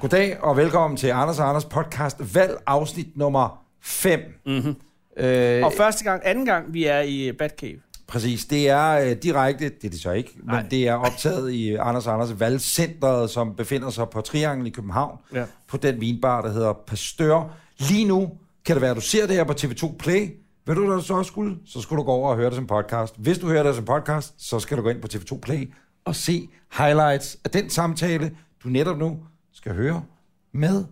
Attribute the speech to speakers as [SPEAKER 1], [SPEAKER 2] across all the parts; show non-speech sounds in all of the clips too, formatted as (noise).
[SPEAKER 1] Goddag og velkommen til Anders og Anders podcast valg afsnit nummer 5. Mm-hmm. Øh,
[SPEAKER 2] Og første gang, anden gang, vi er i Batcave.
[SPEAKER 1] præcis, det er øh, direkte, det er det så ikke,
[SPEAKER 2] Nej.
[SPEAKER 1] men det er optaget i øh, Anders og Anders valgcentret, som befinder sig på Triangel i København,
[SPEAKER 2] Ja.
[SPEAKER 1] på den vinbar, der hedder Pasteur. Lige nu kan det være, at du ser det her på TV2 Play. Ved du, hvad du så også skulle? Så skulle du gå over og høre det som podcast. Hvis du hører det som podcast, så skal du gå ind på TV2 Play og se highlights af den samtale, du netop nu skal høre med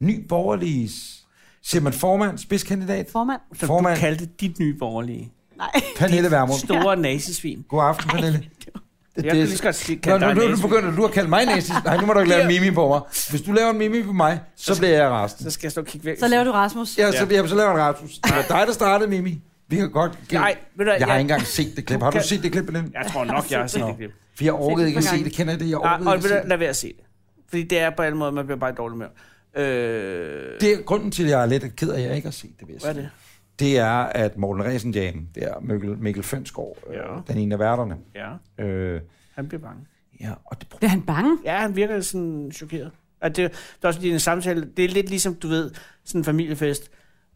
[SPEAKER 1] Ny Borgerliges simpelthen formand, spidskandidat,
[SPEAKER 3] Formand?
[SPEAKER 2] Som
[SPEAKER 1] Formand.
[SPEAKER 2] du kaldte dit nye borgerlige.
[SPEAKER 3] Nej.
[SPEAKER 1] Pernille Vermund.
[SPEAKER 2] Store nazisvin.
[SPEAKER 1] God aften, Pernille.
[SPEAKER 2] Jeg kan lige så godt sige,
[SPEAKER 1] Nå,
[SPEAKER 2] kalde
[SPEAKER 1] nu,
[SPEAKER 2] dig
[SPEAKER 1] nu, nu
[SPEAKER 2] nazisvin.
[SPEAKER 1] begynder du at kalde mig nazist. Nej, nu må du ikke lave en mimi på mig. Hvis du laver en mimi på mig, så bliver jeg rast.
[SPEAKER 2] Så skal jeg stå og kigge væk.
[SPEAKER 3] Så laver du Rasmus.
[SPEAKER 1] Ja, så,
[SPEAKER 2] Ja.
[SPEAKER 1] ja. Jamen, så laver jeg en Rasmus. Det var dig, der startede, Mimi. Vi kan godt... Give...
[SPEAKER 2] Nej, ved du,
[SPEAKER 1] jeg, jeg har
[SPEAKER 2] jeg-
[SPEAKER 1] ikke engang set det klip. Har du
[SPEAKER 2] Kan-
[SPEAKER 1] set det klip, Pernille?
[SPEAKER 2] Jeg tror nok, jeg har set det. klip.
[SPEAKER 1] For jeg orkede ikke at
[SPEAKER 3] par
[SPEAKER 1] se
[SPEAKER 3] gange.
[SPEAKER 1] det. Kender jeg det? Jeg
[SPEAKER 2] Nej,
[SPEAKER 1] orkede
[SPEAKER 2] og
[SPEAKER 1] ikke at
[SPEAKER 2] ved
[SPEAKER 1] se
[SPEAKER 2] du,
[SPEAKER 1] det.
[SPEAKER 2] lad være at se det. Fordi det er på alle måder, man bliver bare i dårlig med. Øh,
[SPEAKER 1] Det er grunden til, at jeg er lidt ked af, at jeg ikke har set det. Vil jeg
[SPEAKER 2] hvad er
[SPEAKER 1] sige.
[SPEAKER 2] det?
[SPEAKER 1] det er, at Morten Resenjam, det er Mikkel, Mikkel Fønsgaard, øh,
[SPEAKER 2] Ja.
[SPEAKER 1] den ene af værterne.
[SPEAKER 2] Ja,
[SPEAKER 1] Øh,
[SPEAKER 2] han bliver bange.
[SPEAKER 1] ja, og det,
[SPEAKER 3] Bliver han bange?
[SPEAKER 2] Ja, han virker sådan chokeret. Og det, det er også fordi, en samtale, det er lidt ligesom, du ved, sådan en familiefest,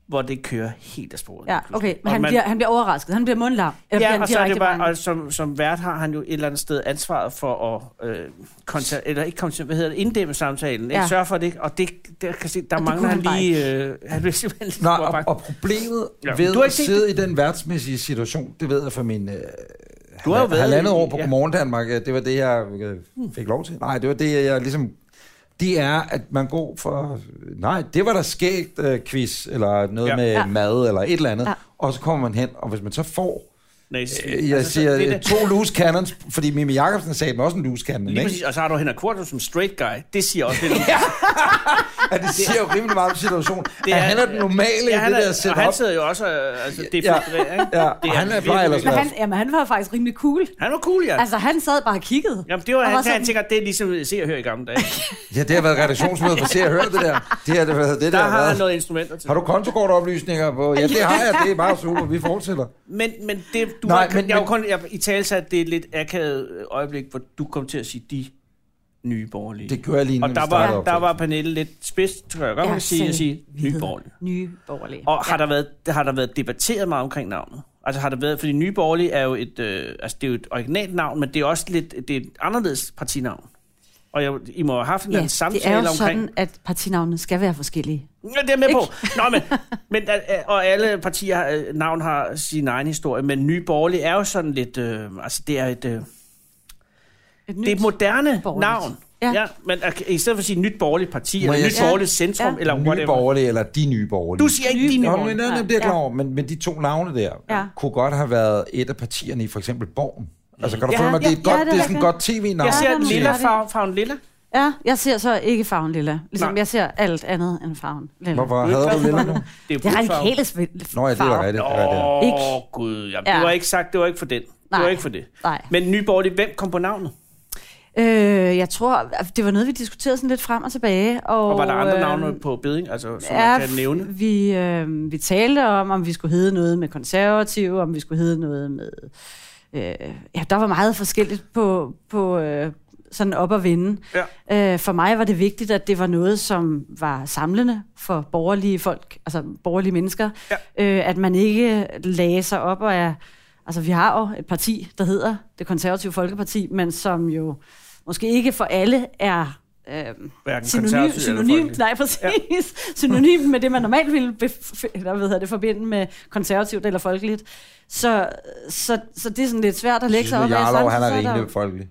[SPEAKER 2] hvor det kører helt af sporet.
[SPEAKER 3] Ja,
[SPEAKER 2] pludselig.
[SPEAKER 3] okay. Men
[SPEAKER 2] Og
[SPEAKER 3] han,
[SPEAKER 2] man-
[SPEAKER 3] bliver, han bliver overrasket. Han bliver mundlam. Eller bliver
[SPEAKER 2] Ja,
[SPEAKER 3] han
[SPEAKER 2] og så er det
[SPEAKER 3] direkte
[SPEAKER 2] bare,
[SPEAKER 3] bange?
[SPEAKER 2] og som, som vært har han jo et eller andet sted ansvaret for at øh, konta- eller ikke konta- hvad hedder det, inddæmme samtalen, ja.
[SPEAKER 3] Ja.
[SPEAKER 2] sørge for det, og det, der, kan se, der
[SPEAKER 3] Og det
[SPEAKER 2] mangler
[SPEAKER 3] kunne
[SPEAKER 2] han
[SPEAKER 3] han bare
[SPEAKER 2] lige, øh, han blev simpelthen lige
[SPEAKER 1] Nej,
[SPEAKER 2] stor
[SPEAKER 1] og,
[SPEAKER 2] bak-
[SPEAKER 1] og problemet
[SPEAKER 2] Ja.
[SPEAKER 1] ja.
[SPEAKER 2] Du
[SPEAKER 1] ved
[SPEAKER 2] har
[SPEAKER 1] at
[SPEAKER 2] ikke set
[SPEAKER 1] sidde i den værtsmæssige situation, det ved jeg fra min øh,
[SPEAKER 2] Du har jo været
[SPEAKER 1] halvandet
[SPEAKER 2] i-
[SPEAKER 1] år på
[SPEAKER 2] ja.
[SPEAKER 1] Godmorgen Danmark, øh, det var det, jeg øh, fik lov til. Nej, det var det, jeg ligesom... Det er, at man går for... Nej, det var der skægt øh, quiz, eller noget
[SPEAKER 2] Ja.
[SPEAKER 1] ja. med
[SPEAKER 3] Ja.
[SPEAKER 1] ja. mad, eller et eller andet.
[SPEAKER 3] Ja.
[SPEAKER 1] Ja. Og så kommer man hen, og hvis man så får...
[SPEAKER 2] Næsesvin.
[SPEAKER 1] Øh, jeg altså,
[SPEAKER 2] så-
[SPEAKER 1] siger
[SPEAKER 2] det er
[SPEAKER 1] det
[SPEAKER 2] det.
[SPEAKER 1] to loose cannons, fordi Mimi Jacobsen sagde dem også en loose cannon,
[SPEAKER 2] Lige
[SPEAKER 1] ikke?
[SPEAKER 2] præcis, og så har du Henrik Korto som straight guy. Det siger også lidt om
[SPEAKER 1] (laughs) At det siger jo rimelig meget om situationen.
[SPEAKER 2] Det
[SPEAKER 1] Det
[SPEAKER 2] er-
[SPEAKER 1] er, at han er den normale ja, i det der
[SPEAKER 2] og han
[SPEAKER 1] setup.
[SPEAKER 2] sidder jo også, øh, altså, det
[SPEAKER 1] Ja.
[SPEAKER 2] er fedt, ja. ikke?
[SPEAKER 1] Ja, og
[SPEAKER 2] Det er
[SPEAKER 1] han er
[SPEAKER 2] virkelig,
[SPEAKER 1] bare ellers
[SPEAKER 3] Men
[SPEAKER 2] virkelig-
[SPEAKER 3] han, jamen, han var faktisk rimelig cool.
[SPEAKER 2] Han var cool, ja.
[SPEAKER 3] Altså, han sad bare og kiggede.
[SPEAKER 2] Jamen, det var,
[SPEAKER 3] og
[SPEAKER 2] han,
[SPEAKER 3] var
[SPEAKER 2] han
[SPEAKER 3] sådan-
[SPEAKER 2] tænker, det er ligesom se og høre i gamle dage.
[SPEAKER 1] Ja, det har været redaktionsmøde for Se og Hør, det der. Det har det, været- det
[SPEAKER 2] Der
[SPEAKER 1] der, har
[SPEAKER 2] har han
[SPEAKER 1] været.
[SPEAKER 2] noget instrumenter til.
[SPEAKER 1] Har du kontokortoplysninger på? Ja, det har jeg. Det er bare super. Vi fortsætter.
[SPEAKER 2] Men, men det, du Nej,
[SPEAKER 1] Nej,
[SPEAKER 2] har, men,
[SPEAKER 1] men-
[SPEAKER 2] jeg har jo
[SPEAKER 1] men-
[SPEAKER 2] kun jeg, i tale sat det er et lidt akavet øjeblik, hvor du kom til at sige de nye borgerlige.
[SPEAKER 1] Det kører jeg lige,
[SPEAKER 2] og
[SPEAKER 1] inden vi
[SPEAKER 2] der
[SPEAKER 1] starter
[SPEAKER 2] var,
[SPEAKER 1] op.
[SPEAKER 2] der var Pernille lidt spids, tror jeg godt,
[SPEAKER 3] Ja,
[SPEAKER 2] man kan sige, at
[SPEAKER 3] selv.
[SPEAKER 2] sige nye borgerlige.
[SPEAKER 3] Nye borgerlige.
[SPEAKER 2] Og har, der været, har der været debatteret meget omkring navnet? Altså har der været, fordi Nye Borgerlige er jo et, øh, altså det er jo et originalt navn, men det er også lidt, det er et anderledes partinavn. Og jeg, I må have haft en
[SPEAKER 3] Ja,
[SPEAKER 2] ja, samtale
[SPEAKER 3] det er jo
[SPEAKER 2] omkring...
[SPEAKER 3] sådan, at partinavnene skal være forskellige.
[SPEAKER 2] Ja, det er jeg med på. Nå, men, men, øh, og alle partier har, øh, navn har sin egen historie, men Nye Borgerlige er jo sådan lidt, øh, altså det er et, øh, det
[SPEAKER 3] Et nyt.
[SPEAKER 2] er et moderne
[SPEAKER 3] Borgerligt.
[SPEAKER 2] navn. Ja.
[SPEAKER 3] Ja.
[SPEAKER 2] ja. men okay, i stedet for at sige Nyt Borgerligt Parti,
[SPEAKER 1] Må
[SPEAKER 2] eller
[SPEAKER 1] jeg
[SPEAKER 2] Nyt
[SPEAKER 1] sige-
[SPEAKER 2] Borgerligt Centrum, ja. eller
[SPEAKER 1] Nye
[SPEAKER 2] whatever.
[SPEAKER 1] borgerlige, eller de nye borgerlige.
[SPEAKER 2] Du siger ikke
[SPEAKER 3] Nye
[SPEAKER 2] de nye
[SPEAKER 1] Nå, men
[SPEAKER 2] borgerlige.
[SPEAKER 1] nej, nej, det er jeg klar over. Men, men de to navne der
[SPEAKER 3] Ja.
[SPEAKER 1] kunne godt have været et af partierne i for eksempel Borgen. Altså, kan du
[SPEAKER 2] Ja,
[SPEAKER 1] følge mig? Det er,
[SPEAKER 3] ja,
[SPEAKER 1] et godt,
[SPEAKER 3] ja, det er
[SPEAKER 1] det er sådan et
[SPEAKER 3] rigtigt.
[SPEAKER 1] godt tv-navn.
[SPEAKER 2] Jeg ser
[SPEAKER 3] Ja, det er
[SPEAKER 2] lilla
[SPEAKER 3] ret i.
[SPEAKER 2] farven, farven lilla.
[SPEAKER 3] Ja, jeg ser så ikke farven lilla. Ligesom
[SPEAKER 2] Nej.
[SPEAKER 3] jeg ser alt andet end farven lilla.
[SPEAKER 1] Hvorfor havde du lille nu?
[SPEAKER 2] Det er
[SPEAKER 3] Det er
[SPEAKER 2] brun farve.
[SPEAKER 3] radikale farve.
[SPEAKER 1] Nå, ja, det er da rigtigt. det er rigtigt.
[SPEAKER 2] Åh,
[SPEAKER 3] Ikke?
[SPEAKER 2] oh, gud. Jamen,
[SPEAKER 3] Ja.
[SPEAKER 2] Det var ikke sagt, det var ikke for den. Det var
[SPEAKER 3] Nej.
[SPEAKER 2] ikke for det.
[SPEAKER 3] Nej.
[SPEAKER 2] Men Nye Borgerlige, hvem kom på navnet?
[SPEAKER 3] Øh, jeg tror, at det var noget, vi diskuterede sådan lidt frem og tilbage. Og,
[SPEAKER 2] Og var der andre
[SPEAKER 3] øh,
[SPEAKER 2] navne på beding, altså, som
[SPEAKER 3] Ja,
[SPEAKER 2] man kan nævne?
[SPEAKER 3] vi, øh, vi talte om, om vi skulle hedde noget med konservative, om vi skulle hedde noget med... Øh, ja, der var meget forskelligt på, på øh, sådan op og vinde. Ja. Øh, for mig var det vigtigt, at det var noget, som var samlende for borgerlige folk, altså borgerlige mennesker.
[SPEAKER 2] Ja.
[SPEAKER 3] Øh, at man ikke lagde sig op og er... Altså, vi har jo et parti, der hedder det konservative folkeparti, men som jo måske ikke for alle er... Øh,
[SPEAKER 2] Hverken
[SPEAKER 3] synonym,
[SPEAKER 2] konservativ eller
[SPEAKER 3] synonym,
[SPEAKER 2] folkelig.
[SPEAKER 3] nej, præcis. Ja. (laughs) synonym med det, man normalt ville bef- eller, hvad hedder det, forbinde med konservativt eller folkeligt. Så, så, så det er sådan lidt svært at lægge sig op. ad.
[SPEAKER 1] Jarlov, han
[SPEAKER 3] Samtidig så
[SPEAKER 1] er
[SPEAKER 3] der jo-
[SPEAKER 1] rimelig folkelig.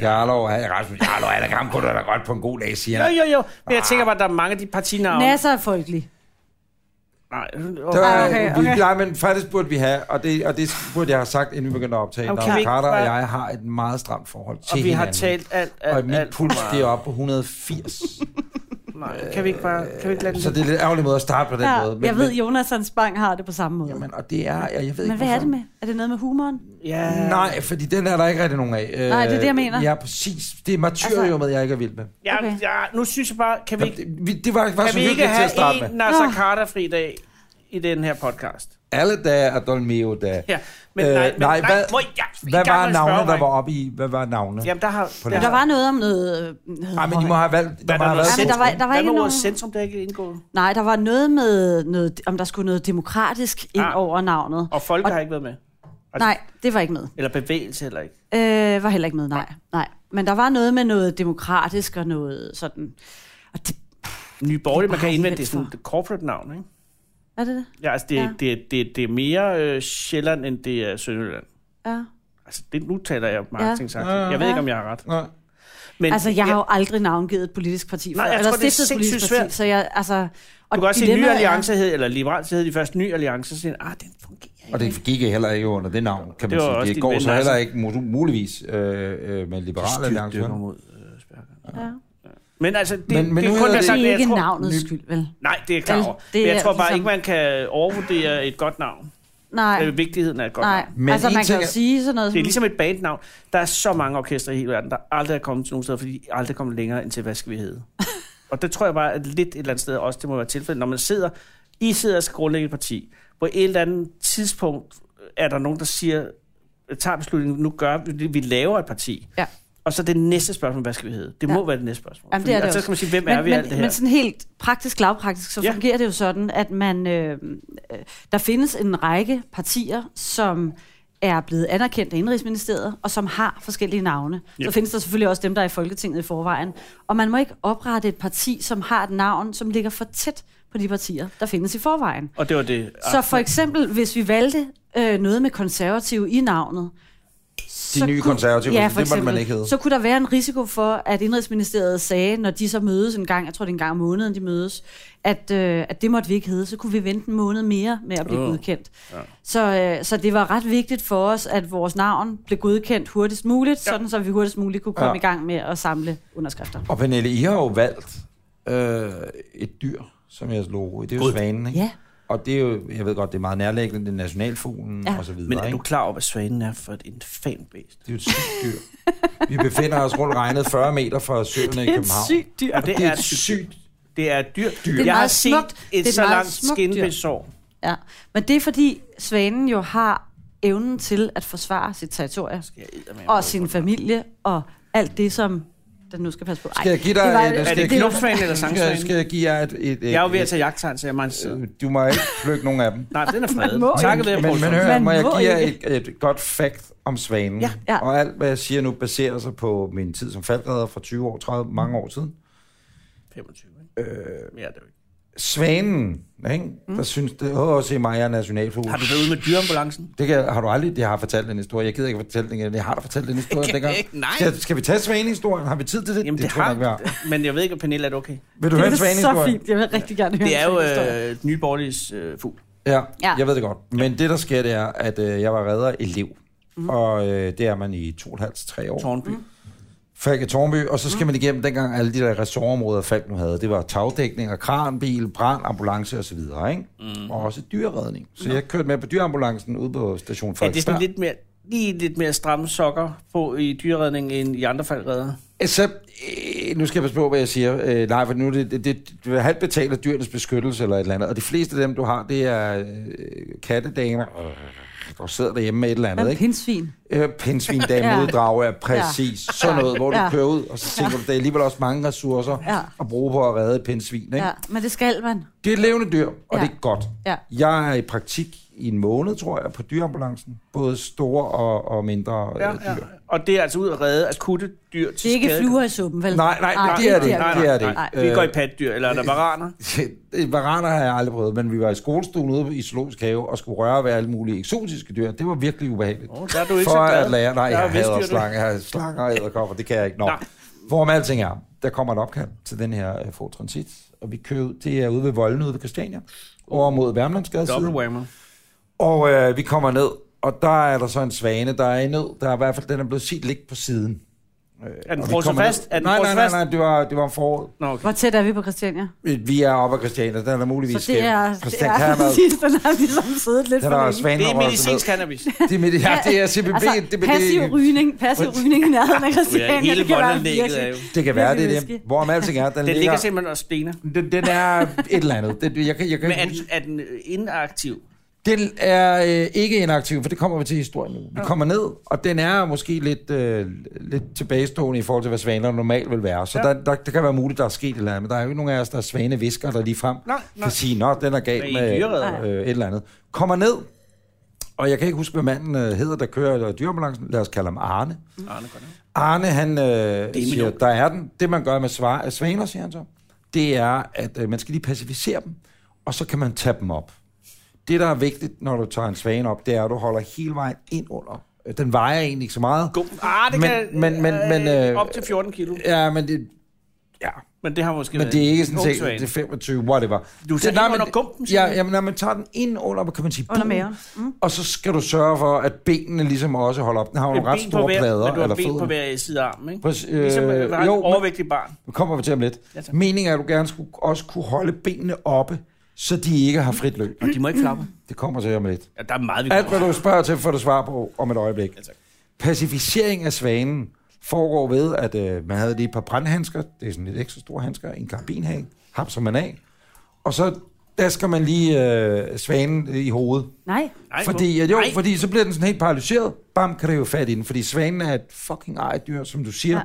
[SPEAKER 1] Jarlov, han, Rasmus Jarlov, han er gammel, kunne du da godt på en god dag, siger
[SPEAKER 2] Jo,
[SPEAKER 1] han.
[SPEAKER 2] jo, jo. Men jeg tænker bare, at der er mange af de partinavne.
[SPEAKER 3] Nasser er folkelig.
[SPEAKER 2] Nej. øh,
[SPEAKER 1] Der,
[SPEAKER 2] Okay.
[SPEAKER 3] Ah,
[SPEAKER 1] okay, okay.
[SPEAKER 3] okay, okay.
[SPEAKER 1] Vi, nej, men faktisk burde vi have, og det, og det burde jeg have sagt, inden vi begyndte at optage, okay.
[SPEAKER 2] Okay. Kan vi
[SPEAKER 1] når
[SPEAKER 2] ikke
[SPEAKER 1] Carter og
[SPEAKER 2] bare-
[SPEAKER 1] jeg har et meget stramt forhold til
[SPEAKER 2] Og vi
[SPEAKER 1] hinanden.
[SPEAKER 2] har talt alt, alt,
[SPEAKER 1] og mit
[SPEAKER 2] alt for
[SPEAKER 1] puls,
[SPEAKER 2] meget.
[SPEAKER 1] det er oppe på 180.
[SPEAKER 2] Nej, kan vi ikke bare... Kan vi ikke lade den
[SPEAKER 1] Øh, så det er lidt ærgerlig måde at starte på den
[SPEAKER 3] Ja,
[SPEAKER 1] måde.
[SPEAKER 3] jeg ved, Jonas Hans Bang har det på samme måde.
[SPEAKER 1] Jamen, og det er, jeg, jeg ved
[SPEAKER 3] men
[SPEAKER 1] ikke,
[SPEAKER 3] hvad er
[SPEAKER 1] hvorfor.
[SPEAKER 3] det med? Er det noget med humoren?
[SPEAKER 2] Ja.
[SPEAKER 1] Nej, fordi den er der ikke rigtig nogen af. Øh,
[SPEAKER 3] Nej, det er det, jeg mener. Altså-
[SPEAKER 1] Ja, præcis. Det er martyriumet, jeg ikke er vild med.
[SPEAKER 2] Ja,
[SPEAKER 3] Okay.
[SPEAKER 2] ja, nu synes jeg bare, kan vi ikke,
[SPEAKER 1] Jamen, det, vi, det var, var
[SPEAKER 2] kan
[SPEAKER 1] så
[SPEAKER 2] vi ikke
[SPEAKER 1] hyggeligt til at
[SPEAKER 2] have
[SPEAKER 1] starte
[SPEAKER 2] en
[SPEAKER 1] med.
[SPEAKER 2] Nasser
[SPEAKER 3] Nå.
[SPEAKER 2] Carter fri dag i den her podcast.
[SPEAKER 1] Alle dage er Dolmeo dage.
[SPEAKER 2] Ja, men nej, men nej,
[SPEAKER 1] Øh, hvad,
[SPEAKER 2] må jeg- jeg er i
[SPEAKER 1] hvad
[SPEAKER 2] gang med
[SPEAKER 1] var
[SPEAKER 2] at spørge
[SPEAKER 1] navnet, der
[SPEAKER 2] mig.
[SPEAKER 1] var oppe i? Hvad var navnet?
[SPEAKER 2] Jamen, der har...
[SPEAKER 1] På
[SPEAKER 2] der,
[SPEAKER 1] den-
[SPEAKER 3] Der
[SPEAKER 2] har-
[SPEAKER 3] var noget om noget... noget
[SPEAKER 1] Nej, men I må have valgt... Der
[SPEAKER 2] Hvad
[SPEAKER 1] må
[SPEAKER 2] der
[SPEAKER 1] have
[SPEAKER 2] noget
[SPEAKER 1] været
[SPEAKER 3] men der
[SPEAKER 2] centrum?
[SPEAKER 3] var- der var
[SPEAKER 2] Hvad
[SPEAKER 3] ikke
[SPEAKER 2] med ordet
[SPEAKER 3] nogen-
[SPEAKER 2] centrum, der er ikke indgået?
[SPEAKER 3] Nej, der var noget med, noget, om der skulle noget demokratisk ind
[SPEAKER 2] Ah.
[SPEAKER 3] ah. over navnet.
[SPEAKER 2] Og folk
[SPEAKER 3] Og-
[SPEAKER 2] har ikke været med. Altså-
[SPEAKER 3] Nej, det var ikke med.
[SPEAKER 2] Eller bevægelse heller ikke.
[SPEAKER 3] Øh, var heller ikke med, nej. nej. Men der var noget med noget demokratisk og noget sådan... Og det,
[SPEAKER 2] Nye Borgerlige, man kan
[SPEAKER 3] bare
[SPEAKER 2] indvende det
[SPEAKER 3] helt
[SPEAKER 2] sådan
[SPEAKER 3] for-
[SPEAKER 2] et corporate navn, ikke?
[SPEAKER 3] er det det?
[SPEAKER 2] Ja, altså, det, ja.
[SPEAKER 3] Ja.
[SPEAKER 2] det, det, det er mere øh, Sjælland, end det er Sønderjylland.
[SPEAKER 3] Ja.
[SPEAKER 2] Altså, det, nu taler jeg marketing ja. Jeg ved
[SPEAKER 3] Ja.
[SPEAKER 2] ikke, om jeg har ret.
[SPEAKER 1] Nå,
[SPEAKER 2] Men,
[SPEAKER 3] Altså, jeg har jo aldrig navngivet et politisk parti
[SPEAKER 2] Nej,
[SPEAKER 3] før,
[SPEAKER 2] jeg
[SPEAKER 3] eller
[SPEAKER 2] tror, det er
[SPEAKER 3] stiftet et
[SPEAKER 2] sindssygt
[SPEAKER 3] politisk
[SPEAKER 2] svært.
[SPEAKER 3] parti, så jeg, altså... Og
[SPEAKER 2] Du kan også sige, Ny
[SPEAKER 3] dilemmaet er-
[SPEAKER 2] Alliance hed, eller Liberal hed de først Ny Alliance, så siger de, ah, den fungerer ikke.
[SPEAKER 1] Og det gik heller ikke under det navn, kan man
[SPEAKER 2] Det var også
[SPEAKER 1] sige.
[SPEAKER 2] din
[SPEAKER 1] Det går
[SPEAKER 2] ven,
[SPEAKER 1] så heller
[SPEAKER 2] Larsen.
[SPEAKER 1] ikke mu- muligvis øh, øh, med liberale alliance.
[SPEAKER 2] Styrtdykker
[SPEAKER 1] vel?
[SPEAKER 2] mod øh, Spærker.
[SPEAKER 3] Ja.
[SPEAKER 2] Men altså, det,
[SPEAKER 1] Men- men
[SPEAKER 2] det
[SPEAKER 1] nu
[SPEAKER 2] er kun
[SPEAKER 1] hedder
[SPEAKER 2] hvad
[SPEAKER 3] Det
[SPEAKER 2] sagt,
[SPEAKER 3] er
[SPEAKER 2] jeg
[SPEAKER 3] ikke
[SPEAKER 2] tror-
[SPEAKER 3] navnets skyld, vel?
[SPEAKER 2] Nej, det er jeg klar
[SPEAKER 3] Vel,
[SPEAKER 2] over.
[SPEAKER 3] det
[SPEAKER 2] Men jeg
[SPEAKER 3] er
[SPEAKER 2] tror bare
[SPEAKER 3] ligesom-
[SPEAKER 2] ikke, man kan overvurdere et godt navn.
[SPEAKER 3] Nej,
[SPEAKER 2] Øh, vigtigheden af et godt
[SPEAKER 3] nej.
[SPEAKER 2] navn.
[SPEAKER 1] Men
[SPEAKER 3] altså,
[SPEAKER 1] en
[SPEAKER 3] man
[SPEAKER 1] ting
[SPEAKER 3] kan jo
[SPEAKER 1] er-
[SPEAKER 3] sige sådan noget...
[SPEAKER 2] Det er
[SPEAKER 3] som-
[SPEAKER 2] ligesom et bandnavn. Der er så mange orkestre i hele verden, der aldrig er kommet til nogen steder, fordi de aldrig er kommet længere end til, hvad skal vi
[SPEAKER 3] (laughs)
[SPEAKER 2] hedde? og det tror jeg bare, at lidt et eller andet sted også, det må være tilfældet. Når man sidder, I sidder og skal grundlægge et parti, på et eller andet tidspunkt er der nogen, der siger, tager beslutningen, nu gør vi, det. vi laver et parti.
[SPEAKER 3] Ja.
[SPEAKER 2] Og så det næste spørgsmål, hvad skal vi hedde? Det må
[SPEAKER 3] Ja.
[SPEAKER 2] være det næste spørgsmål.
[SPEAKER 3] Jamen, det
[SPEAKER 2] Fordi-
[SPEAKER 3] er det
[SPEAKER 2] og så
[SPEAKER 3] også.
[SPEAKER 2] skal man sige, hvem er vi i
[SPEAKER 3] men,
[SPEAKER 2] alt det her?
[SPEAKER 3] Men sådan helt praktisk, lavpraktisk, så
[SPEAKER 2] Ja.
[SPEAKER 3] ja. fungerer det jo sådan, at man, øh, øh, der findes en række partier, som er blevet anerkendt af Indrigsministeriet, og som har forskellige navne. Yep.
[SPEAKER 2] Ja.
[SPEAKER 3] Så findes der selvfølgelig også dem, der er i Folketinget i forvejen. Og man må ikke oprette et parti, som har et navn, som ligger for tæt på de partier, der findes i forvejen.
[SPEAKER 2] og det var det.
[SPEAKER 1] Ah,
[SPEAKER 2] Ah,
[SPEAKER 3] Så for eksempel, hvis vi valgte øh, noget med konservative i navnet, så
[SPEAKER 1] nye konservative,
[SPEAKER 3] ja,
[SPEAKER 1] det
[SPEAKER 3] for
[SPEAKER 1] måtte man
[SPEAKER 3] eksempel,
[SPEAKER 1] ikke hedde.
[SPEAKER 3] Så kunne der være en risiko for, at Indrigsministeriet sagde, når de så mødes en gang, jeg tror det er en gang om måneden, de mødes, at, øh, at det måtte vi ikke hedde, så kunne vi vente en måned mere med at blive
[SPEAKER 2] Åh,
[SPEAKER 3] oh. godkendt.
[SPEAKER 2] ja.
[SPEAKER 3] Ja. Så, øh, så det var ret vigtigt for os, at vores navn blev godkendt hurtigst muligt,
[SPEAKER 2] Ja.
[SPEAKER 3] ja. sådan så vi hurtigst muligt kunne komme
[SPEAKER 1] Ja.
[SPEAKER 3] ja. i gang med at samle underskrifter.
[SPEAKER 1] Og Pernille, I har jo valgt øh, et dyr som jeres logo. Det er jo
[SPEAKER 2] God.
[SPEAKER 1] svanen, ikke?
[SPEAKER 3] Ja.
[SPEAKER 1] Og det er jo, jeg ved godt, det er meget nærlæggende, det er nationalfuglen ja.
[SPEAKER 3] Ja.
[SPEAKER 1] og så videre,
[SPEAKER 2] Men er du
[SPEAKER 1] ikke?
[SPEAKER 2] klar over, hvad svanen er for et infant bæst?
[SPEAKER 1] Det er jo et sygt dyr. Vi befinder os rundt regnet 40 meter fra søerne i
[SPEAKER 3] Det er et
[SPEAKER 1] København.
[SPEAKER 3] sygt dyr.
[SPEAKER 2] Og det er
[SPEAKER 1] et sygt
[SPEAKER 2] Det er et dyr. dyr.
[SPEAKER 3] er et
[SPEAKER 2] Jeg har
[SPEAKER 3] meget
[SPEAKER 2] set
[SPEAKER 3] smukt- det er
[SPEAKER 2] et
[SPEAKER 3] et
[SPEAKER 2] så
[SPEAKER 3] meget
[SPEAKER 2] langt
[SPEAKER 3] smukt dyr.
[SPEAKER 2] skinbesår.
[SPEAKER 3] Ja. Men det er fordi, svanen jo har evnen til at forsvare sit territorium.
[SPEAKER 2] Skal jeg eddermame prøve
[SPEAKER 3] og sin familie og alt det, som den nu skal passe på. Ej,
[SPEAKER 1] Skal jeg give dig...
[SPEAKER 3] det var-
[SPEAKER 1] et-
[SPEAKER 2] Er
[SPEAKER 1] skal
[SPEAKER 2] det
[SPEAKER 1] jeg give-
[SPEAKER 2] knopsvanen eller
[SPEAKER 1] skal-
[SPEAKER 2] sangsvanen?
[SPEAKER 1] Skal jeg give jer et... et, et
[SPEAKER 2] Jeg er jo ved at tage jagttegn, så jeg må en side.
[SPEAKER 1] et- Du må ikke plukke nogen af dem.
[SPEAKER 2] Nej, den er
[SPEAKER 3] Man må
[SPEAKER 2] fredet. Takket være,
[SPEAKER 1] men, men
[SPEAKER 2] Poulsen.
[SPEAKER 1] hør,
[SPEAKER 3] Man
[SPEAKER 1] må jeg
[SPEAKER 3] må
[SPEAKER 1] give jer
[SPEAKER 3] ikke.
[SPEAKER 1] et, et godt fact om svanen?
[SPEAKER 2] Ja.
[SPEAKER 3] Ja.
[SPEAKER 1] Og alt, hvad jeg siger nu, baserer sig på min tid som faldredder for 20 år, 30, mange år siden.
[SPEAKER 2] 25, ikke? Øh, ja, det er jo ikke.
[SPEAKER 1] Svanen, ikke? Mm. der synes, det, åh, se mig, jeg er nationalfugl.
[SPEAKER 2] Har du været ude med dyreambulancen?
[SPEAKER 1] Det kan, har du aldrig, det har jeg fortalt den historie. Jeg gider ikke fortælle den igen. Jeg har da fortalt den historie
[SPEAKER 2] Ikke-
[SPEAKER 1] dengang.
[SPEAKER 2] ikke, (laughs) nej.
[SPEAKER 1] Skal, skal vi tage svanehistorien? Har vi tid til det?
[SPEAKER 2] Jamen, det,
[SPEAKER 1] tror jeg
[SPEAKER 2] har
[SPEAKER 1] ikke, vi har.
[SPEAKER 2] Men jeg ved ikke, om Pernille er det okay.
[SPEAKER 1] Vil du
[SPEAKER 3] det
[SPEAKER 1] høre en
[SPEAKER 3] er så
[SPEAKER 1] svanehistorie?
[SPEAKER 3] fint. Jeg vil rigtig gerne høre
[SPEAKER 2] Det er
[SPEAKER 3] en
[SPEAKER 2] jo
[SPEAKER 3] svanehistorie.
[SPEAKER 2] øh, Nye Borgerliges øh, fugl.
[SPEAKER 1] Ja, ja,
[SPEAKER 3] Ja.
[SPEAKER 1] jeg ved det godt. Men det, der sker, det er, at øh, jeg var redder elev. Mm. Og øh, det er man i to og et halvt, til tre år.
[SPEAKER 2] Tårnby.
[SPEAKER 1] Falk i Tornby, og så
[SPEAKER 2] Mm.
[SPEAKER 1] skal man igennem dengang alle de der ressortområder, Falk nu havde. Det var tagdækning og kranbil, brand, ambulance osv. Ikke? Mm. Og også dyreredning. Så jeg kørte med på dyreambulancen ude på station
[SPEAKER 2] Ja, det er
[SPEAKER 1] Frederiksberg.
[SPEAKER 2] sådan lidt mere, lige lidt mere stramme sokker på i dyreredning end i andre faldredder.
[SPEAKER 1] Eh, Så, øh, nu skal jeg passe på, hvad jeg siger. Øh, nej, for nu er det, det, det, du er halvt betalt af dyrenes beskyttelse eller et eller andet. Og de fleste af dem, du har, det er øh, kattedamer, øh, der sidder derhjemme med et eller andet.
[SPEAKER 3] Hvad er
[SPEAKER 1] Ikke?
[SPEAKER 3] pindsvin?
[SPEAKER 1] Øh, pindsvin, dame
[SPEAKER 3] (laughs) Ja.
[SPEAKER 1] ja. uddrag er præcis ja. sådan noget, hvor du
[SPEAKER 3] Ja.
[SPEAKER 1] kører ud, og så tænker du, der er alligevel også mange ressourcer
[SPEAKER 3] Ja.
[SPEAKER 1] at bruge på at redde et pindsvin. Ikke?
[SPEAKER 3] Ja, men det skal man.
[SPEAKER 1] Det er et levende dyr, og ja.
[SPEAKER 3] Ja.
[SPEAKER 1] det er godt.
[SPEAKER 3] Ja.
[SPEAKER 1] Jeg er i praktik i en måned, tror jeg, på dyreambulancen. Både store og, og mindre ja,
[SPEAKER 2] Ja,
[SPEAKER 1] dyr.
[SPEAKER 2] ja. Og det er altså ud at redde akutte dyr til
[SPEAKER 3] Det er ikke
[SPEAKER 2] skade.
[SPEAKER 3] fluer i suppen, vel?
[SPEAKER 1] Nej, nej, Ah, det er det.
[SPEAKER 2] Nej,
[SPEAKER 1] Det
[SPEAKER 2] nej,
[SPEAKER 1] er det.
[SPEAKER 2] nej.
[SPEAKER 1] Øh,
[SPEAKER 2] Vi går i patdyr, eller er der varaner?
[SPEAKER 1] Varaner har jeg aldrig prøvet, men vi var i skolestuen ude i Zoologisk Have og skulle røre ved alle mulige eksotiske dyr. Det var virkelig ubehageligt.
[SPEAKER 2] Åh, der er du ikke
[SPEAKER 1] For
[SPEAKER 2] så glad.
[SPEAKER 1] at lære, nej,
[SPEAKER 2] Der er
[SPEAKER 1] jeg
[SPEAKER 2] vistdyr,
[SPEAKER 1] hader
[SPEAKER 2] du.
[SPEAKER 1] slange, jeg hader slanger og æderkopper, det kan jeg ikke. Nå.
[SPEAKER 2] Nej.
[SPEAKER 1] Hvorom alting er, der kommer et opkald til den her uh, Ford Transit, og vi kører ud, det er ude ved Volden ude ved Christiania, over mod Værmlandsgade.
[SPEAKER 2] Double whammer.
[SPEAKER 1] Og øh, vi kommer ned, og der er der så en svane, der er i nød. Der er i hvert fald, den er blevet set ligge på siden. Øh,
[SPEAKER 2] Er den
[SPEAKER 1] og vi
[SPEAKER 2] frosset
[SPEAKER 1] kommer
[SPEAKER 2] fast?
[SPEAKER 1] ned-
[SPEAKER 2] Er den
[SPEAKER 1] nej, nej,
[SPEAKER 2] frosset
[SPEAKER 1] nej,
[SPEAKER 2] fast?
[SPEAKER 1] nej, det var, det var om foråret.
[SPEAKER 2] Nå, okay.
[SPEAKER 3] Hvor tæt er vi på Christiania?
[SPEAKER 1] Øh, Vi er oppe af Christiania, der er der muligvis...
[SPEAKER 3] Så det er,
[SPEAKER 1] øh,
[SPEAKER 3] det
[SPEAKER 1] Christian
[SPEAKER 3] er
[SPEAKER 1] Kjær, der-
[SPEAKER 3] præcis, (laughs) den har ligesom siddet lidt
[SPEAKER 1] der
[SPEAKER 3] for
[SPEAKER 1] er der
[SPEAKER 3] længe.
[SPEAKER 1] svaner
[SPEAKER 2] Det er
[SPEAKER 1] og sådan
[SPEAKER 2] medicinsk
[SPEAKER 1] noget.
[SPEAKER 2] cannabis.
[SPEAKER 1] Det er med, ja, det er CBD, det,
[SPEAKER 3] passiv
[SPEAKER 1] det,
[SPEAKER 3] rygning, passiv rygning i nærheden af Christiania.
[SPEAKER 2] Ja, hele
[SPEAKER 3] det kan være
[SPEAKER 2] voldanlægget er jo...
[SPEAKER 3] virkelig-
[SPEAKER 1] det kan være, det
[SPEAKER 3] virkelig
[SPEAKER 1] er det.
[SPEAKER 3] whisky.
[SPEAKER 1] Hvor om alting er, den,
[SPEAKER 2] Den ligger
[SPEAKER 1] ligger...
[SPEAKER 2] simpelthen og stener.
[SPEAKER 1] Den, den er et eller andet. Den, jeg kan, jeg kan
[SPEAKER 2] Men er,
[SPEAKER 1] ikke
[SPEAKER 2] den- er den øh, inaktiv?
[SPEAKER 1] Den er øh, ikke inaktiv, for det kommer vi til i historien nu. Vi kommer ned, og den er måske lidt, øh, lidt tilbagestående i forhold til, hvad svaner normalt vil være. Så
[SPEAKER 2] Ja.
[SPEAKER 1] ja. der, der, der kan være muligt, der er sket et eller andet, men der er jo ikke nogen af os, der er svanevisker, der lige frem
[SPEAKER 2] Nej, nej.
[SPEAKER 1] kan sige, nå, den er gal
[SPEAKER 2] Men I
[SPEAKER 1] med
[SPEAKER 2] dyreredder.
[SPEAKER 1] øh, et eller andet. Kommer ned, og jeg kan ikke huske, hvad manden øh, hedder, der kører dyreambulancen. Lad os kalde ham Arne.
[SPEAKER 2] Arne, Ah, godt nok.
[SPEAKER 1] Arne, han øh,
[SPEAKER 2] min
[SPEAKER 1] siger,
[SPEAKER 2] onkel.
[SPEAKER 1] der er den. Det, man gør med svar, svaner, siger han så, det er, at øh, man skal lige pacificere dem, og så kan man tage dem op. Det, der er vigtigt, når du tager en svane op, det er, at du holder hele vejen ind under. Øh, Den vejer egentlig ikke så meget.
[SPEAKER 2] God. Ah, det
[SPEAKER 1] Men-
[SPEAKER 2] kan
[SPEAKER 1] men- men- men,
[SPEAKER 2] øh,
[SPEAKER 1] øh,
[SPEAKER 2] op til 14 kilo.
[SPEAKER 1] Ja, men det, ja,
[SPEAKER 2] Men det har måske
[SPEAKER 1] men det er ikke sådan
[SPEAKER 2] en ung
[SPEAKER 1] set, det er
[SPEAKER 2] svane.
[SPEAKER 1] 25, whatever.
[SPEAKER 2] Du tager
[SPEAKER 1] Det-
[SPEAKER 2] den
[SPEAKER 1] nej,
[SPEAKER 2] ind
[SPEAKER 1] men-
[SPEAKER 2] under gumpen, siger
[SPEAKER 1] Ja,
[SPEAKER 2] du?
[SPEAKER 1] jamen, når man tager den ind under, hvad kan man sige,
[SPEAKER 3] Under
[SPEAKER 1] bugen,
[SPEAKER 3] maven. Mm.
[SPEAKER 1] og så skal du sørge for, at benene ligesom også holder op. Den har jo
[SPEAKER 2] Med
[SPEAKER 1] nogle ret
[SPEAKER 2] ben på
[SPEAKER 1] store
[SPEAKER 2] hver-
[SPEAKER 1] plader.
[SPEAKER 2] Men du har
[SPEAKER 1] eller
[SPEAKER 2] ben på
[SPEAKER 1] fødder.
[SPEAKER 2] hver side af armen, ikke?
[SPEAKER 1] Præcis, øh,
[SPEAKER 2] Ligesom øh, har et
[SPEAKER 1] jo, men-
[SPEAKER 2] overvægtigt barn.
[SPEAKER 1] Nu kommer vi til om lidt.
[SPEAKER 2] Ja,
[SPEAKER 1] Ja,
[SPEAKER 2] tak.
[SPEAKER 1] Meningen er, at du gerne skulle også kunne holde benene oppe, så de ikke har frit løb.
[SPEAKER 2] Og de må ikke flappe.
[SPEAKER 1] Det kommer til om lidt.
[SPEAKER 2] Ja, der er meget, vi
[SPEAKER 1] Alt,
[SPEAKER 2] kan
[SPEAKER 1] hvad du spørger til, får du svar på om et øjeblik.
[SPEAKER 2] tak.
[SPEAKER 1] Pacificering af svanen foregår ved, at øh, man havde lige et par brandhandsker. Det er sådan lidt ekstra store handsker. En karabinhag. Hapser man af. Og så dasker man lige øh, svanen i hovedet.
[SPEAKER 3] Mm. Nej.
[SPEAKER 2] Nej,
[SPEAKER 1] Fordi, at jo,
[SPEAKER 2] nej.
[SPEAKER 1] fordi så bliver den sådan helt paralyseret. Bam, kan det jo fat i den. Fordi svanen er et fucking ejet dyr, som du siger.
[SPEAKER 3] Ja.
[SPEAKER 1] Ja.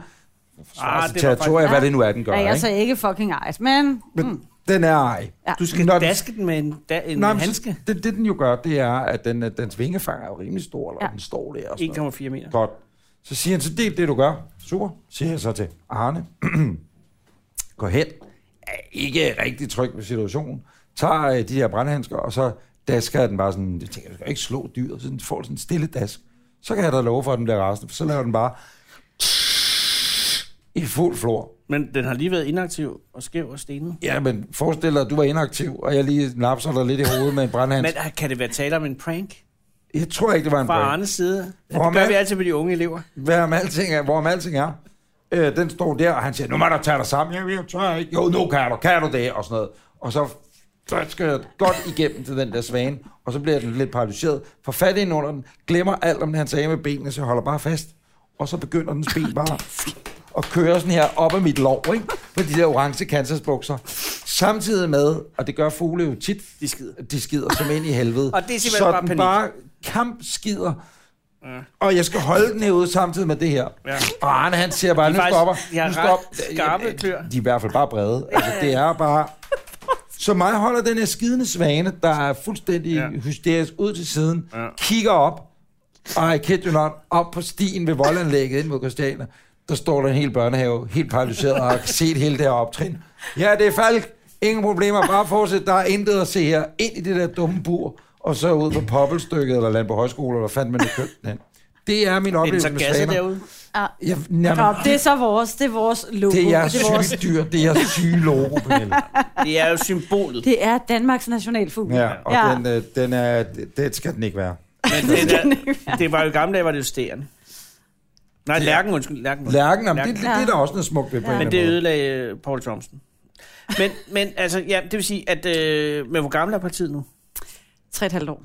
[SPEAKER 2] Ah,
[SPEAKER 1] Forsvarer
[SPEAKER 2] det var
[SPEAKER 1] sit territorie,
[SPEAKER 3] faktisk-
[SPEAKER 1] hvad det nu er, den gør.
[SPEAKER 3] Ja, jeg
[SPEAKER 1] ikke?
[SPEAKER 3] så ikke fucking ejs, men...
[SPEAKER 1] Men mm. den er ej.
[SPEAKER 3] Ja.
[SPEAKER 2] Du skal
[SPEAKER 1] Når den-
[SPEAKER 2] daske den med en, da, en
[SPEAKER 1] Nej, men
[SPEAKER 2] handske.
[SPEAKER 1] så- Det, det, den jo gør, det er, at den, øh, dens vingefang er jo rimelig stor, eller
[SPEAKER 3] Ja.
[SPEAKER 1] ja. den står der og sådan noget.
[SPEAKER 2] 1,4 meter.
[SPEAKER 1] Godt. Så siger han, så det er det, du gør. Super, siger jeg så til Arne. (clears throat) Gå hen. Er ikke rigtig tryg ved situationen. Tager øh, de her brandhandsker, og så dasker jeg den bare sådan, jeg tænker, jeg skal ikke slå dyret, så den får sådan en stille dask. Så kan jeg da love for, at den bliver rasende, for så laver den bare i fuld flor.
[SPEAKER 2] Men den har lige været inaktiv og skæv og stenet.
[SPEAKER 1] Ja, men forestil dig, at du var inaktiv, og jeg lige napser dig lidt i hovedet med en brandhands.
[SPEAKER 2] Men ah, kan det være tale om en prank
[SPEAKER 1] Jeg tror ikke, det var en
[SPEAKER 2] fra
[SPEAKER 1] break.
[SPEAKER 2] Arnes side? Ja,
[SPEAKER 1] Hvor
[SPEAKER 2] det gør
[SPEAKER 1] med?
[SPEAKER 2] vi altid med de unge elever.
[SPEAKER 1] Hvad om alting er, hvorom alting er. Øh, den står der, og han siger, nu må du tage dig sammen. Jeg, jeg tør ikke. Jo, nu kan du, kan du det, og sådan noget. Og så skal jeg godt igennem til den der svane, og så bliver den lidt paralyseret. For fat ind under den, glemmer alt om det, han sagde med benene, så holder bare fast. Og så begynder den ben bare at køre sådan her op af mit lov, ikke? På de der orange kansasbukser. Samtidig med, og det gør fugle jo tit,
[SPEAKER 2] De skider.
[SPEAKER 1] de skider som ind i helvede.
[SPEAKER 2] Og det er simpelthen
[SPEAKER 1] så
[SPEAKER 2] bare
[SPEAKER 1] den
[SPEAKER 2] panik.
[SPEAKER 1] bare kampskider. Og jeg skal holde den herude samtidig med det her.
[SPEAKER 2] Ja.
[SPEAKER 1] Og Arne, han siger bare,
[SPEAKER 2] De
[SPEAKER 1] nu
[SPEAKER 2] er faktisk-
[SPEAKER 1] stopper.
[SPEAKER 2] de har
[SPEAKER 1] nu
[SPEAKER 2] ret
[SPEAKER 1] stop.
[SPEAKER 2] skarpe klør.
[SPEAKER 1] De er i hvert fald bare brede. Altså, det er bare... Så mig holder den her skidende svane, der er fuldstændig
[SPEAKER 2] Ja.
[SPEAKER 1] ja. hysterisk ud til siden,
[SPEAKER 2] Ja.
[SPEAKER 1] ja. kigger op, og I kid you not, op på stien ved voldanlægget ind mod Christiania. Der står der en hel børnehave, helt paralyseret, og har set hele det her optrin. Ja, det er Falk. Ingen problemer. Bare fortsæt. Der er intet at se her. Ind i det der dumme bur, og så ud på poppelstykket, eller land på højskole, eller fandt man det købt den. hen. Det er min
[SPEAKER 2] Er den
[SPEAKER 1] oplevelse
[SPEAKER 2] så
[SPEAKER 1] med
[SPEAKER 2] gasset
[SPEAKER 1] svaner.
[SPEAKER 2] derude?
[SPEAKER 3] Ja.
[SPEAKER 1] Jeg, jamen,
[SPEAKER 3] Nå, det er så vores, det er vores logo.
[SPEAKER 1] det er jeres
[SPEAKER 3] det, er vores,
[SPEAKER 1] syge dyr. Det er jeres syge
[SPEAKER 2] (laughs)
[SPEAKER 1] logo, Pernille.
[SPEAKER 2] Det er jo symbolet.
[SPEAKER 3] (laughs) det er Danmarks nationalfugl.
[SPEAKER 1] Ja, og
[SPEAKER 3] Ja.
[SPEAKER 1] ja. Den, øh, den er, det, det skal den ikke være.
[SPEAKER 2] Men den er, det var jo i gamle dage, var det jo stæren. Nej, lærken, undskyld. Lærken,
[SPEAKER 1] Lærken, om, det, det, det
[SPEAKER 3] Ja.
[SPEAKER 1] er der også noget smukt ved på
[SPEAKER 3] Ja.
[SPEAKER 1] ja. en
[SPEAKER 2] Men
[SPEAKER 1] eller
[SPEAKER 2] det
[SPEAKER 1] anden måde.
[SPEAKER 2] ødelagde øh, Paul Thomsen. Men, men altså, ja, det vil sige, at... Øh, men hvor gammel er partiet nu?
[SPEAKER 3] Tre et halvt år.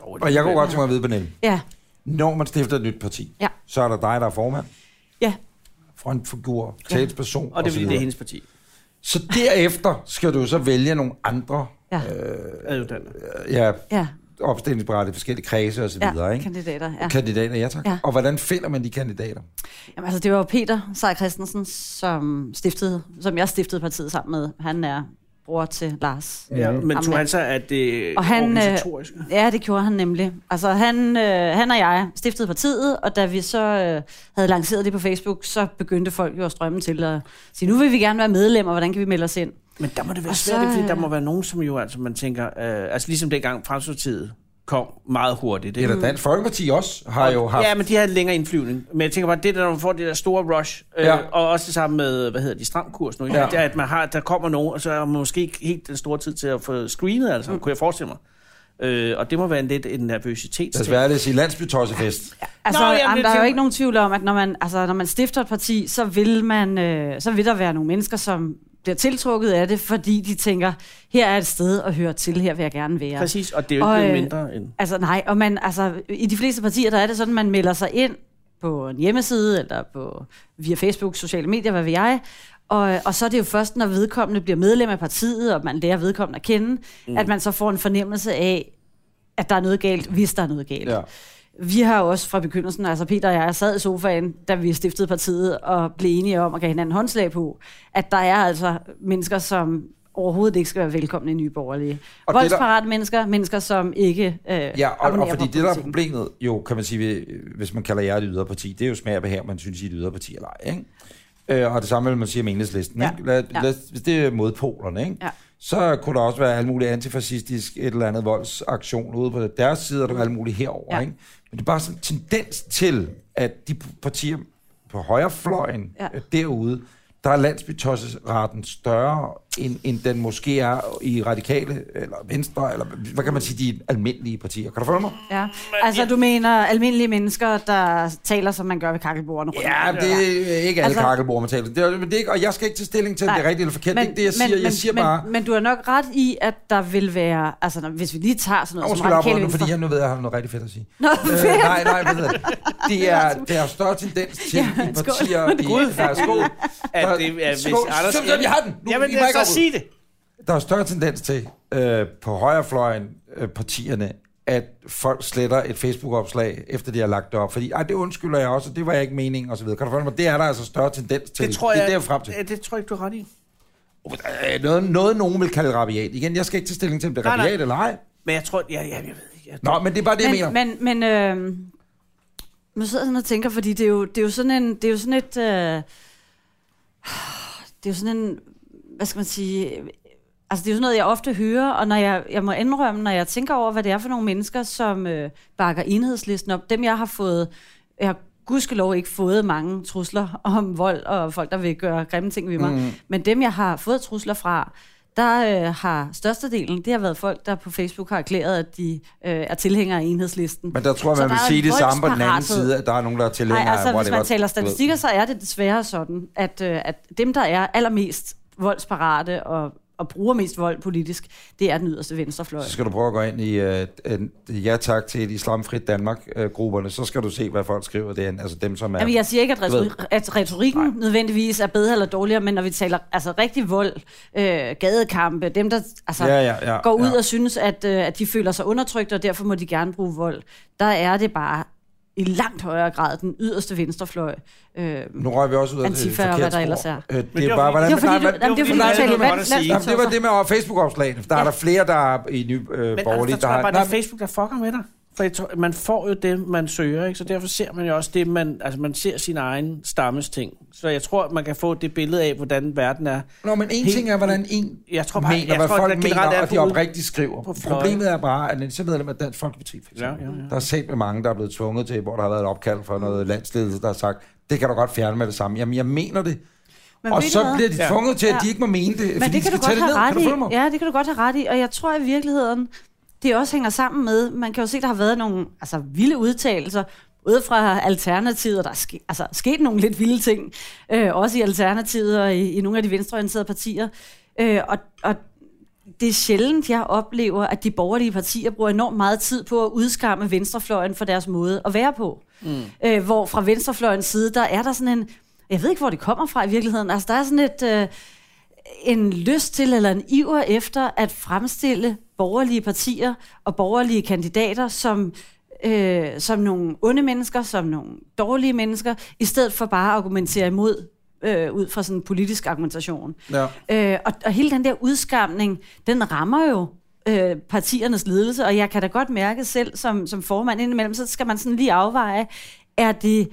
[SPEAKER 1] Og jeg kunne godt tænke mig at vide, Pernille,
[SPEAKER 3] Ja,
[SPEAKER 1] når man stifter et nyt parti,
[SPEAKER 3] Ja.
[SPEAKER 1] så er der dig, der er formand,
[SPEAKER 3] ja.
[SPEAKER 1] frontfigur, talsperson
[SPEAKER 2] Og det er fordi,
[SPEAKER 1] osv.
[SPEAKER 2] det er hendes parti.
[SPEAKER 1] Øh, Så derefter skal du så vælge nogle andre
[SPEAKER 3] Ja,
[SPEAKER 2] Adjutanter.
[SPEAKER 1] øh, ja,
[SPEAKER 3] ja.
[SPEAKER 1] opstillingsberettigede forskellige kredse osv.
[SPEAKER 3] ja.
[SPEAKER 1] Ja, ikke?
[SPEAKER 3] kandidater. Ja.
[SPEAKER 1] Kandidater, ja tak.
[SPEAKER 3] Ja.
[SPEAKER 1] Ja. Og hvordan finder man de kandidater?
[SPEAKER 3] Jamen, altså, det var jo Peter Sej Christensen, som, stiftede, som jeg stiftede partiet sammen med. Han er bror til Lars.
[SPEAKER 2] Ja, men tog
[SPEAKER 3] Jamen.
[SPEAKER 2] han så, at det
[SPEAKER 3] Og han, øh,
[SPEAKER 2] organisatoriske?
[SPEAKER 3] Ja, det gjorde han nemlig. Altså, han, øh, han og jeg stiftede partiet, og da vi så øh, havde lanceret det på Facebook, så begyndte folk jo at strømme til og sige, nu vil vi gerne være medlemmer, hvordan kan vi melde os ind?
[SPEAKER 2] Men der må det være
[SPEAKER 3] Og
[SPEAKER 2] svært,
[SPEAKER 3] så,
[SPEAKER 2] ikke? fordi der
[SPEAKER 3] øh,
[SPEAKER 2] må være nogen, som jo, altså man tænker, øh, altså ligesom dengang Fremskridspartiet kom meget hurtigt. Ikke?
[SPEAKER 3] Mm.
[SPEAKER 1] Eller Dansk Folkeparti også har jo haft...
[SPEAKER 2] Ja, men de havde en længere indflyvning. Men jeg tænker bare, det der, når man får det der store rush, øh,
[SPEAKER 1] Ja.
[SPEAKER 2] og også det samme med, hvad hedder de, stramkurs nu, ja.
[SPEAKER 1] Ja.
[SPEAKER 2] at, at man har, der kommer nogen, og så er man måske ikke helt den store tid til at få screenet, altså, mm. kunne jeg forestille mig. Øh, og det må være en lidt en nervøsitet.
[SPEAKER 1] Lad os være det sige landsbytossefest.
[SPEAKER 3] Altså,
[SPEAKER 2] Nå,
[SPEAKER 3] Nå,
[SPEAKER 2] jamen,
[SPEAKER 3] jamen,
[SPEAKER 2] det
[SPEAKER 3] der er jo
[SPEAKER 2] tænker-
[SPEAKER 3] ikke nogen tvivl om, at når man, altså, når man stifter et parti, så vil, man, øh, så vil der være nogle mennesker, som bliver tiltrukket af det, fordi de tænker, her er et sted at høre til, her vil jeg gerne være.
[SPEAKER 2] Præcis, og det er jo ikke
[SPEAKER 3] Og,
[SPEAKER 2] noget
[SPEAKER 3] øh,
[SPEAKER 2] mindre end...
[SPEAKER 3] Altså nej, og man, altså, i de fleste partier, der er det sådan, man melder sig ind på en hjemmeside, eller på, via Facebook, sociale medier, hvad ved jeg. Og, og så er det jo først, når vedkommende bliver medlem af partiet, og man lærer vedkommende at kende, mm. at man så får en fornemmelse af, at der er noget galt, hvis der er noget galt.
[SPEAKER 1] Ja.
[SPEAKER 3] Vi har jo også fra begyndelsen, altså Peter og jeg sad i sofaen, da vi stiftede partiet, og blev enige om at give hinanden håndslag på, at der er altså mennesker, som overhovedet ikke skal være velkomne i Nye Borgerlige.
[SPEAKER 1] Og det, der-
[SPEAKER 3] Voldsparate mennesker, mennesker, som ikke øh,
[SPEAKER 1] Ja, og, og
[SPEAKER 3] abonnerer
[SPEAKER 1] fordi
[SPEAKER 3] på
[SPEAKER 1] det, der er
[SPEAKER 3] politikken.
[SPEAKER 1] problemet, jo, kan man sige, ved- hvis man kalder jer et yderparti, det er jo smag og behag, om man synes, I er et yderparti eller ej, ikke? Øh, og det samme vil man sige om enhedslisten,
[SPEAKER 3] Ja.
[SPEAKER 1] ikke? Lad,
[SPEAKER 3] Ja.
[SPEAKER 1] lad, hvis det er modpolerne, ikke?
[SPEAKER 3] Ja.
[SPEAKER 1] Så kunne der også være alt muligt antifascistisk, et eller andet voldsaktion ude på deres side, og der er alt muligt herover,
[SPEAKER 3] Ja.
[SPEAKER 1] ikke? Men det er bare sådan en tendens til, at de partier på højrefløjen
[SPEAKER 3] Ja.
[SPEAKER 1] ja. derude, der er landsbytossesraten større, end, end den måske er i radikale, eller venstre, eller hvad kan man sige, de almindelige partier. Kan du følge mig?
[SPEAKER 3] Ja. Altså, du mener almindelige mennesker, der taler, som man gør ved kakkelbordene rundt.
[SPEAKER 1] Ja, det er ikke alle altså,
[SPEAKER 3] Altså-
[SPEAKER 1] kakkelbord, man taler. Det er, men det er ikke, og jeg skal ikke tage stilling til, om det er rigtigt eller forkert. Men, det er ikke det, jeg siger. Men, jeg siger
[SPEAKER 3] men,
[SPEAKER 1] men, bare,
[SPEAKER 3] Men, men du har nok ret i, at der vil være... Altså, når, hvis vi lige tager sådan noget
[SPEAKER 1] Åh,
[SPEAKER 3] som
[SPEAKER 1] skal arbejde
[SPEAKER 3] radikale
[SPEAKER 1] nu,
[SPEAKER 3] venstre...
[SPEAKER 1] fordi jeg nu ved, at jeg har noget rigtig fedt at sige.
[SPEAKER 3] Nå,
[SPEAKER 1] Øh,
[SPEAKER 3] (laughs) fedt.
[SPEAKER 1] nej, nej, hvad hedder det? Det er, der er større tendens til
[SPEAKER 3] Ja,
[SPEAKER 1] ja, i
[SPEAKER 3] skål.
[SPEAKER 1] partier... i-
[SPEAKER 2] Gud,
[SPEAKER 1] der er skål.
[SPEAKER 2] At det er, hvis
[SPEAKER 1] Skål.
[SPEAKER 2] Anders...
[SPEAKER 1] Sådan, sådan, jeg har den. Nu,
[SPEAKER 2] Jamen,
[SPEAKER 1] I må ikke
[SPEAKER 2] så
[SPEAKER 1] afbryde.
[SPEAKER 2] sig det.
[SPEAKER 1] Der er større tendens til øh, på højrefløjen øh, partierne, at folk sletter et Facebook-opslag, efter de har lagt det op. Fordi, ej, det undskylder jeg også, og det var jeg ikke meningen, og så videre. Kan du følge mig? Det er der altså større tendens til.
[SPEAKER 2] Det tror jeg,
[SPEAKER 1] det er det, jeg er frem til.
[SPEAKER 2] Ja, det tror jeg ikke, du har ret i.
[SPEAKER 1] Øh, Noget, noget nogen vil kalde rabiat. Igen, jeg skal ikke tage stilling til, om det er
[SPEAKER 2] Nej, nej.
[SPEAKER 1] rabiat eller ej.
[SPEAKER 2] Men jeg tror... Ja, ja, jeg ved ikke. Jeg,
[SPEAKER 1] Nå, men det er bare det, jeg
[SPEAKER 3] men,
[SPEAKER 1] mener.
[SPEAKER 3] men, men, øh, nu sidder jeg sådan og tænker, fordi det er jo, det er jo sådan en, det er jo sådan et, øh, det er jo sådan en, hvad skal man sige, øh, altså det er jo sådan noget, jeg ofte hører, og når jeg, jeg må indrømme, når jeg tænker over, hvad det er for nogle mennesker, som øh, bakker enhedslisten op, dem jeg har fået, jeg har gudskelov ikke fået mange trusler (laughs) om vold og folk, der vil gøre grimme ting ved mig, mm. men dem jeg har fået trusler fra, der øh, har størstedelen, det har været folk, der på Facebook har erklæret, at de øh, er tilhængere af enhedslisten.
[SPEAKER 1] Men der tror jeg,
[SPEAKER 3] Så
[SPEAKER 1] man
[SPEAKER 3] der
[SPEAKER 1] vil
[SPEAKER 3] er
[SPEAKER 1] sige
[SPEAKER 3] en
[SPEAKER 1] det samme på den anden
[SPEAKER 3] voldsparathed.
[SPEAKER 1] side, at der er nogen, der er tilhængere.
[SPEAKER 3] Nej, altså
[SPEAKER 1] af
[SPEAKER 3] hvis man
[SPEAKER 1] whatever,
[SPEAKER 3] taler
[SPEAKER 1] du ved.
[SPEAKER 3] statistikker, så er det desværre sådan, at, øh, at dem, der er allermest voldsparate og, og bruger mest vold politisk, det er den yderste venstrefløj.
[SPEAKER 1] Så skal du prøve at gå ind i øh, en ja tak til et islamfrit Danmark-grupperne, så skal du se, hvad folk skriver derinde. Altså dem, som er...
[SPEAKER 3] Jamen, jeg siger ikke, at,
[SPEAKER 1] ved.
[SPEAKER 3] retor- at retorikken Nej. nødvendigvis er bedre eller dårligere, men når vi taler altså rigtig vold, øh, gadekampe, dem der altså,
[SPEAKER 1] Ja, ja, ja,
[SPEAKER 3] går ud
[SPEAKER 1] ja.
[SPEAKER 3] og synes, at, øh, at de føler sig undertrykt, og derfor må de gerne bruge vold, der er det bare i langt højere grad den yderste venstrefløj. Øh,
[SPEAKER 1] Nu røg vi også ud af et
[SPEAKER 3] Antifa og hvad
[SPEAKER 1] forkert
[SPEAKER 3] der ellers
[SPEAKER 1] spor.
[SPEAKER 3] er.
[SPEAKER 1] Øh, det,
[SPEAKER 2] det
[SPEAKER 1] er
[SPEAKER 2] var
[SPEAKER 1] bare,
[SPEAKER 2] fordi-
[SPEAKER 1] hvordan...
[SPEAKER 3] det var fordi,
[SPEAKER 1] nej, men-
[SPEAKER 2] nej, det
[SPEAKER 3] du, jamen, det var fordi, du talte
[SPEAKER 2] var
[SPEAKER 3] land-
[SPEAKER 2] godt at sige.
[SPEAKER 1] Jamen, det var
[SPEAKER 3] landsbytosser.
[SPEAKER 1] det med Facebook-opslagene. Der er der flere, der er i nye øh,
[SPEAKER 2] men
[SPEAKER 1] borgerlige,
[SPEAKER 2] altså, der
[SPEAKER 1] der
[SPEAKER 2] tror jeg
[SPEAKER 1] har...
[SPEAKER 2] bare, det
[SPEAKER 1] Nej,
[SPEAKER 2] er Facebook, der fucker med dig. For jeg tror, man får jo det, man søger, ikke? så derfor ser man jo også det, man, altså man ser sin egen stammes ting. Så jeg tror, man kan få det billede af, hvordan verden er.
[SPEAKER 1] Nå, men en
[SPEAKER 2] Helt-
[SPEAKER 1] ting er, hvordan en
[SPEAKER 2] Jeg tror bare,
[SPEAKER 1] mener,
[SPEAKER 2] jeg
[SPEAKER 1] hvad
[SPEAKER 2] tror,
[SPEAKER 1] folk
[SPEAKER 2] at
[SPEAKER 1] mener,
[SPEAKER 2] generelt er
[SPEAKER 1] og de
[SPEAKER 2] på-
[SPEAKER 1] oprigtigt skriver.
[SPEAKER 2] på fløje.
[SPEAKER 1] Problemet er bare, at så medlem af Dansk Folkeparti, for eksempel,
[SPEAKER 2] Ja, ja, ja.
[SPEAKER 1] der er set med mange, der er blevet tvunget til, hvor der har været et opkald fra noget landsledelse, der har sagt, det kan du godt fjerne med det samme. Jamen, jeg mener det.
[SPEAKER 3] Men
[SPEAKER 1] Men og
[SPEAKER 3] ved I
[SPEAKER 1] så
[SPEAKER 3] hvad?
[SPEAKER 1] bliver de
[SPEAKER 2] Ja.
[SPEAKER 1] tvunget til, at de
[SPEAKER 3] Ja.
[SPEAKER 1] ikke må mene det,
[SPEAKER 3] Men
[SPEAKER 1] fordi
[SPEAKER 3] det
[SPEAKER 1] de
[SPEAKER 3] kan du
[SPEAKER 1] skal
[SPEAKER 3] godt
[SPEAKER 1] tage det
[SPEAKER 3] have
[SPEAKER 1] ned.
[SPEAKER 3] ret
[SPEAKER 1] Kan du følge mig?
[SPEAKER 3] i. Ja, det kan du godt have ret i. Og jeg tror i virkeligheden, det også hænger sammen med, man kan jo se, der har været nogle altså, vilde udtalelser, både fra Alternativet, og der er ske, altså, sket nogle lidt vilde ting, øh, også i Alternativet og i, i nogle af de venstreorienterede partier. Øh, og, og det er sjældent, jeg oplever, at de borgerlige partier bruger enormt meget tid på at udskamme venstrefløjen for deres måde at være på. Mm. Øh, hvor fra venstrefløjens side, der er der sådan en... Jeg ved ikke, hvor det kommer fra i virkeligheden. Altså, der er sådan et... Øh, en lyst til eller en iver efter at fremstille borgerlige partier og borgerlige kandidater som, øh, som nogle onde mennesker, som nogle dårlige mennesker, i stedet for bare at argumentere imod øh, ud fra sådan en politisk argumentation.
[SPEAKER 1] Ja.
[SPEAKER 3] Øh, og, og hele den der udskamning, den rammer jo øh, partiernes ledelse, og jeg kan da godt mærke selv som, som formand indimellem, så skal man sådan lige afveje, er det,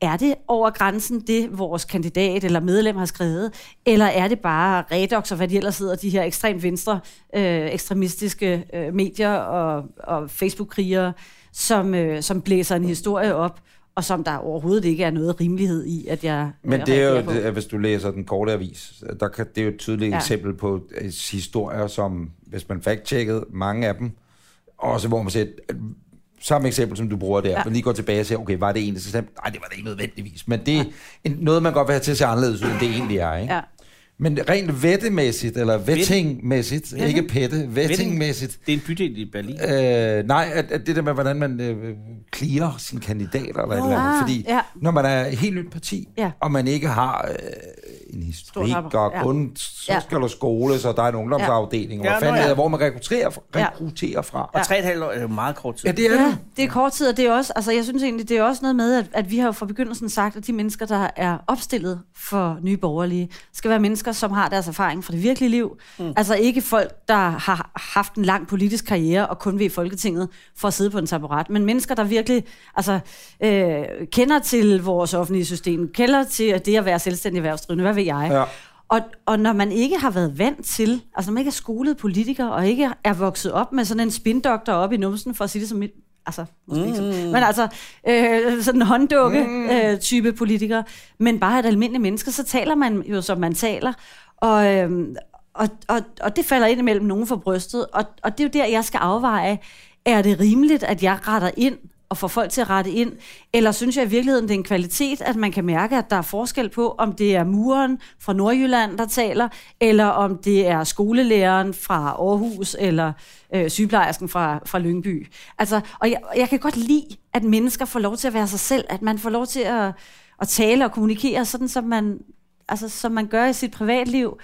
[SPEAKER 3] er det over grænsen det, vores kandidat eller medlem har skrevet, eller er det bare redox og hvad de ellers hedder, de her ekstremt venstre, øh, ekstremistiske øh, medier og, og Facebook-krigere, som, øh, som blæser en historie op, og som der overhovedet ikke er noget rimelighed i, at jeg
[SPEAKER 1] Men
[SPEAKER 3] jeg
[SPEAKER 1] det er jo,
[SPEAKER 3] reagerer på.
[SPEAKER 1] det, hvis du læser den korte avis, der kan, det er jo et tydeligt
[SPEAKER 3] Ja.
[SPEAKER 1] ja. eksempel på øh, historier, som, hvis man fact-checkede mange af dem, også hvor man siger, at samme eksempel, som du bruger der,
[SPEAKER 3] Ja.
[SPEAKER 1] ja. man lige går tilbage og siger, okay, var det egentlig så slemt? Nej, det var det ikke nødvendigvis, men det er en, noget, man godt vil have til at se anderledes ud, end det egentlig er, ikke?
[SPEAKER 3] Ja.
[SPEAKER 1] Men rent vettemæssigt, eller vettingmæssigt,
[SPEAKER 2] Vetting.
[SPEAKER 3] Mhm.
[SPEAKER 1] ikke pette, vettingmæssigt,
[SPEAKER 2] Det er en bydel i Berlin.
[SPEAKER 1] Øh, nej, at, at det der med, hvordan man øh, clearer sine kandidater eller et eller andet.
[SPEAKER 3] Ah,
[SPEAKER 1] Fordi
[SPEAKER 3] ja.
[SPEAKER 1] når man er et helt nyt parti,
[SPEAKER 3] Ja.
[SPEAKER 1] og man ikke har øh, en historik
[SPEAKER 3] apparat,
[SPEAKER 1] og
[SPEAKER 3] ja.
[SPEAKER 1] kun så
[SPEAKER 3] Ja.
[SPEAKER 1] skal der skole, så der er en ungdomsafdeling, og
[SPEAKER 2] Ja,
[SPEAKER 1] hvad
[SPEAKER 2] nå
[SPEAKER 1] fanden
[SPEAKER 2] ja.
[SPEAKER 1] hedder, hvor man rekrutterer,
[SPEAKER 3] Ja.
[SPEAKER 1] rekrutterer fra.
[SPEAKER 2] Og tre et halvt år er jo meget kort tid.
[SPEAKER 1] Ja, det er
[SPEAKER 3] Ja,
[SPEAKER 1] det.
[SPEAKER 3] det er kort tid, og det er også, altså jeg synes egentlig, det er også noget med, at, at vi har jo fra begyndelsen sagt, at de mennesker, der er opstillet for nye borgerlige, skal være mennesker, som har deres erfaring fra det virkelige liv. Mm. Altså ikke folk, der har haft en lang politisk karriere og kun ved Folketinget for at sidde på en taburet, men mennesker, der virkelig altså, øh, kender til vores offentlige system, kender til at det at være selvstændig erhvervsdrivende, hvad ved jeg.
[SPEAKER 1] Ja.
[SPEAKER 3] Og, og når man ikke har været vant til, altså når man ikke er skolet politiker, og ikke er vokset op med sådan en spindoktor op i numsen, for at sige det som mit, altså, måske ikke som, men altså, øh, sådan en hånddukke-type øh, type politiker, men bare et almindeligt menneske, så taler man jo, som man taler, og, øh, og, og, og det falder ind imellem nogen for brystet, og, og det er jo der, jeg skal afveje, er det rimeligt, at jeg retter ind, og får folk til at rette ind? Eller synes jeg i virkeligheden, det er en kvalitet, at man kan mærke, at der er forskel på, om det er muren fra Nordjylland, der taler, eller om det er skolelæreren fra Aarhus, eller øh, sygeplejersken fra, fra Lyngby. Altså, og jeg, og jeg kan godt lide, at mennesker får lov til at være sig selv, at man får lov til at, at tale og kommunikere, sådan som man, altså, som man gør i sit privatliv,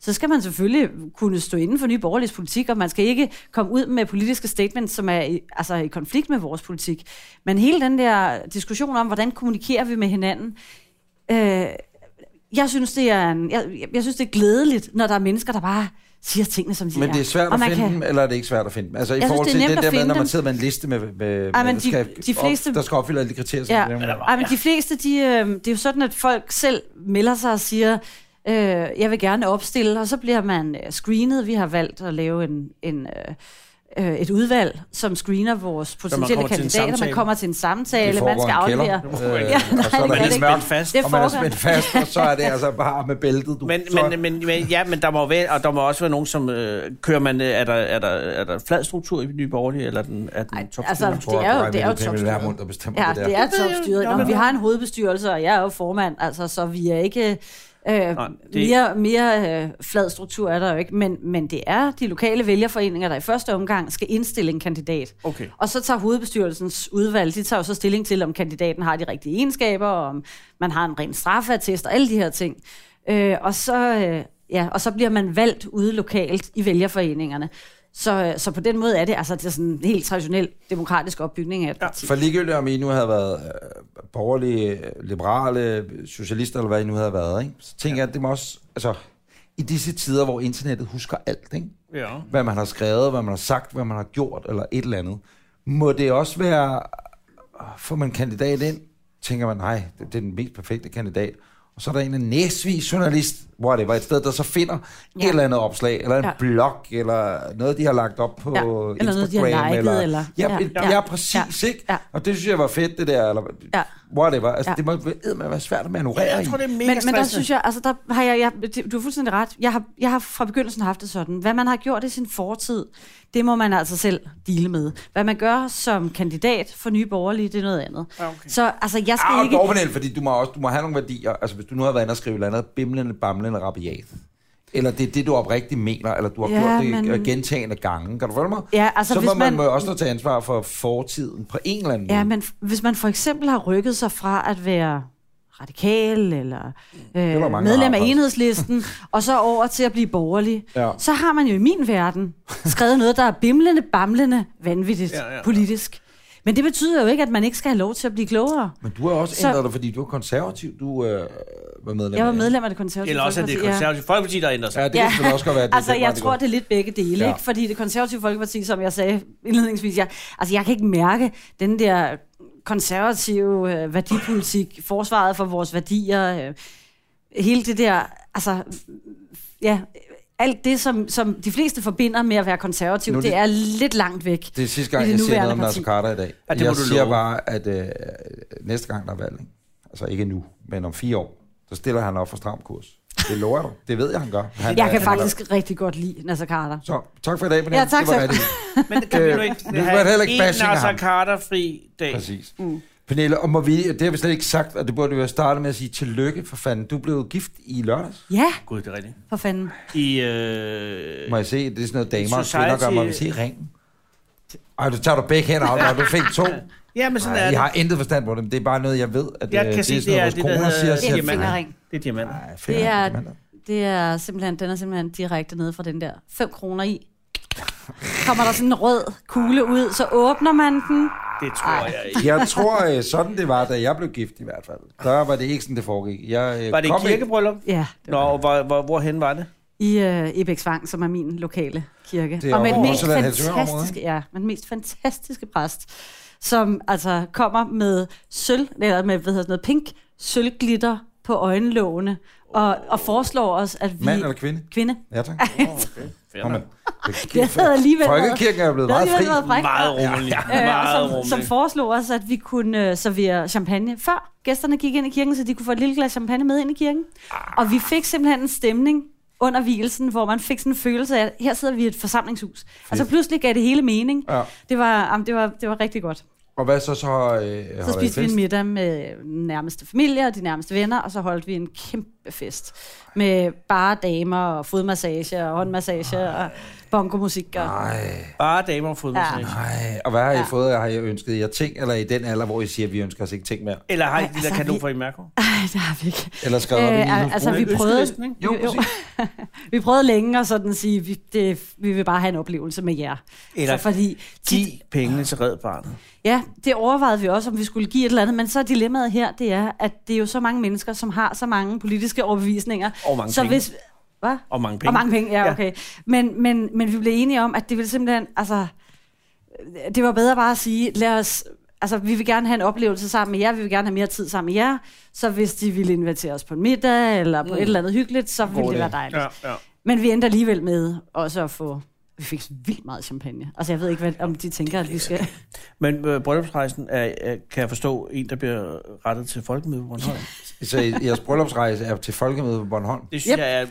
[SPEAKER 3] så skal man selvfølgelig kunne stå inden for nye borgerliges politik, og man skal ikke komme ud med politiske statements, som er i, altså i konflikt med vores politik. Men hele den der diskussion om, hvordan kommunikerer vi med hinanden, øh, jeg, synes, det er en, jeg, jeg- jeg synes, det er glædeligt, når der er mennesker, der bare siger tingene, som de
[SPEAKER 1] Men det er svært
[SPEAKER 3] Og
[SPEAKER 1] at
[SPEAKER 3] man
[SPEAKER 1] finde
[SPEAKER 3] kan-
[SPEAKER 1] dem, eller er det ikke svært at finde dem? Altså i
[SPEAKER 3] Jeg synes,
[SPEAKER 1] forhold
[SPEAKER 3] det er
[SPEAKER 1] til
[SPEAKER 3] nemt
[SPEAKER 1] den
[SPEAKER 3] at
[SPEAKER 1] der med,
[SPEAKER 3] finde
[SPEAKER 1] når man
[SPEAKER 3] dem.
[SPEAKER 1] sidder med en liste med, med
[SPEAKER 3] Ej, men
[SPEAKER 1] der,
[SPEAKER 3] de-
[SPEAKER 1] skal
[SPEAKER 3] de fleste-
[SPEAKER 1] op, der skal opfylde alle de kriterier. som
[SPEAKER 3] Ja.
[SPEAKER 1] det er.
[SPEAKER 2] Eller-
[SPEAKER 3] Ej, men de fleste, de, øh, det er jo sådan, at folk selv melder sig og siger, øh, jeg vil gerne opstille, og så bliver man øh, screenet. Vi har valgt at lave en, en, øh, øh, et udvalg, som screener vores potentielle
[SPEAKER 2] kommer til en
[SPEAKER 3] kandidater. Man
[SPEAKER 2] samtale.
[SPEAKER 3] kommer til en samtale,
[SPEAKER 1] Det
[SPEAKER 3] man
[SPEAKER 1] foregår
[SPEAKER 3] skal
[SPEAKER 1] i en
[SPEAKER 3] (laughs) aflevere.
[SPEAKER 1] kælder,
[SPEAKER 2] aflevere.
[SPEAKER 1] øh,
[SPEAKER 2] Ja,
[SPEAKER 1] og så er
[SPEAKER 3] nej,
[SPEAKER 1] der
[SPEAKER 2] man er
[SPEAKER 1] helt mørkt,
[SPEAKER 2] spændt fast.
[SPEAKER 3] Det
[SPEAKER 1] og man er
[SPEAKER 3] foregår.
[SPEAKER 1] spændt fast, og så er det altså bare med bæltet, du.
[SPEAKER 2] Men,
[SPEAKER 1] så,
[SPEAKER 2] men, men, men, ja, men der må jo være, og der må også være nogen, som øh, kører man, øh, er der, er, der, er der flad struktur i Nye Borgerlige, eller er den, er den
[SPEAKER 3] Ej,
[SPEAKER 2] top
[SPEAKER 3] altså,
[SPEAKER 2] altså,
[SPEAKER 1] tror,
[SPEAKER 3] det er jo,
[SPEAKER 1] at
[SPEAKER 3] det er jo
[SPEAKER 1] Pernille
[SPEAKER 3] topstyret.
[SPEAKER 1] Vermund, der bestemmer
[SPEAKER 3] Ja,
[SPEAKER 1] det der.
[SPEAKER 3] det er topstyret. Nå, men vi
[SPEAKER 2] ja.
[SPEAKER 3] har en hovedbestyrelse, og jeg er jo formand, altså, så vi er ikke... Øh, Nej,
[SPEAKER 2] det-
[SPEAKER 3] det... Mere, mere øh, flad struktur er der jo ikke, men, men det er de lokale vælgerforeninger, der i første omgang skal indstille en kandidat.
[SPEAKER 2] Okay.
[SPEAKER 3] Og så tager hovedbestyrelsens udvalg, de tager jo så stilling til, om kandidaten har de rigtige egenskaber, og om man har en ren straffeattest og alle de her ting. Øh, og, så, øh, ja, og så bliver man valgt ude lokalt i vælgerforeningerne. Så, øh, så på den måde er det altså det er sådan en helt traditionel demokratisk opbygning af et parti.
[SPEAKER 1] For ligegyldigt om I nu havde været øh, borgerlige, liberale, socialister eller hvad I nu havde været, ikke? så tænker jeg, at det må også... Altså, i disse tider, hvor internettet husker alt, ikke?
[SPEAKER 2] Ja.
[SPEAKER 1] hvad man har skrevet, hvad man har sagt, hvad man har gjort, eller et eller andet. Må det også være, øh, får man en kandidat ind, tænker man, nej, det, det er den mest perfekte kandidat. Og så er der en af Næsvig journalist, hvor det var et sted, der så finder ja.
[SPEAKER 3] Ja.
[SPEAKER 1] et eller andet opslag, eller en
[SPEAKER 3] Ja.
[SPEAKER 1] ja. blog, eller noget, de har lagt op på
[SPEAKER 3] Ja.
[SPEAKER 1] ja.
[SPEAKER 3] Eller noget, de
[SPEAKER 1] Instagram.
[SPEAKER 3] har liket, eller-
[SPEAKER 1] Ja,
[SPEAKER 3] Ja.
[SPEAKER 1] ja.
[SPEAKER 3] Ja.
[SPEAKER 1] ja, ja præcis,
[SPEAKER 3] Ja.
[SPEAKER 1] ja. ikke?
[SPEAKER 3] Ja.
[SPEAKER 1] Og det synes jeg var fedt, det der, eller
[SPEAKER 3] Ja.
[SPEAKER 1] ja. whatever. Altså,
[SPEAKER 3] Ja.
[SPEAKER 1] ja. det må med være svært at manøvrere
[SPEAKER 2] Jeg tror,
[SPEAKER 1] i.
[SPEAKER 2] det er mega
[SPEAKER 3] men, men der
[SPEAKER 2] stressende.
[SPEAKER 3] synes jeg, altså der har jeg, jeg det- du har fuldstændig ret. Jeg har, jeg har fra begyndelsen haft det sådan. Hvad man har gjort i sin fortid, det må man altså selv dele med. Hvad man gør som kandidat for nye borgerlige, det er noget andet.
[SPEAKER 2] Ja, Ah, okay.
[SPEAKER 3] Så altså, jeg skal
[SPEAKER 1] Ah,
[SPEAKER 3] ikke...
[SPEAKER 1] dog, Pernille, fordi du må, også, du må have nogle værdier. Altså, hvis du nu har været inde og skrive et eller andet bimlende, bamlende rabiat, eller det er det, du oprigtigt mener, eller du har
[SPEAKER 3] Ja,
[SPEAKER 1] ja, gjort det
[SPEAKER 3] men-
[SPEAKER 1] men... gentagende gange. Kan du følge mig?
[SPEAKER 3] Ja, altså,
[SPEAKER 1] så
[SPEAKER 3] hvis
[SPEAKER 1] må man,
[SPEAKER 3] man-
[SPEAKER 1] må også tage ansvar for fortiden på en eller anden
[SPEAKER 3] Ja,
[SPEAKER 1] måde.
[SPEAKER 3] men f- hvis man for eksempel har rykket sig fra at være radikal eller øh,
[SPEAKER 1] der mange, der
[SPEAKER 3] medlem
[SPEAKER 1] har
[SPEAKER 3] af
[SPEAKER 1] også. (laughs)
[SPEAKER 3] enhedslisten, og så over til at blive borgerlig,
[SPEAKER 1] Ja.
[SPEAKER 3] så har man jo i min verden skrevet noget, der er bimlende, bamlende, vanvittigt
[SPEAKER 2] Ja, ja, ja.
[SPEAKER 3] politisk. Men det betyder jo ikke, at man ikke skal have lov til at blive klogere.
[SPEAKER 1] Men du har også
[SPEAKER 3] Så-
[SPEAKER 1] ændret dig, fordi du er konservativ. Du øh, var medlem
[SPEAKER 3] Jeg var
[SPEAKER 1] af-
[SPEAKER 3] medlem af det konservative
[SPEAKER 2] Eller også er det
[SPEAKER 3] Folkeparti, ja.
[SPEAKER 2] konservative folkeparti, der ændrer sig.
[SPEAKER 1] Ja, det kan
[SPEAKER 3] Ja.
[SPEAKER 1] selvfølgelig også godt være, at det er
[SPEAKER 3] (laughs) altså,
[SPEAKER 1] den
[SPEAKER 3] jeg
[SPEAKER 1] vej,
[SPEAKER 3] tror,
[SPEAKER 1] går.
[SPEAKER 3] det er lidt begge dele, ja.
[SPEAKER 1] Ja.
[SPEAKER 3] ikke? Fordi det konservative folkeparti, som jeg sagde indledningsvis, jeg, altså, jeg kan ikke mærke den der konservative øh, værdipolitik, forsvaret for vores værdier, øh, hele det der, altså, ja, alt det, som, som de fleste forbinder med at være konservativ,
[SPEAKER 1] Nu
[SPEAKER 3] det,
[SPEAKER 1] er det-
[SPEAKER 3] det er lidt langt væk.
[SPEAKER 1] Det er sidste
[SPEAKER 3] i
[SPEAKER 1] gang,
[SPEAKER 3] det
[SPEAKER 1] jeg siger
[SPEAKER 3] nuværende
[SPEAKER 1] noget om Nasser
[SPEAKER 3] parti.
[SPEAKER 1] Carter i dag.
[SPEAKER 2] Ja, det må
[SPEAKER 1] jeg
[SPEAKER 2] du
[SPEAKER 1] siger
[SPEAKER 2] love.
[SPEAKER 1] bare, at øh, næste gang, der er valg, ikke? altså ikke nu, men om fire år, så stiller han op for stram kurs. Det lover jeg dig. Det ved jeg, han gør. Han,
[SPEAKER 3] Jeg kan
[SPEAKER 1] han-
[SPEAKER 3] faktisk rigtig godt lide Nasser Carter.
[SPEAKER 1] Så tak for i dag, Pernille.
[SPEAKER 3] Ja, tak,
[SPEAKER 1] det var
[SPEAKER 3] tak.
[SPEAKER 1] rigtig.
[SPEAKER 2] Men det kan vi
[SPEAKER 1] Øh,
[SPEAKER 2] nu ikke
[SPEAKER 1] nu var det heller ikke
[SPEAKER 2] en
[SPEAKER 1] bashing af
[SPEAKER 2] Nasser
[SPEAKER 1] ham.
[SPEAKER 2] Carter-fri dag. (laughs)
[SPEAKER 1] Præcis. Mm. Pernille, og må vi, det har vi slet ikke sagt, og det burde vi jo starte med at sige tillykke for fanden. Du blev gift i lørdags,
[SPEAKER 3] Ja,
[SPEAKER 2] Gud, det er rigtigt.
[SPEAKER 3] for fanden.
[SPEAKER 2] I, øh,
[SPEAKER 1] må jeg se. Det er sådan noget damer og
[SPEAKER 2] Society-
[SPEAKER 1] kvinder gør, må vi se ringen. Ej, du tager du begge hænder af, når du fik to.
[SPEAKER 2] ja, men (laughs) sådan
[SPEAKER 1] Ej,
[SPEAKER 2] er
[SPEAKER 1] jeg
[SPEAKER 2] det.
[SPEAKER 1] har intet forstand på dem. Det er bare noget, jeg ved, at
[SPEAKER 2] Jeg
[SPEAKER 1] øh,
[SPEAKER 2] kan
[SPEAKER 1] det er
[SPEAKER 2] sige,
[SPEAKER 1] sådan noget, vores
[SPEAKER 2] det er det, der
[SPEAKER 1] koner siger.
[SPEAKER 2] hedder
[SPEAKER 3] Det er
[SPEAKER 1] siger
[SPEAKER 3] en
[SPEAKER 2] diamant.
[SPEAKER 1] fanden.
[SPEAKER 3] fingerring.
[SPEAKER 2] Det er diamanter.
[SPEAKER 1] Ej, fanden,
[SPEAKER 3] Det er,
[SPEAKER 1] mand.
[SPEAKER 3] det er simpelthen, den er simpelthen direkte nede fra den der 5 kroner i. Kommer der sådan en rød kugle ud, så åbner man den.
[SPEAKER 1] Ah,
[SPEAKER 2] Det tror jeg ikke.
[SPEAKER 1] Jeg tror, øh, sådan det var, da jeg blev gift i hvert fald. Der var det ikke sådan, det foregik. Jeg, øh,
[SPEAKER 2] Var det
[SPEAKER 1] kom
[SPEAKER 2] et
[SPEAKER 1] ikke-
[SPEAKER 2] kirkebryllup?
[SPEAKER 3] Ja,
[SPEAKER 2] Nå, og hvor, hvor, hvorhen var det?
[SPEAKER 3] i øh, Ebæksvang, som er min lokale kirke.
[SPEAKER 1] Det er
[SPEAKER 3] og med
[SPEAKER 1] over
[SPEAKER 3] den
[SPEAKER 1] i
[SPEAKER 3] mest
[SPEAKER 1] Nordsjælland, Helsingør-området,
[SPEAKER 3] fantastiske, ja, med den mest fantastiske præst, som altså kommer med sølv, eller med hvad hedder sådan noget, pink sølvglitter på øjenlågene, og, og foreslår os, at vi...
[SPEAKER 1] Mand eller kvinde?
[SPEAKER 3] Kvinde. (laughs)
[SPEAKER 1] Ja, tak.
[SPEAKER 2] Fair
[SPEAKER 1] Kom,
[SPEAKER 2] nok.
[SPEAKER 1] mand. Det
[SPEAKER 3] Det havde alligevel
[SPEAKER 1] Folkekirken er jo blevet
[SPEAKER 3] det havde
[SPEAKER 1] meget fri.
[SPEAKER 3] alligevel været frækt.
[SPEAKER 2] Meget rolig.
[SPEAKER 3] Øh, og
[SPEAKER 2] Meget
[SPEAKER 3] som, som
[SPEAKER 2] rolig.
[SPEAKER 3] foreslog os, at vi kunne øh, servere champagne før gæsterne gik ind i kirken, så de kunne få et lille glas champagne med ind i kirken. Og vi fik simpelthen en stemning under vielsen, hvor man fik sådan en følelse af, at her sidder vi i et forsamlingshus. Fedt. Altså pludselig gav det hele mening.
[SPEAKER 1] Ja.
[SPEAKER 3] Det, var, jamen, det, var, det var rigtig godt.
[SPEAKER 1] Og hvad så så? Øh,
[SPEAKER 3] Så
[SPEAKER 1] holder I
[SPEAKER 3] spiste vi
[SPEAKER 1] fest?
[SPEAKER 3] en middag med nærmeste familie og de nærmeste venner, og så holdt vi en kæmpe fest med bare damer og fodmassage og håndmassage og bongomusik.
[SPEAKER 1] Ah.
[SPEAKER 3] Og...
[SPEAKER 1] Ej,
[SPEAKER 2] Bare damer og fodboldmassage.
[SPEAKER 1] ej. Og hvad har I
[SPEAKER 3] Ja.
[SPEAKER 1] fået? Har I ønsket jer ting? Eller i den alder, hvor I siger, at vi ønsker os ikke ting mere?
[SPEAKER 2] Eller har I
[SPEAKER 3] Ej,
[SPEAKER 2] de der
[SPEAKER 3] altså,
[SPEAKER 2] kanon
[SPEAKER 3] vi-
[SPEAKER 2] fra i Mærko?
[SPEAKER 3] Ej, det har vi ikke.
[SPEAKER 1] Eller skrevet øh, op i
[SPEAKER 3] Øh,
[SPEAKER 1] Ninos
[SPEAKER 3] altså,
[SPEAKER 1] bog?
[SPEAKER 3] vi
[SPEAKER 2] Ønskelisten,
[SPEAKER 3] prøvede,
[SPEAKER 2] ikke?
[SPEAKER 1] Jo, præcis.
[SPEAKER 3] vi prøvede længe og sådan sige, vi, det, vi vil bare have en oplevelse med jer.
[SPEAKER 2] Eller
[SPEAKER 3] så fordi,
[SPEAKER 2] Giv
[SPEAKER 3] tit,
[SPEAKER 2] pengene til Red Barnet.
[SPEAKER 3] ja, det overvejede vi også, om vi skulle give et eller andet, men så er dilemmaet her, det er, at det er jo så mange mennesker, som har så mange politiske overbevisninger.
[SPEAKER 2] Og mange
[SPEAKER 3] så
[SPEAKER 2] penge.
[SPEAKER 3] hvis, hvad?
[SPEAKER 2] Og mange penge.
[SPEAKER 3] Og mange penge, ja,
[SPEAKER 2] Ja.
[SPEAKER 3] okay. Men, men, men vi blev enige om, at det ville simpelthen, altså, det var bedre bare at sige, lad os, altså, vi vil gerne have en oplevelse sammen med jer, vi vil gerne have mere tid sammen med jer, så hvis de ville invitere os på en middag, eller på mm. et eller andet hyggeligt, så ville det være dejligt.
[SPEAKER 2] Ja,
[SPEAKER 3] Ja.
[SPEAKER 2] ja.
[SPEAKER 3] Men vi endte alligevel med også at få, vi fik vildt meget champagne. Altså, jeg ved ikke, hvad, om de tænker, at vi skal...
[SPEAKER 2] Men øh, bryllupsrejsen er, er, kan jeg forstå, en, der bliver rettet til folkemøde på Bornholm.
[SPEAKER 1] Så I- jeres bryllupsrejse er til folkemøde på Bornholm.
[SPEAKER 2] Det synes yep. jeg er...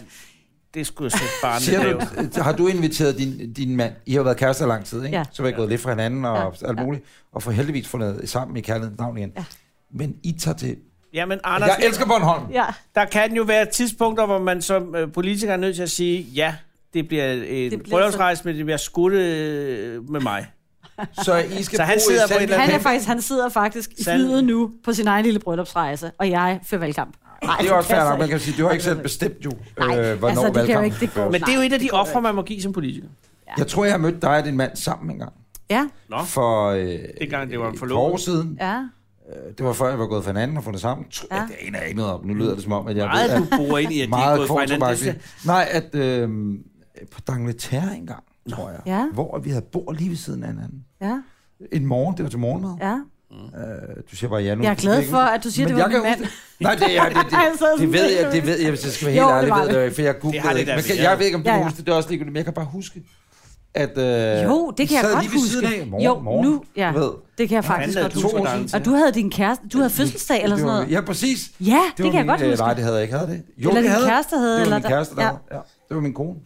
[SPEAKER 2] Det skulle jeg sætte
[SPEAKER 1] Siger
[SPEAKER 2] barnet af.
[SPEAKER 1] du, har du inviteret din, din mand? I har været kærester lang tid, ikke?
[SPEAKER 3] Ja.
[SPEAKER 1] Så har I gået lidt fra hinanden og
[SPEAKER 3] Ja.
[SPEAKER 1] alt muligt. Og for heldigvis fundet sammen i kærlighedens navn igen.
[SPEAKER 3] Ja.
[SPEAKER 1] Men I tager til...
[SPEAKER 2] Jamen, Anders,
[SPEAKER 1] Jeg elsker Bornholm!
[SPEAKER 3] Ja.
[SPEAKER 2] der kan jo være tidspunkter, hvor man som øh, politiker er nødt til at sige, ja, det bliver
[SPEAKER 3] bliver
[SPEAKER 2] en
[SPEAKER 3] så-
[SPEAKER 2] bryllupsrejse, men det bliver skudt øh, med mig.
[SPEAKER 1] Så I skal
[SPEAKER 2] Så han
[SPEAKER 1] bo i
[SPEAKER 2] sidder på
[SPEAKER 1] Sandvig-
[SPEAKER 2] et eller andet-
[SPEAKER 3] Han, er faktisk, han sidder faktisk i
[SPEAKER 2] Sandelig.
[SPEAKER 3] flyet nu på sin egen lille bryllupsrejse, og jeg fører valgkamp. Nej,
[SPEAKER 1] Det er også fair
[SPEAKER 3] passer
[SPEAKER 1] nok, man
[SPEAKER 3] ikke.
[SPEAKER 1] kan sige, du har ikke selv bestemt jo, øh,
[SPEAKER 3] Nej,
[SPEAKER 1] hvornår
[SPEAKER 3] altså, det kan jo
[SPEAKER 1] valgkampen
[SPEAKER 3] ikke,
[SPEAKER 1] skal
[SPEAKER 3] det går.
[SPEAKER 1] føres.
[SPEAKER 2] Men det er jo
[SPEAKER 3] Nej,
[SPEAKER 2] et af de
[SPEAKER 3] det går
[SPEAKER 2] ofre, man må give som politiker.
[SPEAKER 1] Jeg tror, jeg har mødt dig og din mand sammen en gang.
[SPEAKER 3] Ja,
[SPEAKER 2] Nå.
[SPEAKER 1] For øh,
[SPEAKER 2] Dengang det var en
[SPEAKER 1] et par
[SPEAKER 2] forlovet.
[SPEAKER 1] år siden.
[SPEAKER 3] ja.
[SPEAKER 1] Øh, Det var før, jeg var gået fra hinanden og fundet sammen. Tr-
[SPEAKER 3] Ja.
[SPEAKER 1] ja. Det aner jeg ikke noget om. Nu lyder det som om, at jeg
[SPEAKER 2] Meget
[SPEAKER 1] ved,
[SPEAKER 2] du bor ind i, at
[SPEAKER 1] at
[SPEAKER 2] de er
[SPEAKER 1] meget
[SPEAKER 2] gået fra hinanden. Det
[SPEAKER 1] kvartobaktigt.
[SPEAKER 2] siger-
[SPEAKER 1] Nej, at øh, på Dangleterre engang, tror jeg.
[SPEAKER 3] Ja.
[SPEAKER 1] Hvor vi havde bord lige ved siden af hinanden.
[SPEAKER 3] Ja,
[SPEAKER 1] En morgen, det var til morgenmad.
[SPEAKER 3] ja.
[SPEAKER 1] Øh, du siger bare ja nu.
[SPEAKER 3] Jeg er glad for, at du siger,
[SPEAKER 1] Men
[SPEAKER 3] det var
[SPEAKER 1] jeg
[SPEAKER 3] min
[SPEAKER 1] kan
[SPEAKER 3] mand.
[SPEAKER 1] huske- Nej, det,
[SPEAKER 3] (laughs)
[SPEAKER 1] er, det, det,
[SPEAKER 3] Ej, jeg sad
[SPEAKER 1] det, det
[SPEAKER 3] sådan
[SPEAKER 1] ved jeg,
[SPEAKER 3] helt
[SPEAKER 1] det ved jeg, hvis jeg skal være
[SPEAKER 3] Jo,
[SPEAKER 1] helt
[SPEAKER 3] det
[SPEAKER 1] ærlig,
[SPEAKER 3] var
[SPEAKER 1] ved
[SPEAKER 3] det.
[SPEAKER 1] jeg, det, for jeg googlede
[SPEAKER 2] Det har det
[SPEAKER 1] ikke.
[SPEAKER 2] da
[SPEAKER 1] Men skal,
[SPEAKER 2] været.
[SPEAKER 1] jeg ved ikke, om du
[SPEAKER 3] Ja, ja.
[SPEAKER 1] husker det, det er også ligegyldigt, men jeg kan bare huske, at... Øh,
[SPEAKER 3] Jo, det kan
[SPEAKER 1] vi
[SPEAKER 3] jeg
[SPEAKER 1] sad
[SPEAKER 3] godt
[SPEAKER 1] lige ved
[SPEAKER 3] huske.
[SPEAKER 1] siden af. Morgen,
[SPEAKER 3] jo,
[SPEAKER 1] morgen,
[SPEAKER 3] nu, ja.
[SPEAKER 1] du ved.
[SPEAKER 3] Det kan jeg faktisk
[SPEAKER 2] Fanden,
[SPEAKER 3] godt
[SPEAKER 2] at
[SPEAKER 1] to
[SPEAKER 2] du
[SPEAKER 1] år
[SPEAKER 3] huske.
[SPEAKER 2] var
[SPEAKER 1] siden.
[SPEAKER 2] der.
[SPEAKER 3] Og du havde din kæreste, du havde fødselsdag eller
[SPEAKER 1] Det
[SPEAKER 3] sådan
[SPEAKER 1] var-
[SPEAKER 3] noget.
[SPEAKER 1] Ja, præcis.
[SPEAKER 3] Ja, det,
[SPEAKER 1] var
[SPEAKER 3] kan jeg
[SPEAKER 1] min,
[SPEAKER 3] godt
[SPEAKER 1] øh,
[SPEAKER 3] huske.
[SPEAKER 1] Nej, det havde jeg ikke havde det. Jo,
[SPEAKER 3] Eller
[SPEAKER 1] det
[SPEAKER 3] din
[SPEAKER 1] havde jeg.
[SPEAKER 3] kæreste havde,
[SPEAKER 1] Det var
[SPEAKER 3] eller
[SPEAKER 1] min
[SPEAKER 3] der-
[SPEAKER 1] kæreste, der
[SPEAKER 3] ja. Uh.
[SPEAKER 1] havde. ja. Det var min kone.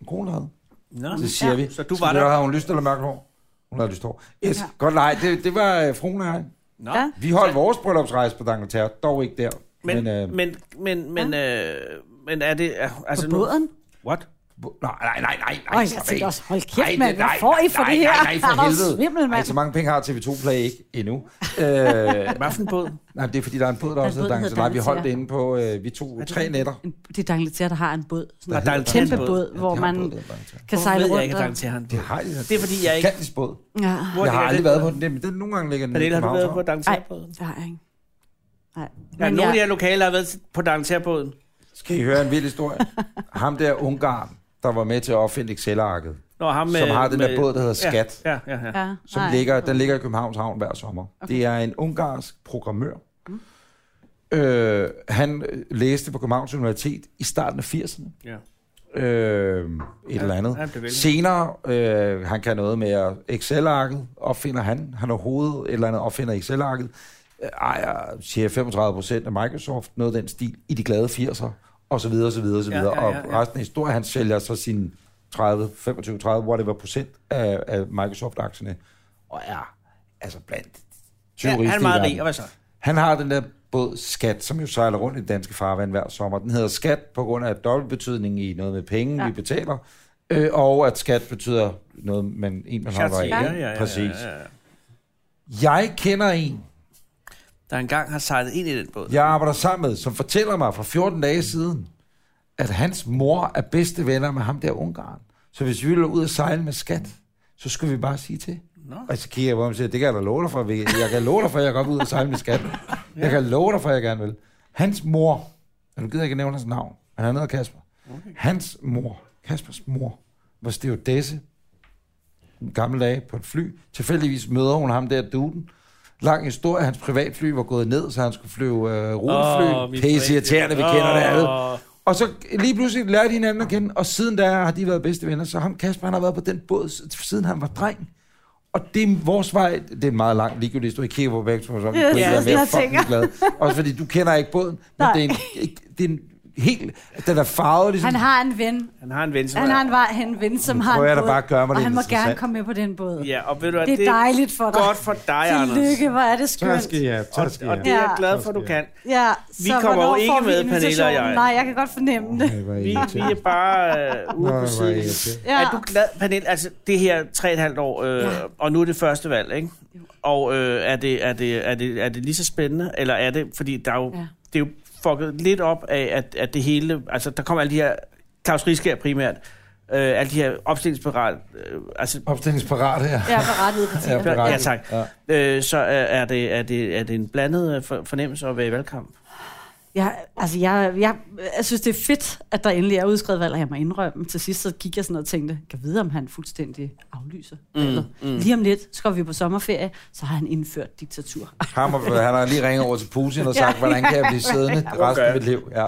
[SPEAKER 1] Min kone, der havde.
[SPEAKER 2] Nå,
[SPEAKER 1] Så siger vi.
[SPEAKER 2] Så du var
[SPEAKER 1] Skal vi
[SPEAKER 2] der.
[SPEAKER 1] høre, Har hun lyst eller mørkt hår? Hun havde lyst hår. Yes, godt nej. Det, det var øh, fruen og jeg.
[SPEAKER 2] Nå.
[SPEAKER 3] Ja.
[SPEAKER 1] Vi holdt vores bryllupsrejse på Dangleterre, dog ikke der.
[SPEAKER 2] Men,
[SPEAKER 1] øh,
[SPEAKER 2] men, men, men, øh, men er det... er- Altså
[SPEAKER 3] På
[SPEAKER 2] nu-
[SPEAKER 3] båden?
[SPEAKER 2] What?
[SPEAKER 1] Hvor- Nej, nej, nej, nej. nej
[SPEAKER 3] Øj, jeg
[SPEAKER 1] slap
[SPEAKER 3] tænkte
[SPEAKER 1] af.
[SPEAKER 3] også, hold kæft,
[SPEAKER 1] Nej, det-
[SPEAKER 3] mand, hvad
[SPEAKER 1] nej,
[SPEAKER 3] får I for
[SPEAKER 1] nej,
[SPEAKER 3] det her?
[SPEAKER 1] Nej, nej, for
[SPEAKER 3] Hvor
[SPEAKER 1] helvede.
[SPEAKER 3] svimmel, mand.
[SPEAKER 1] Ej, så mange penge har TV2 Play ikke
[SPEAKER 3] (laughs)
[SPEAKER 1] endnu. øh,
[SPEAKER 2] Hvad for en båd?
[SPEAKER 1] nej, det er fordi, der er en båd, der også
[SPEAKER 3] båd,
[SPEAKER 1] hedder
[SPEAKER 3] der
[SPEAKER 1] Dangleterre.
[SPEAKER 3] hedder
[SPEAKER 1] Nej, vi holdt det
[SPEAKER 3] Dangleterre.
[SPEAKER 1] inde på, øh, vi tog tre nætter.
[SPEAKER 3] En, det er Dangleterre, der har en båd. Sådan
[SPEAKER 2] Der
[SPEAKER 3] en
[SPEAKER 2] er en
[SPEAKER 3] kæmpe
[SPEAKER 2] båd.
[SPEAKER 3] båd, hvor
[SPEAKER 1] Ja, de har
[SPEAKER 3] man
[SPEAKER 1] en båd, der hedder Dangleterre.
[SPEAKER 3] kan sejle
[SPEAKER 2] Hvor ved jeg
[SPEAKER 3] rundt.
[SPEAKER 2] ikke, at
[SPEAKER 3] og-
[SPEAKER 2] til han.
[SPEAKER 1] Det har de.
[SPEAKER 2] Det er, fordi jeg ikke-
[SPEAKER 1] Gigantisk båd.
[SPEAKER 3] Ja.
[SPEAKER 2] Hvor
[SPEAKER 1] Jeg har
[SPEAKER 2] ligger
[SPEAKER 1] aldrig
[SPEAKER 2] den
[SPEAKER 1] været
[SPEAKER 2] båd?
[SPEAKER 1] på den, der, men den nogle gange ligger den
[SPEAKER 2] Pernille,
[SPEAKER 1] nede
[SPEAKER 2] har du
[SPEAKER 1] på
[SPEAKER 2] været på
[SPEAKER 1] Havnshavn.
[SPEAKER 3] Nej,
[SPEAKER 2] Dangterbåden?
[SPEAKER 3] det har jeg ikke. Nej.
[SPEAKER 2] Ja,
[SPEAKER 3] Men
[SPEAKER 2] nogle af de
[SPEAKER 3] jeg,
[SPEAKER 2] her lokale der har været på Dangterbåden.
[SPEAKER 1] Skal I høre en vild historie? (laughs) Ham der Ungarn, der var med til at opfinde Excel-arket,
[SPEAKER 2] Når ham med,
[SPEAKER 1] som har den der
[SPEAKER 2] med-
[SPEAKER 1] båd, der hedder Skat.
[SPEAKER 2] Ja, ja, ja. ja.
[SPEAKER 3] ja,
[SPEAKER 1] som
[SPEAKER 3] nej.
[SPEAKER 1] ligger, den ligger i Københavns Havn hver sommer. Okay. Det er en ungarsk programmør. Mm. Øh, han øh, læste på Københavns Universitet i starten af 80'erne.
[SPEAKER 2] ja.
[SPEAKER 1] Øh, et ja, eller andet.
[SPEAKER 2] han blev vældig.
[SPEAKER 1] Senere, øh, han kan noget med at Excel-arket, opfinder han. Han er hovedet, et eller andet opfinder Excel-arket. Øh, Ejer, siger 35 procent af Microsoft, noget af den stil, i de glade 80'er. og så videre, og så videre, og så
[SPEAKER 2] Ja,
[SPEAKER 1] videre.
[SPEAKER 2] ja, ja, ja.
[SPEAKER 1] Og resten af historien, han sælger så sin 30, 25, 30, whatever procent af, af Microsoft-aktierne, og er altså blandt 20
[SPEAKER 2] Ja,
[SPEAKER 1] rigeste
[SPEAKER 2] han er
[SPEAKER 1] i
[SPEAKER 2] meget
[SPEAKER 1] verden.
[SPEAKER 2] rig, og hvad så?
[SPEAKER 1] Han har den der båd Skat, som jo sejler rundt i det danske farvand hver sommer. Den hedder Skat på grund af dobbeltbetydning i noget med penge,
[SPEAKER 3] Ja.
[SPEAKER 1] ja. vi betaler. Øh, og at skat betyder noget, man, en man holder af.
[SPEAKER 2] Chartier, ja, ja, ja,
[SPEAKER 1] Præcis.
[SPEAKER 2] ja, ja.
[SPEAKER 1] Jeg kender en,
[SPEAKER 2] Der engang har sejlet ind i den båd.
[SPEAKER 1] jeg arbejder sammen med, som fortæller mig for 14 dage siden, at hans mor er bedste venner med ham der Ungarn. Så hvis vi ville ud og sejle med skat, så skulle vi bare sige til.
[SPEAKER 2] Nå.
[SPEAKER 1] Og så kigger jeg på ham og siger, det kan jeg da love dig for. vi- Jeg kan love dig for, at jeg godt vil ud og sejle med skat. Jeg kan love dig for, at jeg gerne vil. Hans mor, og nu gider jeg ikke nævne hans navn, men han hedder Kasper. Hans mor, Kaspers mor, var stewardesse en gammel dage på et fly. Tilfældigvis møder hun ham der duden. Lang historie, hans privatfly var gået ned, så han skulle flyve øh,
[SPEAKER 2] Åh,
[SPEAKER 1] rutefly.
[SPEAKER 2] mit
[SPEAKER 1] Oh, Pisse irriterende, vi kender det alle.
[SPEAKER 2] Åh.
[SPEAKER 1] Og så lige pludselig lærte de hinanden at kende, og siden da har de været bedste venner. Så ham Kasper, han har været på den båd, s- siden han var dreng. Og det er vores vej, det er en meget lang ligegyldig historie, jeg kigger på begge to, så vi
[SPEAKER 3] Ja,
[SPEAKER 1] kunne ikke
[SPEAKER 3] det er
[SPEAKER 1] være
[SPEAKER 3] det,
[SPEAKER 1] mere
[SPEAKER 3] jeg
[SPEAKER 1] fucking
[SPEAKER 3] tænker.
[SPEAKER 1] glad. Også fordi du kender ikke båden, men
[SPEAKER 3] Nej.
[SPEAKER 1] det er, en, det er en helt, den er farvet ligesom.
[SPEAKER 3] Han har en ven.
[SPEAKER 2] Han har en ven, som
[SPEAKER 3] Han
[SPEAKER 2] er-
[SPEAKER 3] har en, vej, en ven, som
[SPEAKER 1] Nu
[SPEAKER 3] har
[SPEAKER 1] prøver
[SPEAKER 3] en
[SPEAKER 1] jeg da
[SPEAKER 3] båd,
[SPEAKER 1] bare at gøre mig
[SPEAKER 3] og
[SPEAKER 1] lidt
[SPEAKER 3] han må
[SPEAKER 1] interessant.
[SPEAKER 3] gerne komme med på den båd.
[SPEAKER 2] Ja, og ved du hvad,
[SPEAKER 3] Det er dejligt for dig.
[SPEAKER 2] godt for dig, Anders.
[SPEAKER 3] Tillykke, hvor er det skønt.
[SPEAKER 1] jeg,
[SPEAKER 2] Og, og det er jeg glad for, du kan.
[SPEAKER 3] Ja,
[SPEAKER 2] Vi
[SPEAKER 3] så
[SPEAKER 2] kommer jo
[SPEAKER 3] hvornår
[SPEAKER 2] ikke
[SPEAKER 3] får vi
[SPEAKER 2] med, Pernille og
[SPEAKER 3] invitationen?
[SPEAKER 2] jeg.
[SPEAKER 3] Nej, jeg kan godt fornemme
[SPEAKER 2] (laughs)
[SPEAKER 3] det.
[SPEAKER 2] Vi, vi er bare øh, ude på siden.
[SPEAKER 3] Ja.
[SPEAKER 2] Er du glad, Pernille? Altså, det her tre og et halvt år, øh,
[SPEAKER 3] Ja.
[SPEAKER 2] og nu er det første valg, ikke? Og øh, er, det, er, det, er, det, er det lige så spændende, eller er det, fordi der er jo, ja.
[SPEAKER 3] Ja.
[SPEAKER 2] det er jo fucket lidt op af, at, at det hele, altså der kommer alle de her, Claus Rieskær primært, øh, alle de her opstillingsparat, øh, altså
[SPEAKER 1] Opstillingsparat her.
[SPEAKER 3] Jeg er berettiget
[SPEAKER 1] (laughs)
[SPEAKER 3] på
[SPEAKER 1] Ja,
[SPEAKER 3] det.
[SPEAKER 1] berettiget.
[SPEAKER 2] Ja, tak.
[SPEAKER 1] Ja.
[SPEAKER 2] Øh, så er, er, det, er, det, er det en blandet øh, for- fornemmelse at være i valgkamp?
[SPEAKER 3] Jeg, altså, jeg, jeg, jeg synes, det er fedt, at der endelig er udskrevet valg, og jeg må indrømme. Til sidst så gik jeg sådan og tænkte, kan vide, om han fuldstændig aflyser valget. Mm, mm. Lige om lidt, så går vi på sommerferie, så har han indført diktatur.
[SPEAKER 1] Ham, og- han har lige ringet over til Putin og sagt,
[SPEAKER 3] Ja.
[SPEAKER 1] hvordan kan jeg blive siddende resten af mit liv? Ja.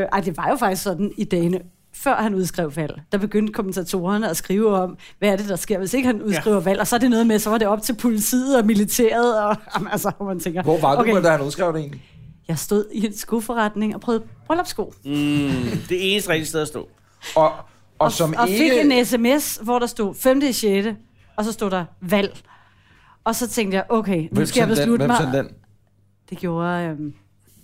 [SPEAKER 3] Øh, ej, det var jo faktisk sådan i dagene, før han udskrev valg. Der begyndte kommentatorerne at skrive om, hvad er det, der sker, hvis ikke han udskriver ja. valg. Og så er det noget med, så var det op til politiet og militæret. Og, (laughs) jamen, altså, hvor man tænker,
[SPEAKER 1] Hvor var du,
[SPEAKER 3] okay,
[SPEAKER 1] da han udskrev det egentlig?
[SPEAKER 3] jeg stod i en skoforretning og prøvede bryllupssko.
[SPEAKER 2] Mm, (laughs) det eneste rigtige sted at stå.
[SPEAKER 1] Og, og, og som
[SPEAKER 3] og
[SPEAKER 1] ikke...
[SPEAKER 3] fik en sms, hvor der stod 5. i 6. Og så stod der valg. Og så tænkte jeg, okay, nu
[SPEAKER 1] Hvem
[SPEAKER 3] skal jeg
[SPEAKER 1] sendte den?
[SPEAKER 3] beslutte
[SPEAKER 1] Hvem
[SPEAKER 3] mig.
[SPEAKER 1] sendte den?
[SPEAKER 3] Det gjorde... Øhm,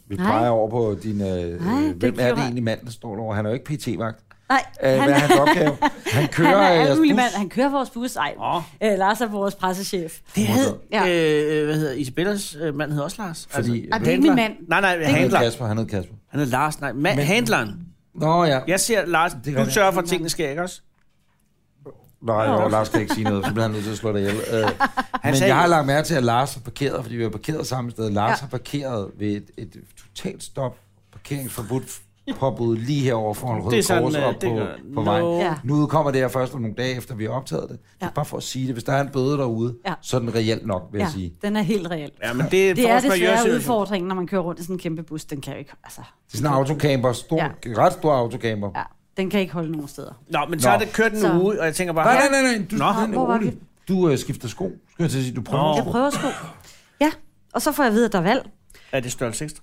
[SPEAKER 1] Vi
[SPEAKER 3] Nej.
[SPEAKER 1] peger over på din... Øh,
[SPEAKER 3] Nej, det
[SPEAKER 1] hvem er
[SPEAKER 3] gjorde
[SPEAKER 1] det
[SPEAKER 3] jeg.
[SPEAKER 1] egentlig mand, der står derovre? Han er jo ikke PT-vagt.
[SPEAKER 3] nej,
[SPEAKER 1] Øh, hvad er
[SPEAKER 3] (laughs)
[SPEAKER 1] hans opgave? Han kører
[SPEAKER 3] han er
[SPEAKER 1] jeres
[SPEAKER 3] alle mulige
[SPEAKER 1] bus.
[SPEAKER 3] mand. Han kører vores bus. Ej,
[SPEAKER 2] Åh.
[SPEAKER 3] øh, Lars er vores pressechef.
[SPEAKER 2] Det hed, ja.
[SPEAKER 3] Ja. Ah,
[SPEAKER 2] øh, hvad hedder Isabellas øh, mand hed også Lars. Altså,
[SPEAKER 1] Fordi- Ej, det er
[SPEAKER 3] ikke
[SPEAKER 2] handler-
[SPEAKER 3] min mand.
[SPEAKER 2] Nej, nej,
[SPEAKER 1] Han hed
[SPEAKER 2] handler.
[SPEAKER 1] Kasper, han hed Kasper.
[SPEAKER 2] Han hed Lars, nej. Man, handleren.
[SPEAKER 1] Nå ja.
[SPEAKER 2] Jeg siger, Lars,
[SPEAKER 1] kan
[SPEAKER 2] du
[SPEAKER 1] være.
[SPEAKER 2] sørger for, at tingene sker, ikke også?
[SPEAKER 1] Nej,
[SPEAKER 3] Nå.
[SPEAKER 1] og Lars kan ikke sige noget, så bliver han nødt til at slå dig ihjel. Øh, men
[SPEAKER 2] sagde-
[SPEAKER 1] jeg har lagt mærke til, at Lars har parkeret, fordi vi har parkeret samme sted. Lars ja. har parkeret ved et, et totalt stop parkeringsforbudt påbud lige herovre foran Røde
[SPEAKER 2] Det er sådan,
[SPEAKER 1] Kors
[SPEAKER 2] øh,
[SPEAKER 1] op
[SPEAKER 2] det
[SPEAKER 1] på,
[SPEAKER 2] gør-
[SPEAKER 1] på vejen.
[SPEAKER 2] Nå.
[SPEAKER 3] Ja.
[SPEAKER 1] Nu udkommer det her først om nogle dage efter, vi har optaget det. Ja.
[SPEAKER 3] Ja.
[SPEAKER 1] Det er bare for at sige det. Hvis der er en bøde derude, ja.
[SPEAKER 3] Ja.
[SPEAKER 1] så er den reelt nok, vil ja. jeg sige.
[SPEAKER 3] den er helt reel.
[SPEAKER 2] Ja, men det er,
[SPEAKER 3] Det er
[SPEAKER 2] force majeure
[SPEAKER 3] desværre
[SPEAKER 2] situation.
[SPEAKER 3] udfordringen, når man kører rundt i sådan en kæmpe bus. Den kan jo ikke, altså,
[SPEAKER 1] Det er sådan en autocamper, stor, ja.
[SPEAKER 3] Ja.
[SPEAKER 1] ret stor autocamper. Ja.
[SPEAKER 3] ja, den kan ikke holde nogen steder.
[SPEAKER 2] Nå, men så er
[SPEAKER 1] Nå.
[SPEAKER 2] det kørt en
[SPEAKER 3] Så-
[SPEAKER 2] uge, og jeg tænker bare...
[SPEAKER 1] Nej, nej, nej, nej. Du,
[SPEAKER 2] Nå.
[SPEAKER 1] Ah, Nå,
[SPEAKER 3] Hvor var
[SPEAKER 1] rolig. du øh, skifter sko. Skal jeg til at sige, du prøver
[SPEAKER 2] Nå.
[SPEAKER 1] Nå.
[SPEAKER 3] Jeg prøver sko. Ja, og så får jeg at vide, at der er valg.
[SPEAKER 2] Er det størrelse 6?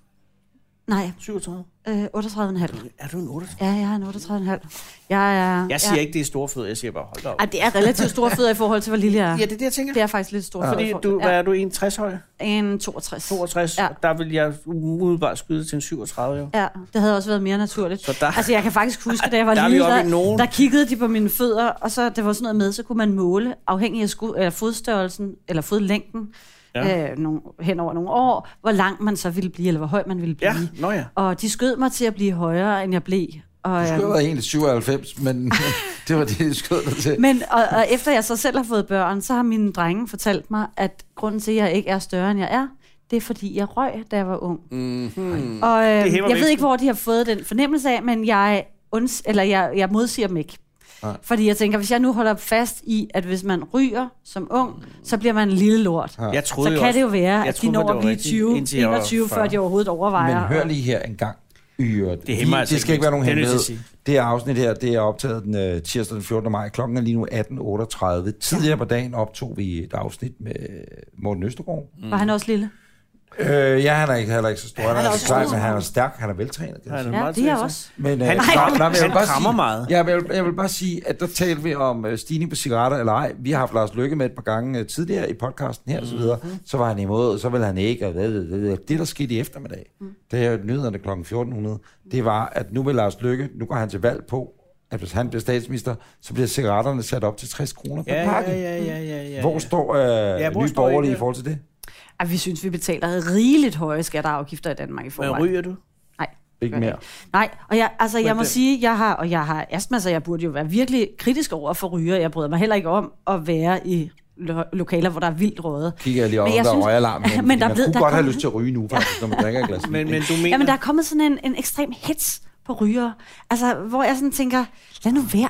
[SPEAKER 3] Nej,
[SPEAKER 2] 37?
[SPEAKER 3] øh, 38,5.
[SPEAKER 2] Er du en 38?
[SPEAKER 3] Ja, jeg har en 38,5. Jeg er...
[SPEAKER 2] Jeg siger
[SPEAKER 3] ja.
[SPEAKER 2] ja. ikke, det er storfød. Jeg siger bare, hold da op.
[SPEAKER 3] Ej, det er relativt store fødder i forhold til, hvor lille jeg er.
[SPEAKER 2] Ja, det er det, jeg tænker.
[SPEAKER 3] Det er faktisk lidt stort.
[SPEAKER 2] Fordi
[SPEAKER 3] fødder i
[SPEAKER 2] du,
[SPEAKER 3] forhold til-
[SPEAKER 2] hvad er du, 61 høj?
[SPEAKER 3] Ja, en 62.
[SPEAKER 2] 62? Ja.
[SPEAKER 3] Ja.
[SPEAKER 2] Der vil jeg umiddelbart skyde til en 37, jo.
[SPEAKER 3] Ja, det havde også været mere naturligt.
[SPEAKER 2] Så der-
[SPEAKER 3] Altså, jeg kan faktisk huske, da jeg var
[SPEAKER 2] Der er vi
[SPEAKER 3] lille,
[SPEAKER 2] oppe i nogen.
[SPEAKER 3] der, der kiggede de på mine fødder, og så det var sådan noget med, så kunne man måle, afhængig af sku, eller fodstørrelsen, eller fodlængden,
[SPEAKER 2] Ja.
[SPEAKER 3] ja. øh, nogle, hen over nogle år, hvor lang man så ville blive, eller hvor høj man ville blive.
[SPEAKER 2] Ja, nå ja.
[SPEAKER 3] Og de skød mig til at blive højere, end jeg blev. Og,
[SPEAKER 1] Du
[SPEAKER 3] øhm,
[SPEAKER 1] skulle have været egentlig 97, men (laughs) det var det, jeg skød dig til.
[SPEAKER 3] Men og, og efter jeg så selv har fået børn, så har mine drenge fortalt mig, at grunden til, at jeg ikke er større, end jeg er, det er, fordi jeg røg, da jeg var ung. Mm-hmm. Og
[SPEAKER 2] hæmmer
[SPEAKER 3] øh, jeg ved
[SPEAKER 2] væsken.
[SPEAKER 3] ikke, hvor de har fået den fornemmelse af, men jeg, unds- eller jeg, jeg modsiger dem ikke.
[SPEAKER 1] Nej.
[SPEAKER 3] Fordi jeg tænker, hvis jeg nu holder fast i, at hvis man ryger som ung, så bliver man en lille lort. Ja.
[SPEAKER 2] Jeg troede
[SPEAKER 3] Så
[SPEAKER 2] jo
[SPEAKER 3] kan
[SPEAKER 2] også,
[SPEAKER 3] det jo være,
[SPEAKER 2] jeg
[SPEAKER 3] at de
[SPEAKER 2] troede, det
[SPEAKER 3] når
[SPEAKER 2] var
[SPEAKER 3] at blive
[SPEAKER 2] rigtigt,
[SPEAKER 3] 20,
[SPEAKER 2] indtil jeg var
[SPEAKER 3] 21, før
[SPEAKER 2] 40.
[SPEAKER 3] de overhovedet overvejer.
[SPEAKER 1] Men hør lige her en gang. Yre. Det,
[SPEAKER 2] hæmmer
[SPEAKER 1] det
[SPEAKER 2] altså
[SPEAKER 1] skal ikke, være
[SPEAKER 2] ikke
[SPEAKER 1] nogen
[SPEAKER 2] Det er nødt til
[SPEAKER 1] hemmelighed.
[SPEAKER 2] at
[SPEAKER 1] Det her afsnit her, det er optaget den øh, tirsdag den 14. maj. Klokken er lige nu 18.38. Tidligere på dagen optog vi et afsnit med Morten Østergaard.
[SPEAKER 3] Mm. Var han også lille?
[SPEAKER 1] Øh, ja, han er ikke, heller ikke så stor. Han,
[SPEAKER 4] Han er
[SPEAKER 1] er,
[SPEAKER 4] også
[SPEAKER 1] så
[SPEAKER 4] stor.
[SPEAKER 1] men han er stærk, han er veltrænet. Kan jeg
[SPEAKER 2] Han
[SPEAKER 1] sige.
[SPEAKER 2] er
[SPEAKER 3] Ja,
[SPEAKER 2] meget
[SPEAKER 3] det er jeg
[SPEAKER 2] tveksam.
[SPEAKER 3] også.
[SPEAKER 1] Men, øh,
[SPEAKER 2] Han-
[SPEAKER 1] nej,
[SPEAKER 2] nej,
[SPEAKER 1] nej, men jeg vil
[SPEAKER 2] han
[SPEAKER 1] bare
[SPEAKER 2] krammer
[SPEAKER 1] sige,
[SPEAKER 2] meget.
[SPEAKER 1] Ja, men jeg, vil, jeg vil bare sige, at der talte vi om øh, stigning på cigaretter eller ej. Vi har haft Lars Lykke med et par gange øh, tidligere i podcasten her og så videre.
[SPEAKER 2] Mhm.
[SPEAKER 1] Så var han imod, og så ville han ikke. Og det, det, det, det der skete i eftermiddag, mm. det er nyhederne kl. 1400, det var, at nu vil Lars Lykke, nu går han til valg på, at hvis han bliver statsminister, så bliver cigaretterne sat op til 60 kroner per
[SPEAKER 2] Ja,
[SPEAKER 1] pakke.
[SPEAKER 2] ja, ja, ja, ja, ja.
[SPEAKER 1] Hvor står øh,
[SPEAKER 2] Ja,
[SPEAKER 1] ja,
[SPEAKER 2] hvor
[SPEAKER 1] nye
[SPEAKER 2] står I
[SPEAKER 1] borgerlige
[SPEAKER 2] det?
[SPEAKER 1] i forhold til det?
[SPEAKER 3] Ej, vi synes, vi betaler rigeligt høje skatter og afgifter i Danmark i
[SPEAKER 2] Men
[SPEAKER 3] forvejen.
[SPEAKER 2] ryger du?
[SPEAKER 3] Nej,
[SPEAKER 1] Ikke mere.
[SPEAKER 3] Nej, og jeg, altså, jeg må
[SPEAKER 2] det-
[SPEAKER 3] sige, jeg har, og jeg har astma, så jeg burde jo være virkelig kritisk over for ryger. Jeg bryder mig heller ikke om at være i lo- lokaler, hvor der er vildt røde.
[SPEAKER 1] Kigger jeg lige op,
[SPEAKER 3] Men
[SPEAKER 1] om
[SPEAKER 3] jeg
[SPEAKER 1] der er
[SPEAKER 3] synes-
[SPEAKER 1] røgalarm.
[SPEAKER 3] (laughs) Men
[SPEAKER 1] Men,
[SPEAKER 3] der
[SPEAKER 1] man
[SPEAKER 3] ved-
[SPEAKER 1] kunne
[SPEAKER 3] der
[SPEAKER 1] godt have
[SPEAKER 3] kommer-
[SPEAKER 1] lyst til at ryge nu, faktisk, når
[SPEAKER 2] (laughs)
[SPEAKER 1] man drikker et glas
[SPEAKER 2] Men,
[SPEAKER 1] vin.
[SPEAKER 2] men du mener...
[SPEAKER 3] Jamen, der er kommet sådan en, en ekstrem hits på ryger. Altså, hvor jeg sådan tænker, lad nu være.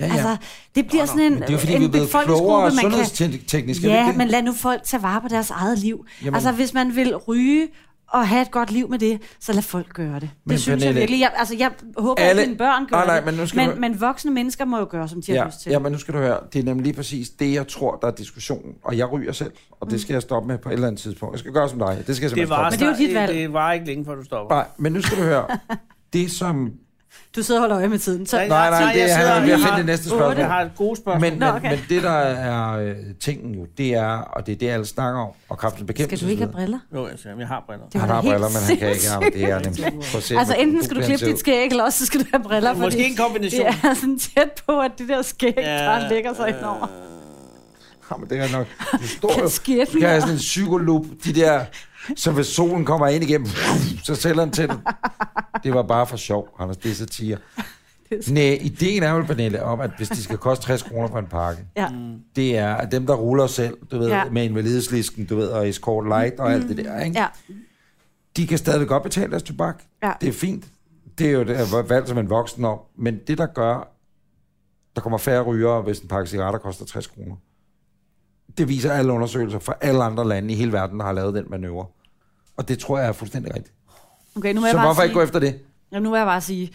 [SPEAKER 1] Ja, ja.
[SPEAKER 3] Altså, det bliver sådan en,
[SPEAKER 1] Men det er jo fordi,
[SPEAKER 3] en
[SPEAKER 1] vi er blevet
[SPEAKER 3] befolkningsgruppe,
[SPEAKER 1] klogere
[SPEAKER 3] man kan-
[SPEAKER 1] sundhedsteknisk. er det ikke
[SPEAKER 3] Ja,
[SPEAKER 1] det?
[SPEAKER 3] men lad nu folk tage vare på deres eget liv.
[SPEAKER 1] Jamen-
[SPEAKER 3] Jamen. Altså, hvis man vil ryge og have et godt liv med det, så lad folk gøre det.
[SPEAKER 1] Men
[SPEAKER 3] det synes jeg
[SPEAKER 1] Pernille,
[SPEAKER 3] virkelig. Jeg, altså, jeg håber,
[SPEAKER 1] alle- Ah,
[SPEAKER 3] alle... at mine børn gør
[SPEAKER 1] Nej, nej,
[SPEAKER 3] det.
[SPEAKER 1] men nu skal du-
[SPEAKER 3] men, men voksne mennesker må jo gøre, som de har
[SPEAKER 1] ja,
[SPEAKER 3] lyst til.
[SPEAKER 1] Ja, men nu skal du høre, det er nemlig lige præcis det, jeg tror, der er diskussionen. Og jeg ryger selv, og
[SPEAKER 3] Mm.
[SPEAKER 1] det skal jeg stoppe med på et eller andet tidspunkt. Jeg skal gøre som dig, det skal jeg
[SPEAKER 2] Det
[SPEAKER 1] simpelthen
[SPEAKER 2] var,
[SPEAKER 1] stoppe
[SPEAKER 3] Men det er jo dit valg.
[SPEAKER 2] Det var ikke længe, før du stopper.
[SPEAKER 1] med. Nej, men nu skal du
[SPEAKER 3] (laughs)
[SPEAKER 1] høre, det som...
[SPEAKER 3] Du sidder og holder øje med tiden. Så...
[SPEAKER 1] Nej, nej, det er-
[SPEAKER 2] jeg
[SPEAKER 1] han er
[SPEAKER 2] sidder-
[SPEAKER 1] ved at
[SPEAKER 2] jeg
[SPEAKER 1] finde
[SPEAKER 2] har-
[SPEAKER 1] det næste spørgsmål.
[SPEAKER 2] Jeg har et godt spørgsmål.
[SPEAKER 1] Men,
[SPEAKER 3] Nå,
[SPEAKER 1] men,
[SPEAKER 3] okay.
[SPEAKER 1] men det, der er øh, tingen jo, det er, og det er det, alle snakker om, og kraftens bekæmpelse.
[SPEAKER 3] Skal du ikke have briller?
[SPEAKER 2] Jo, jeg siger, jeg har briller.
[SPEAKER 3] Det
[SPEAKER 1] Han
[SPEAKER 3] var
[SPEAKER 1] har
[SPEAKER 3] da helt
[SPEAKER 1] briller, men han kan ikke have ham. Det er
[SPEAKER 3] sindssygt.
[SPEAKER 1] nemlig... Prøv at se,
[SPEAKER 3] Altså,
[SPEAKER 1] hvor
[SPEAKER 3] enten
[SPEAKER 1] god
[SPEAKER 3] skal du
[SPEAKER 1] han
[SPEAKER 3] klippe
[SPEAKER 1] ser
[SPEAKER 3] dit
[SPEAKER 1] ud.
[SPEAKER 3] skæg, eller også så skal du have briller.
[SPEAKER 2] Måske
[SPEAKER 3] fordi
[SPEAKER 2] en kombination.
[SPEAKER 3] Det er sådan tæt på, at det der skæg ja, bare lægger sig
[SPEAKER 2] øh,
[SPEAKER 3] indover.
[SPEAKER 1] Ja, men det er nok. Det står jo.
[SPEAKER 3] Kan ske
[SPEAKER 1] Du kan have sådan en psykolup, de der, så hvis solen kommer ind igennem, (laughs) så sælger den til den. Det var bare for sjov, Anders, det er satire. Nej, ideen er jo, Pernille, om, at hvis de skal koste 60 kroner for en pakke,
[SPEAKER 3] Ja.
[SPEAKER 1] det er, at dem, der ruller selv, du ved,
[SPEAKER 3] Ja.
[SPEAKER 1] ja. med invalideslisken, du ved, og escort light og alt det der, ikke?
[SPEAKER 3] ja.
[SPEAKER 1] de kan stadig godt betale deres tobak.
[SPEAKER 3] Ja.
[SPEAKER 1] Det er fint. Det er jo det, jeg valgt som en voksen om. Men det, der gør, der kommer færre rygere, hvis en pakke cigaretter koster 60 kroner. Det viser alle undersøgelser fra alle andre lande i hele verden, der har lavet den manøvre. Og det tror jeg er fuldstændig rigtigt.
[SPEAKER 3] Okay, nu må jeg
[SPEAKER 1] Så
[SPEAKER 3] bare
[SPEAKER 1] hvorfor
[SPEAKER 3] sige...
[SPEAKER 1] ikke gå efter det?
[SPEAKER 3] Jamen, nu vil jeg bare sige,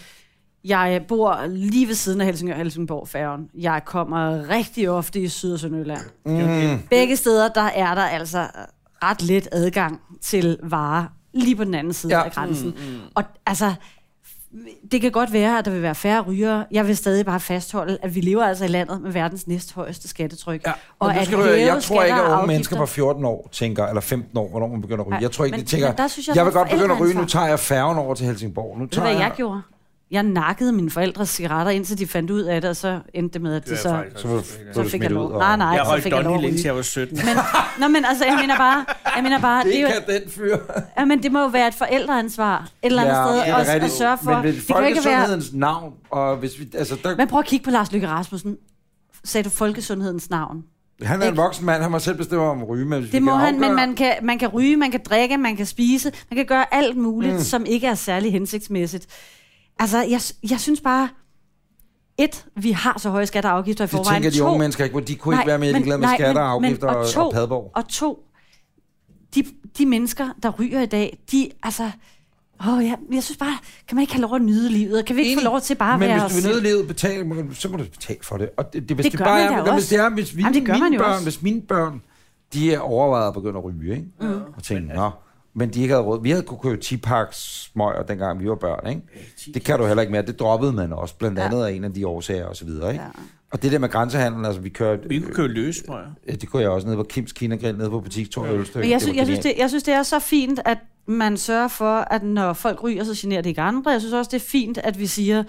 [SPEAKER 3] jeg bor lige ved siden af Helsingør Helsingborg færgen. Jeg kommer rigtig ofte i Syd- og Sønderjylland. Mm. Begge steder, der er der altså ret let adgang til varer lige på den anden side
[SPEAKER 1] Ja.
[SPEAKER 3] ja. af grænsen. Mm, mm. Og altså, det kan godt være, at der vil være færre rygere. Jeg vil stadig bare fastholde, at vi lever altså i landet med verdens næsthøjeste skattetryk. Ja.
[SPEAKER 1] Og nu skal du, høre, jeg tror ikke, at unge mennesker på 14 år tænker, eller 15 år, hvornår man begynder at ryge.
[SPEAKER 3] Nej,
[SPEAKER 1] Jeg tror ikke, de
[SPEAKER 3] men-
[SPEAKER 1] tænker,
[SPEAKER 3] men der synes jeg,
[SPEAKER 1] jeg
[SPEAKER 3] der
[SPEAKER 1] vil
[SPEAKER 3] er
[SPEAKER 1] godt begynde at ryge, nu
[SPEAKER 3] forældreansvar."
[SPEAKER 1] tager jeg færgen over til Helsingborg. Nu
[SPEAKER 3] Ved du,
[SPEAKER 1] tager
[SPEAKER 3] hvad jeg gjorde? Jeg nakkede mine forældres cigaretter, indtil de fandt ud af det, og så endte det med, at de så...
[SPEAKER 1] Så var- så var
[SPEAKER 3] så
[SPEAKER 1] du
[SPEAKER 3] fik
[SPEAKER 1] smidt
[SPEAKER 3] jeg
[SPEAKER 1] ud.
[SPEAKER 3] lov.
[SPEAKER 1] og-
[SPEAKER 3] Nej, nej,
[SPEAKER 2] Jeg
[SPEAKER 3] så
[SPEAKER 2] holdt
[SPEAKER 3] fik jeg lov
[SPEAKER 2] Donny
[SPEAKER 3] at
[SPEAKER 2] indtil
[SPEAKER 3] ryge.
[SPEAKER 2] jeg var 17.
[SPEAKER 3] Men, nå, men altså, jeg mener bare, jeg mener bare det, det, er
[SPEAKER 1] Det
[SPEAKER 3] jo,
[SPEAKER 1] kan den fyr.
[SPEAKER 3] ja, men det må jo være et forældreansvar et eller andet
[SPEAKER 1] men det
[SPEAKER 3] sted
[SPEAKER 1] er
[SPEAKER 3] også at
[SPEAKER 1] rigtigt.
[SPEAKER 3] sørge for.
[SPEAKER 1] Men ved
[SPEAKER 3] det kan jo ikke være...
[SPEAKER 1] folkesundhedens navn, og hvis vi, altså, der,
[SPEAKER 3] Men prøv at kigge på Lars Løkke Rasmussen. Sagde du folkesundhedens navn?
[SPEAKER 1] han er en
[SPEAKER 3] ikke-
[SPEAKER 1] voksen mand, han må selv bestemme om at ryge, men hvis vi
[SPEAKER 3] Det må
[SPEAKER 1] kan
[SPEAKER 3] han, men
[SPEAKER 1] afgøre-
[SPEAKER 3] man kan, man kan ryge, man kan drikke, man kan spise, man kan gøre alt muligt, mm. som ikke er særlig hensigtsmæssigt. Altså, jeg, jeg synes bare, et, vi har så høje skatter og afgifter i
[SPEAKER 1] Det
[SPEAKER 3] forvejen.
[SPEAKER 1] tænker de
[SPEAKER 3] To,
[SPEAKER 1] unge mennesker ikke, hvor de kunne ikke være mere
[SPEAKER 3] men-
[SPEAKER 1] ligeglade med
[SPEAKER 3] nej,
[SPEAKER 1] skatter og
[SPEAKER 3] men- men-
[SPEAKER 1] afgifter og,
[SPEAKER 3] to,
[SPEAKER 1] og Padborg.
[SPEAKER 3] Og to, de, de mennesker, der ryger i dag, de altså... Åh ja, men jeg synes bare, kan man ikke have lov at nyde livet? Kan vi ikke få lov til bare at
[SPEAKER 1] men
[SPEAKER 3] være
[SPEAKER 1] hvis du
[SPEAKER 3] os
[SPEAKER 1] vil
[SPEAKER 3] selv?
[SPEAKER 1] nøde livet, betale, så må du betale for det. Og det, det, hvis
[SPEAKER 3] Det
[SPEAKER 1] det,
[SPEAKER 3] gør
[SPEAKER 1] bare
[SPEAKER 3] man da
[SPEAKER 1] er, men hvis
[SPEAKER 3] også.
[SPEAKER 1] det er, hvis, vi,
[SPEAKER 3] Jamen, det gør
[SPEAKER 1] mine
[SPEAKER 3] man jo
[SPEAKER 1] børn,
[SPEAKER 3] også.
[SPEAKER 1] hvis mine børn, de er overvejet at begynde at ryge, ikke? Mm. og tænke, nå, men de ikke havde råd. Vi havde kunne købe 10 pakkes smøger, dengang vi var børn, ikke? Det kan du heller ikke mere. Det droppede man også, blandt andet af en af de årsager og så videre, ikke?
[SPEAKER 3] Ja.
[SPEAKER 1] Og det der med grænsehandlen, altså vi kører...
[SPEAKER 2] Vi kunne købe løs, tror jeg.
[SPEAKER 1] Ja, det kunne jeg også nede på Kims Kina Grill, nede på Butikstår ja. Ølstykke.
[SPEAKER 3] Men jeg, sy-
[SPEAKER 1] var
[SPEAKER 3] jeg, synes,
[SPEAKER 1] genialt.
[SPEAKER 3] det, jeg synes, det er så fint, at man sørger for, at når folk ryger, så generer det ikke andre. Jeg synes også, det er fint, at vi siger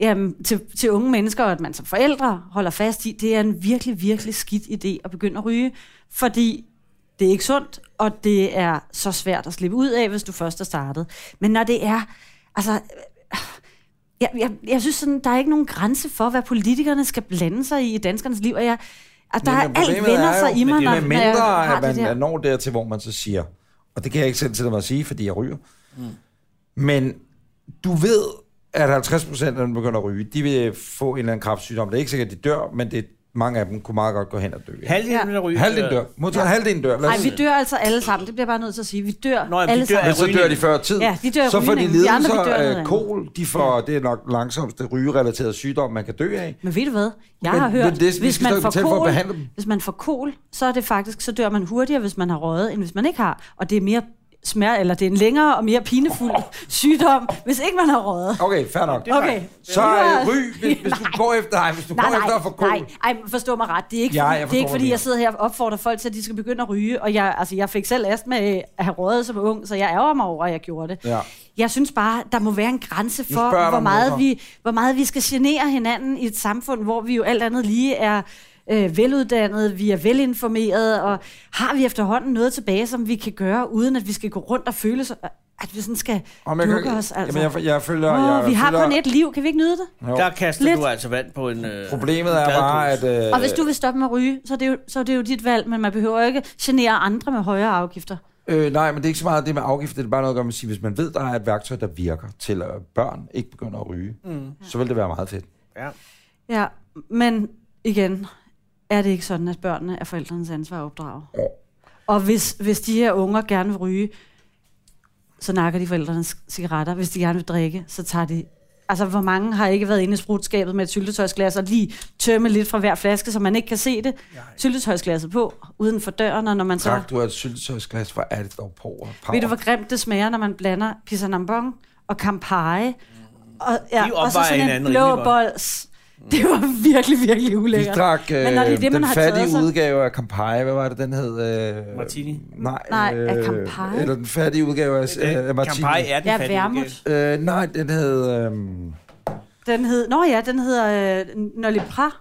[SPEAKER 3] jamen, til, til unge mennesker, og at man som forældre holder fast i, det er en virkelig, virkelig skidt idé at begynde at ryge, fordi det er ikke sundt, og det er så svært at slippe ud af, hvis du først er startet. Men når det er... Altså, jeg, jeg, jeg synes sådan, der er ikke nogen grænse for, hvad politikerne skal blande sig i i danskernes liv, og jeg, at der
[SPEAKER 1] Men
[SPEAKER 3] er alt
[SPEAKER 1] problemet
[SPEAKER 3] vender
[SPEAKER 1] er
[SPEAKER 3] sig
[SPEAKER 1] jo,
[SPEAKER 3] i mig, når,
[SPEAKER 1] med
[SPEAKER 3] når jeg
[SPEAKER 1] mindre,
[SPEAKER 3] har
[SPEAKER 1] at man
[SPEAKER 3] det der.
[SPEAKER 1] når dertil, hvor man så siger, og det kan jeg ikke selv til mig at sige, fordi jeg ryger, mm. men du ved, at 50 procent af dem der begynder at ryge, de vil få en eller anden kraftsygdom. Det er ikke sikkert, at de dør, men det, mange af dem kunne meget godt gå hen og dø. Ja.
[SPEAKER 2] Halvdelen der ryger.
[SPEAKER 1] Halvdelen dør. Modtager ja. halvdelen dør. Lad os
[SPEAKER 3] Nej, vi
[SPEAKER 1] sige.
[SPEAKER 3] dør altså alle sammen. Det bliver jeg bare nødt til at sige. Vi dør
[SPEAKER 2] Nå, jamen, de
[SPEAKER 3] alle
[SPEAKER 2] dør
[SPEAKER 3] sammen.
[SPEAKER 1] Men så dør de før tid.
[SPEAKER 3] Ja, de dør af
[SPEAKER 1] så får de
[SPEAKER 3] rygningen. De andre, de
[SPEAKER 1] lidelser
[SPEAKER 3] dør af noget
[SPEAKER 1] af
[SPEAKER 3] andet.
[SPEAKER 1] kol. De får, det er nok langsomste rygerelaterede sygdom, man kan dø af.
[SPEAKER 3] Men ved du hvad? Jeg
[SPEAKER 1] Men-
[SPEAKER 3] har
[SPEAKER 1] men
[SPEAKER 3] hørt,
[SPEAKER 1] det- vi skal
[SPEAKER 3] hvis,
[SPEAKER 1] stadig
[SPEAKER 3] man får
[SPEAKER 1] betale for at
[SPEAKER 3] kol,
[SPEAKER 1] behandle dem.
[SPEAKER 3] hvis man får kol, så er det faktisk, så dør man hurtigere, hvis man har røget, end hvis man ikke har. Og det er mere smer- eller det er en længere og mere pinefuld (laughs) sygdom, hvis ikke man har røget.
[SPEAKER 1] Okay, fair nok.
[SPEAKER 3] Okay.
[SPEAKER 1] Så
[SPEAKER 3] Nu er-
[SPEAKER 1] øh, ry,
[SPEAKER 3] (laughs)
[SPEAKER 1] hvis, hvis du går efter, nej, hvis du
[SPEAKER 3] Nej,
[SPEAKER 1] går efter
[SPEAKER 3] nej,
[SPEAKER 1] at få kål.
[SPEAKER 3] nej, ej, forstå mig ret. Det er ikke,
[SPEAKER 1] Ja,
[SPEAKER 3] fordi,
[SPEAKER 1] jeg
[SPEAKER 3] det er
[SPEAKER 1] forstår,
[SPEAKER 3] ikke,
[SPEAKER 1] hvad du
[SPEAKER 3] fordi
[SPEAKER 1] mener.
[SPEAKER 3] jeg sidder her og opfordrer folk til, at de skal begynde at ryge. Og jeg, altså, jeg fik selv astma af at have røget som ung, så jeg ærger mig over, at jeg gjorde det.
[SPEAKER 1] Ja.
[SPEAKER 3] Jeg synes bare, der må være en grænse
[SPEAKER 1] Nu spørger jeg
[SPEAKER 3] for,
[SPEAKER 1] dig
[SPEAKER 3] hvor
[SPEAKER 1] om
[SPEAKER 3] meget,
[SPEAKER 1] hvorfor.
[SPEAKER 3] vi, hvor meget vi skal genere hinanden i et samfund, hvor vi jo alt andet lige er øh, veluddannede, vi er velinformerede, og har vi efterhånden noget tilbage, som vi kan gøre, uden at vi skal gå rundt og føle så, at vi sådan skal
[SPEAKER 1] Om jeg,
[SPEAKER 3] dukke
[SPEAKER 1] kan,
[SPEAKER 3] os. Altså.
[SPEAKER 1] jamen, jeg, jeg følger...
[SPEAKER 3] Åh,
[SPEAKER 1] jeg
[SPEAKER 3] vi har
[SPEAKER 1] følger,
[SPEAKER 3] kun et liv, kan vi ikke nyde det?
[SPEAKER 1] Jo.
[SPEAKER 2] Der kaster
[SPEAKER 3] Lidt.
[SPEAKER 2] Lidt. du altså vand på en... Øh,
[SPEAKER 1] Problemet er bare, at...
[SPEAKER 2] badkrus.
[SPEAKER 1] Øh,
[SPEAKER 3] Og hvis du vil stoppe med at ryge, så er, det jo, så er det jo dit valg, men man behøver jo ikke genere andre med højere afgifter.
[SPEAKER 1] Øh, nej, men det er ikke så meget det med afgifter. Det er bare noget at gøre med at sige, hvis man ved, der er et værktøj, der virker til, at børn ikke begynder at ryge, mm. så vil det være meget fedt.
[SPEAKER 2] Ja.
[SPEAKER 3] Ja, men igen, er det ikke sådan, at børnene er forældrenes ansvar at opdrage? Og hvis, hvis de her unger gerne vil ryge, så nakker de forældrenes cigaretter. Hvis de gerne vil drikke, så tager de... Altså, hvor mange har ikke været inde i sprutskabet med et syltetøjsglas og lige tømme lidt fra hver flaske, så man ikke kan se det? Syltetøjsglasset på, uden for døren, og når man så...
[SPEAKER 1] Tak, du har et syltetøjsglas. Hvor er det dog på?
[SPEAKER 3] Ved du, hvor grimt det smager, når man blander pisanambon og Campari? Og, ja,
[SPEAKER 2] De
[SPEAKER 3] og så
[SPEAKER 2] opvejer
[SPEAKER 3] sådan en
[SPEAKER 2] hinanden
[SPEAKER 3] blå
[SPEAKER 2] rimelig godt. Mm.
[SPEAKER 3] bols. Det var virkelig, virkelig
[SPEAKER 1] Vi
[SPEAKER 3] ulækkert.
[SPEAKER 1] drak øh,
[SPEAKER 3] Men når det er det, man
[SPEAKER 1] den
[SPEAKER 3] har
[SPEAKER 1] fattige
[SPEAKER 3] taget sig-
[SPEAKER 1] udgave af Campari. Hvad var det, den hed? Øh,
[SPEAKER 2] Martini.
[SPEAKER 1] Nej, øh,
[SPEAKER 3] Nej, af Campari?
[SPEAKER 1] Eller den fattige udgave af øh, af Martini.
[SPEAKER 2] Campari er den
[SPEAKER 3] Ja,
[SPEAKER 2] fattige udgave.
[SPEAKER 3] vermut.
[SPEAKER 1] Øh, nej, den hed... Øh,
[SPEAKER 3] Den hed, nå ja, den hedder øh, Nolipra.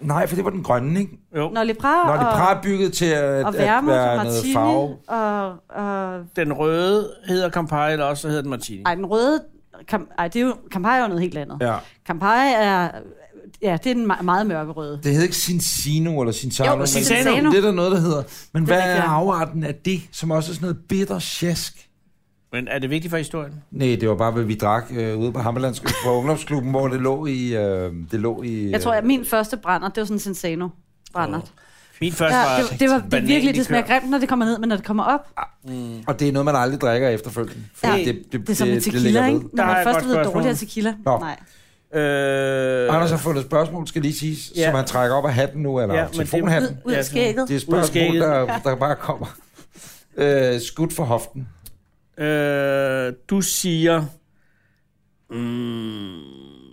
[SPEAKER 1] nej, for det var den grønne, ikke?
[SPEAKER 2] Jo,
[SPEAKER 3] Nolipra,
[SPEAKER 1] Når de
[SPEAKER 3] og,
[SPEAKER 1] præ er bygget til at,
[SPEAKER 3] og
[SPEAKER 1] at
[SPEAKER 3] vermut og
[SPEAKER 1] være noget
[SPEAKER 3] martini.
[SPEAKER 1] farve.
[SPEAKER 3] Og, og,
[SPEAKER 2] den røde hedder Campari, eller også hedder den Martini.
[SPEAKER 3] ej, den røde... Kam, ej, det er jo, Campari er jo noget helt andet. Ja.
[SPEAKER 1] Ja.
[SPEAKER 3] Campari er... Ja, det er den me- meget mørke røde.
[SPEAKER 1] Det hed ikke Cinzino eller Cinzano.
[SPEAKER 3] Jo,
[SPEAKER 1] men-
[SPEAKER 3] Cinzano.
[SPEAKER 1] Det er der noget, der hedder. Men
[SPEAKER 3] Det er
[SPEAKER 1] hvad er
[SPEAKER 3] rigtigt, ja.
[SPEAKER 1] afarten af det, som også er sådan noget bitter sjask?
[SPEAKER 2] Men er det vigtigt for historien?
[SPEAKER 1] Nej, det var bare, hvad vi drak øh, ude på Hammerlandsk på ungdomsklubben, hvor det lå i... Øh, det lå i øh,
[SPEAKER 3] Jeg tror, at min første brænder, det var sådan en Sensano brænder.
[SPEAKER 2] Min første
[SPEAKER 3] Ja,
[SPEAKER 2] var...
[SPEAKER 3] det, det, var, det, er virkelig, det smager grimt, når det kommer ned, men når det kommer op,
[SPEAKER 1] øh, Og det er noget, man aldrig drikker efterfølgende. fordi
[SPEAKER 3] Ja,
[SPEAKER 1] det,
[SPEAKER 3] det er som en
[SPEAKER 1] ligger
[SPEAKER 3] tequila,
[SPEAKER 1] ved.
[SPEAKER 3] ikke?
[SPEAKER 2] Der
[SPEAKER 3] Når
[SPEAKER 2] har jeg
[SPEAKER 3] man
[SPEAKER 2] et
[SPEAKER 3] først
[SPEAKER 2] godt
[SPEAKER 3] ved
[SPEAKER 2] spørgsmål.
[SPEAKER 3] dårligere tequila.
[SPEAKER 1] Nå.
[SPEAKER 3] Nej.
[SPEAKER 2] Øh,
[SPEAKER 1] Anders har fundet spørgsmål, skal lige siges,
[SPEAKER 2] Ja.
[SPEAKER 1] som han trækker op af hatten nu, eller
[SPEAKER 2] Ja,
[SPEAKER 1] ja,
[SPEAKER 2] men det-
[SPEAKER 1] telefonhatten.
[SPEAKER 3] Ud,
[SPEAKER 1] Det,
[SPEAKER 3] ud
[SPEAKER 2] Ja,
[SPEAKER 3] af skægget.
[SPEAKER 1] det er
[SPEAKER 2] Ud af
[SPEAKER 1] spørgsmål,
[SPEAKER 2] skægget.
[SPEAKER 1] der, der bare kommer. Øh, skudt for hoften.
[SPEAKER 2] Øh, du siger... Mm,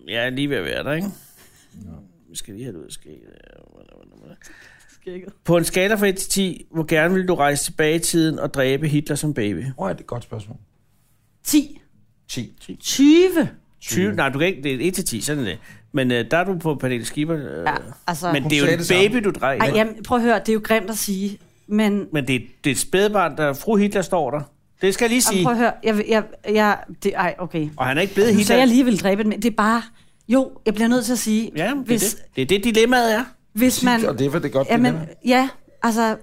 [SPEAKER 2] jeg er lige ved at være der, ikke? Vi skal lige have det ud af skægget.
[SPEAKER 3] skægget.
[SPEAKER 2] På en skala fra 1 til 10, hvor gerne vil du rejse tilbage i tiden og dræbe Hitler som baby?
[SPEAKER 1] Åh, oh, det er et godt spørgsmål.
[SPEAKER 3] 10.
[SPEAKER 1] 10.
[SPEAKER 3] 20.
[SPEAKER 2] 20? Nej, du kan ikke. Det er 1 til 10, sådan er det. Men øh, der er du på Pernille Skipper. Øh,
[SPEAKER 3] Ja, altså,
[SPEAKER 2] men
[SPEAKER 1] Hun
[SPEAKER 2] det er jo
[SPEAKER 1] sagde
[SPEAKER 2] en
[SPEAKER 1] det samme.
[SPEAKER 2] baby, du dræber.
[SPEAKER 3] ej, jamen, prøv at høre, det er jo grimt at sige, men
[SPEAKER 2] Men det, er- det er et spædbarn, der fru Hitler står der. Det skal jeg lige
[SPEAKER 3] jamen,
[SPEAKER 2] sige.
[SPEAKER 3] prøv at høre, jeg, vil- jeg, jeg, det, ej, okay.
[SPEAKER 2] Og han er ikke blevet
[SPEAKER 3] Nu
[SPEAKER 2] Hitler.
[SPEAKER 3] sagde jeg lige vil dræbe den, men det er bare, jo, jeg bliver nødt til at sige,
[SPEAKER 2] Ja, det,
[SPEAKER 3] hvis,
[SPEAKER 2] er det. det er det, dilemmaet er.
[SPEAKER 3] hvis man,
[SPEAKER 1] Og det er, for det er godt,
[SPEAKER 3] jamen,
[SPEAKER 1] det er.
[SPEAKER 3] ja, altså,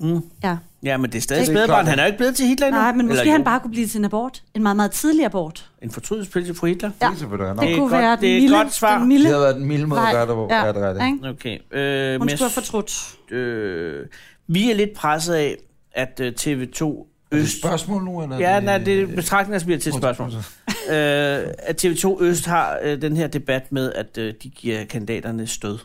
[SPEAKER 2] Mm.
[SPEAKER 3] ja.
[SPEAKER 2] Ja, men det er stadig
[SPEAKER 1] Det er
[SPEAKER 2] spædbarn.
[SPEAKER 1] klart.
[SPEAKER 2] Han er jo ikke blevet til Hitler endnu.
[SPEAKER 3] Nej, men måske
[SPEAKER 2] jo.
[SPEAKER 3] han bare kunne blive til en abort. En meget, meget tidlig abort.
[SPEAKER 2] En fortrydelsespølse fra Hitler?
[SPEAKER 3] Ja.
[SPEAKER 1] Det er selvfølgelig
[SPEAKER 3] Det
[SPEAKER 1] nok.
[SPEAKER 2] er
[SPEAKER 3] kunne
[SPEAKER 2] et godt-
[SPEAKER 3] være den
[SPEAKER 2] det er et
[SPEAKER 3] milde,
[SPEAKER 2] godt svar.
[SPEAKER 3] den
[SPEAKER 1] Det
[SPEAKER 3] milde
[SPEAKER 1] havde været den milde måde at
[SPEAKER 3] vej.
[SPEAKER 1] gøre det på. Ja, det er det.
[SPEAKER 3] ikke?
[SPEAKER 2] Okay. Øh,
[SPEAKER 3] Hun
[SPEAKER 2] men
[SPEAKER 3] skulle have fortrudt.
[SPEAKER 2] øh, vi er lidt presset af, at øh, TV2
[SPEAKER 1] Er det et
[SPEAKER 2] Øst...
[SPEAKER 1] spørgsmål nu? Eller
[SPEAKER 2] Ja, nej, det er betragtninger, som bliver til et spørgsmål. Øh, at TV2 Øst har øh, den her debat med, at øh, de giver kandidaterne stød.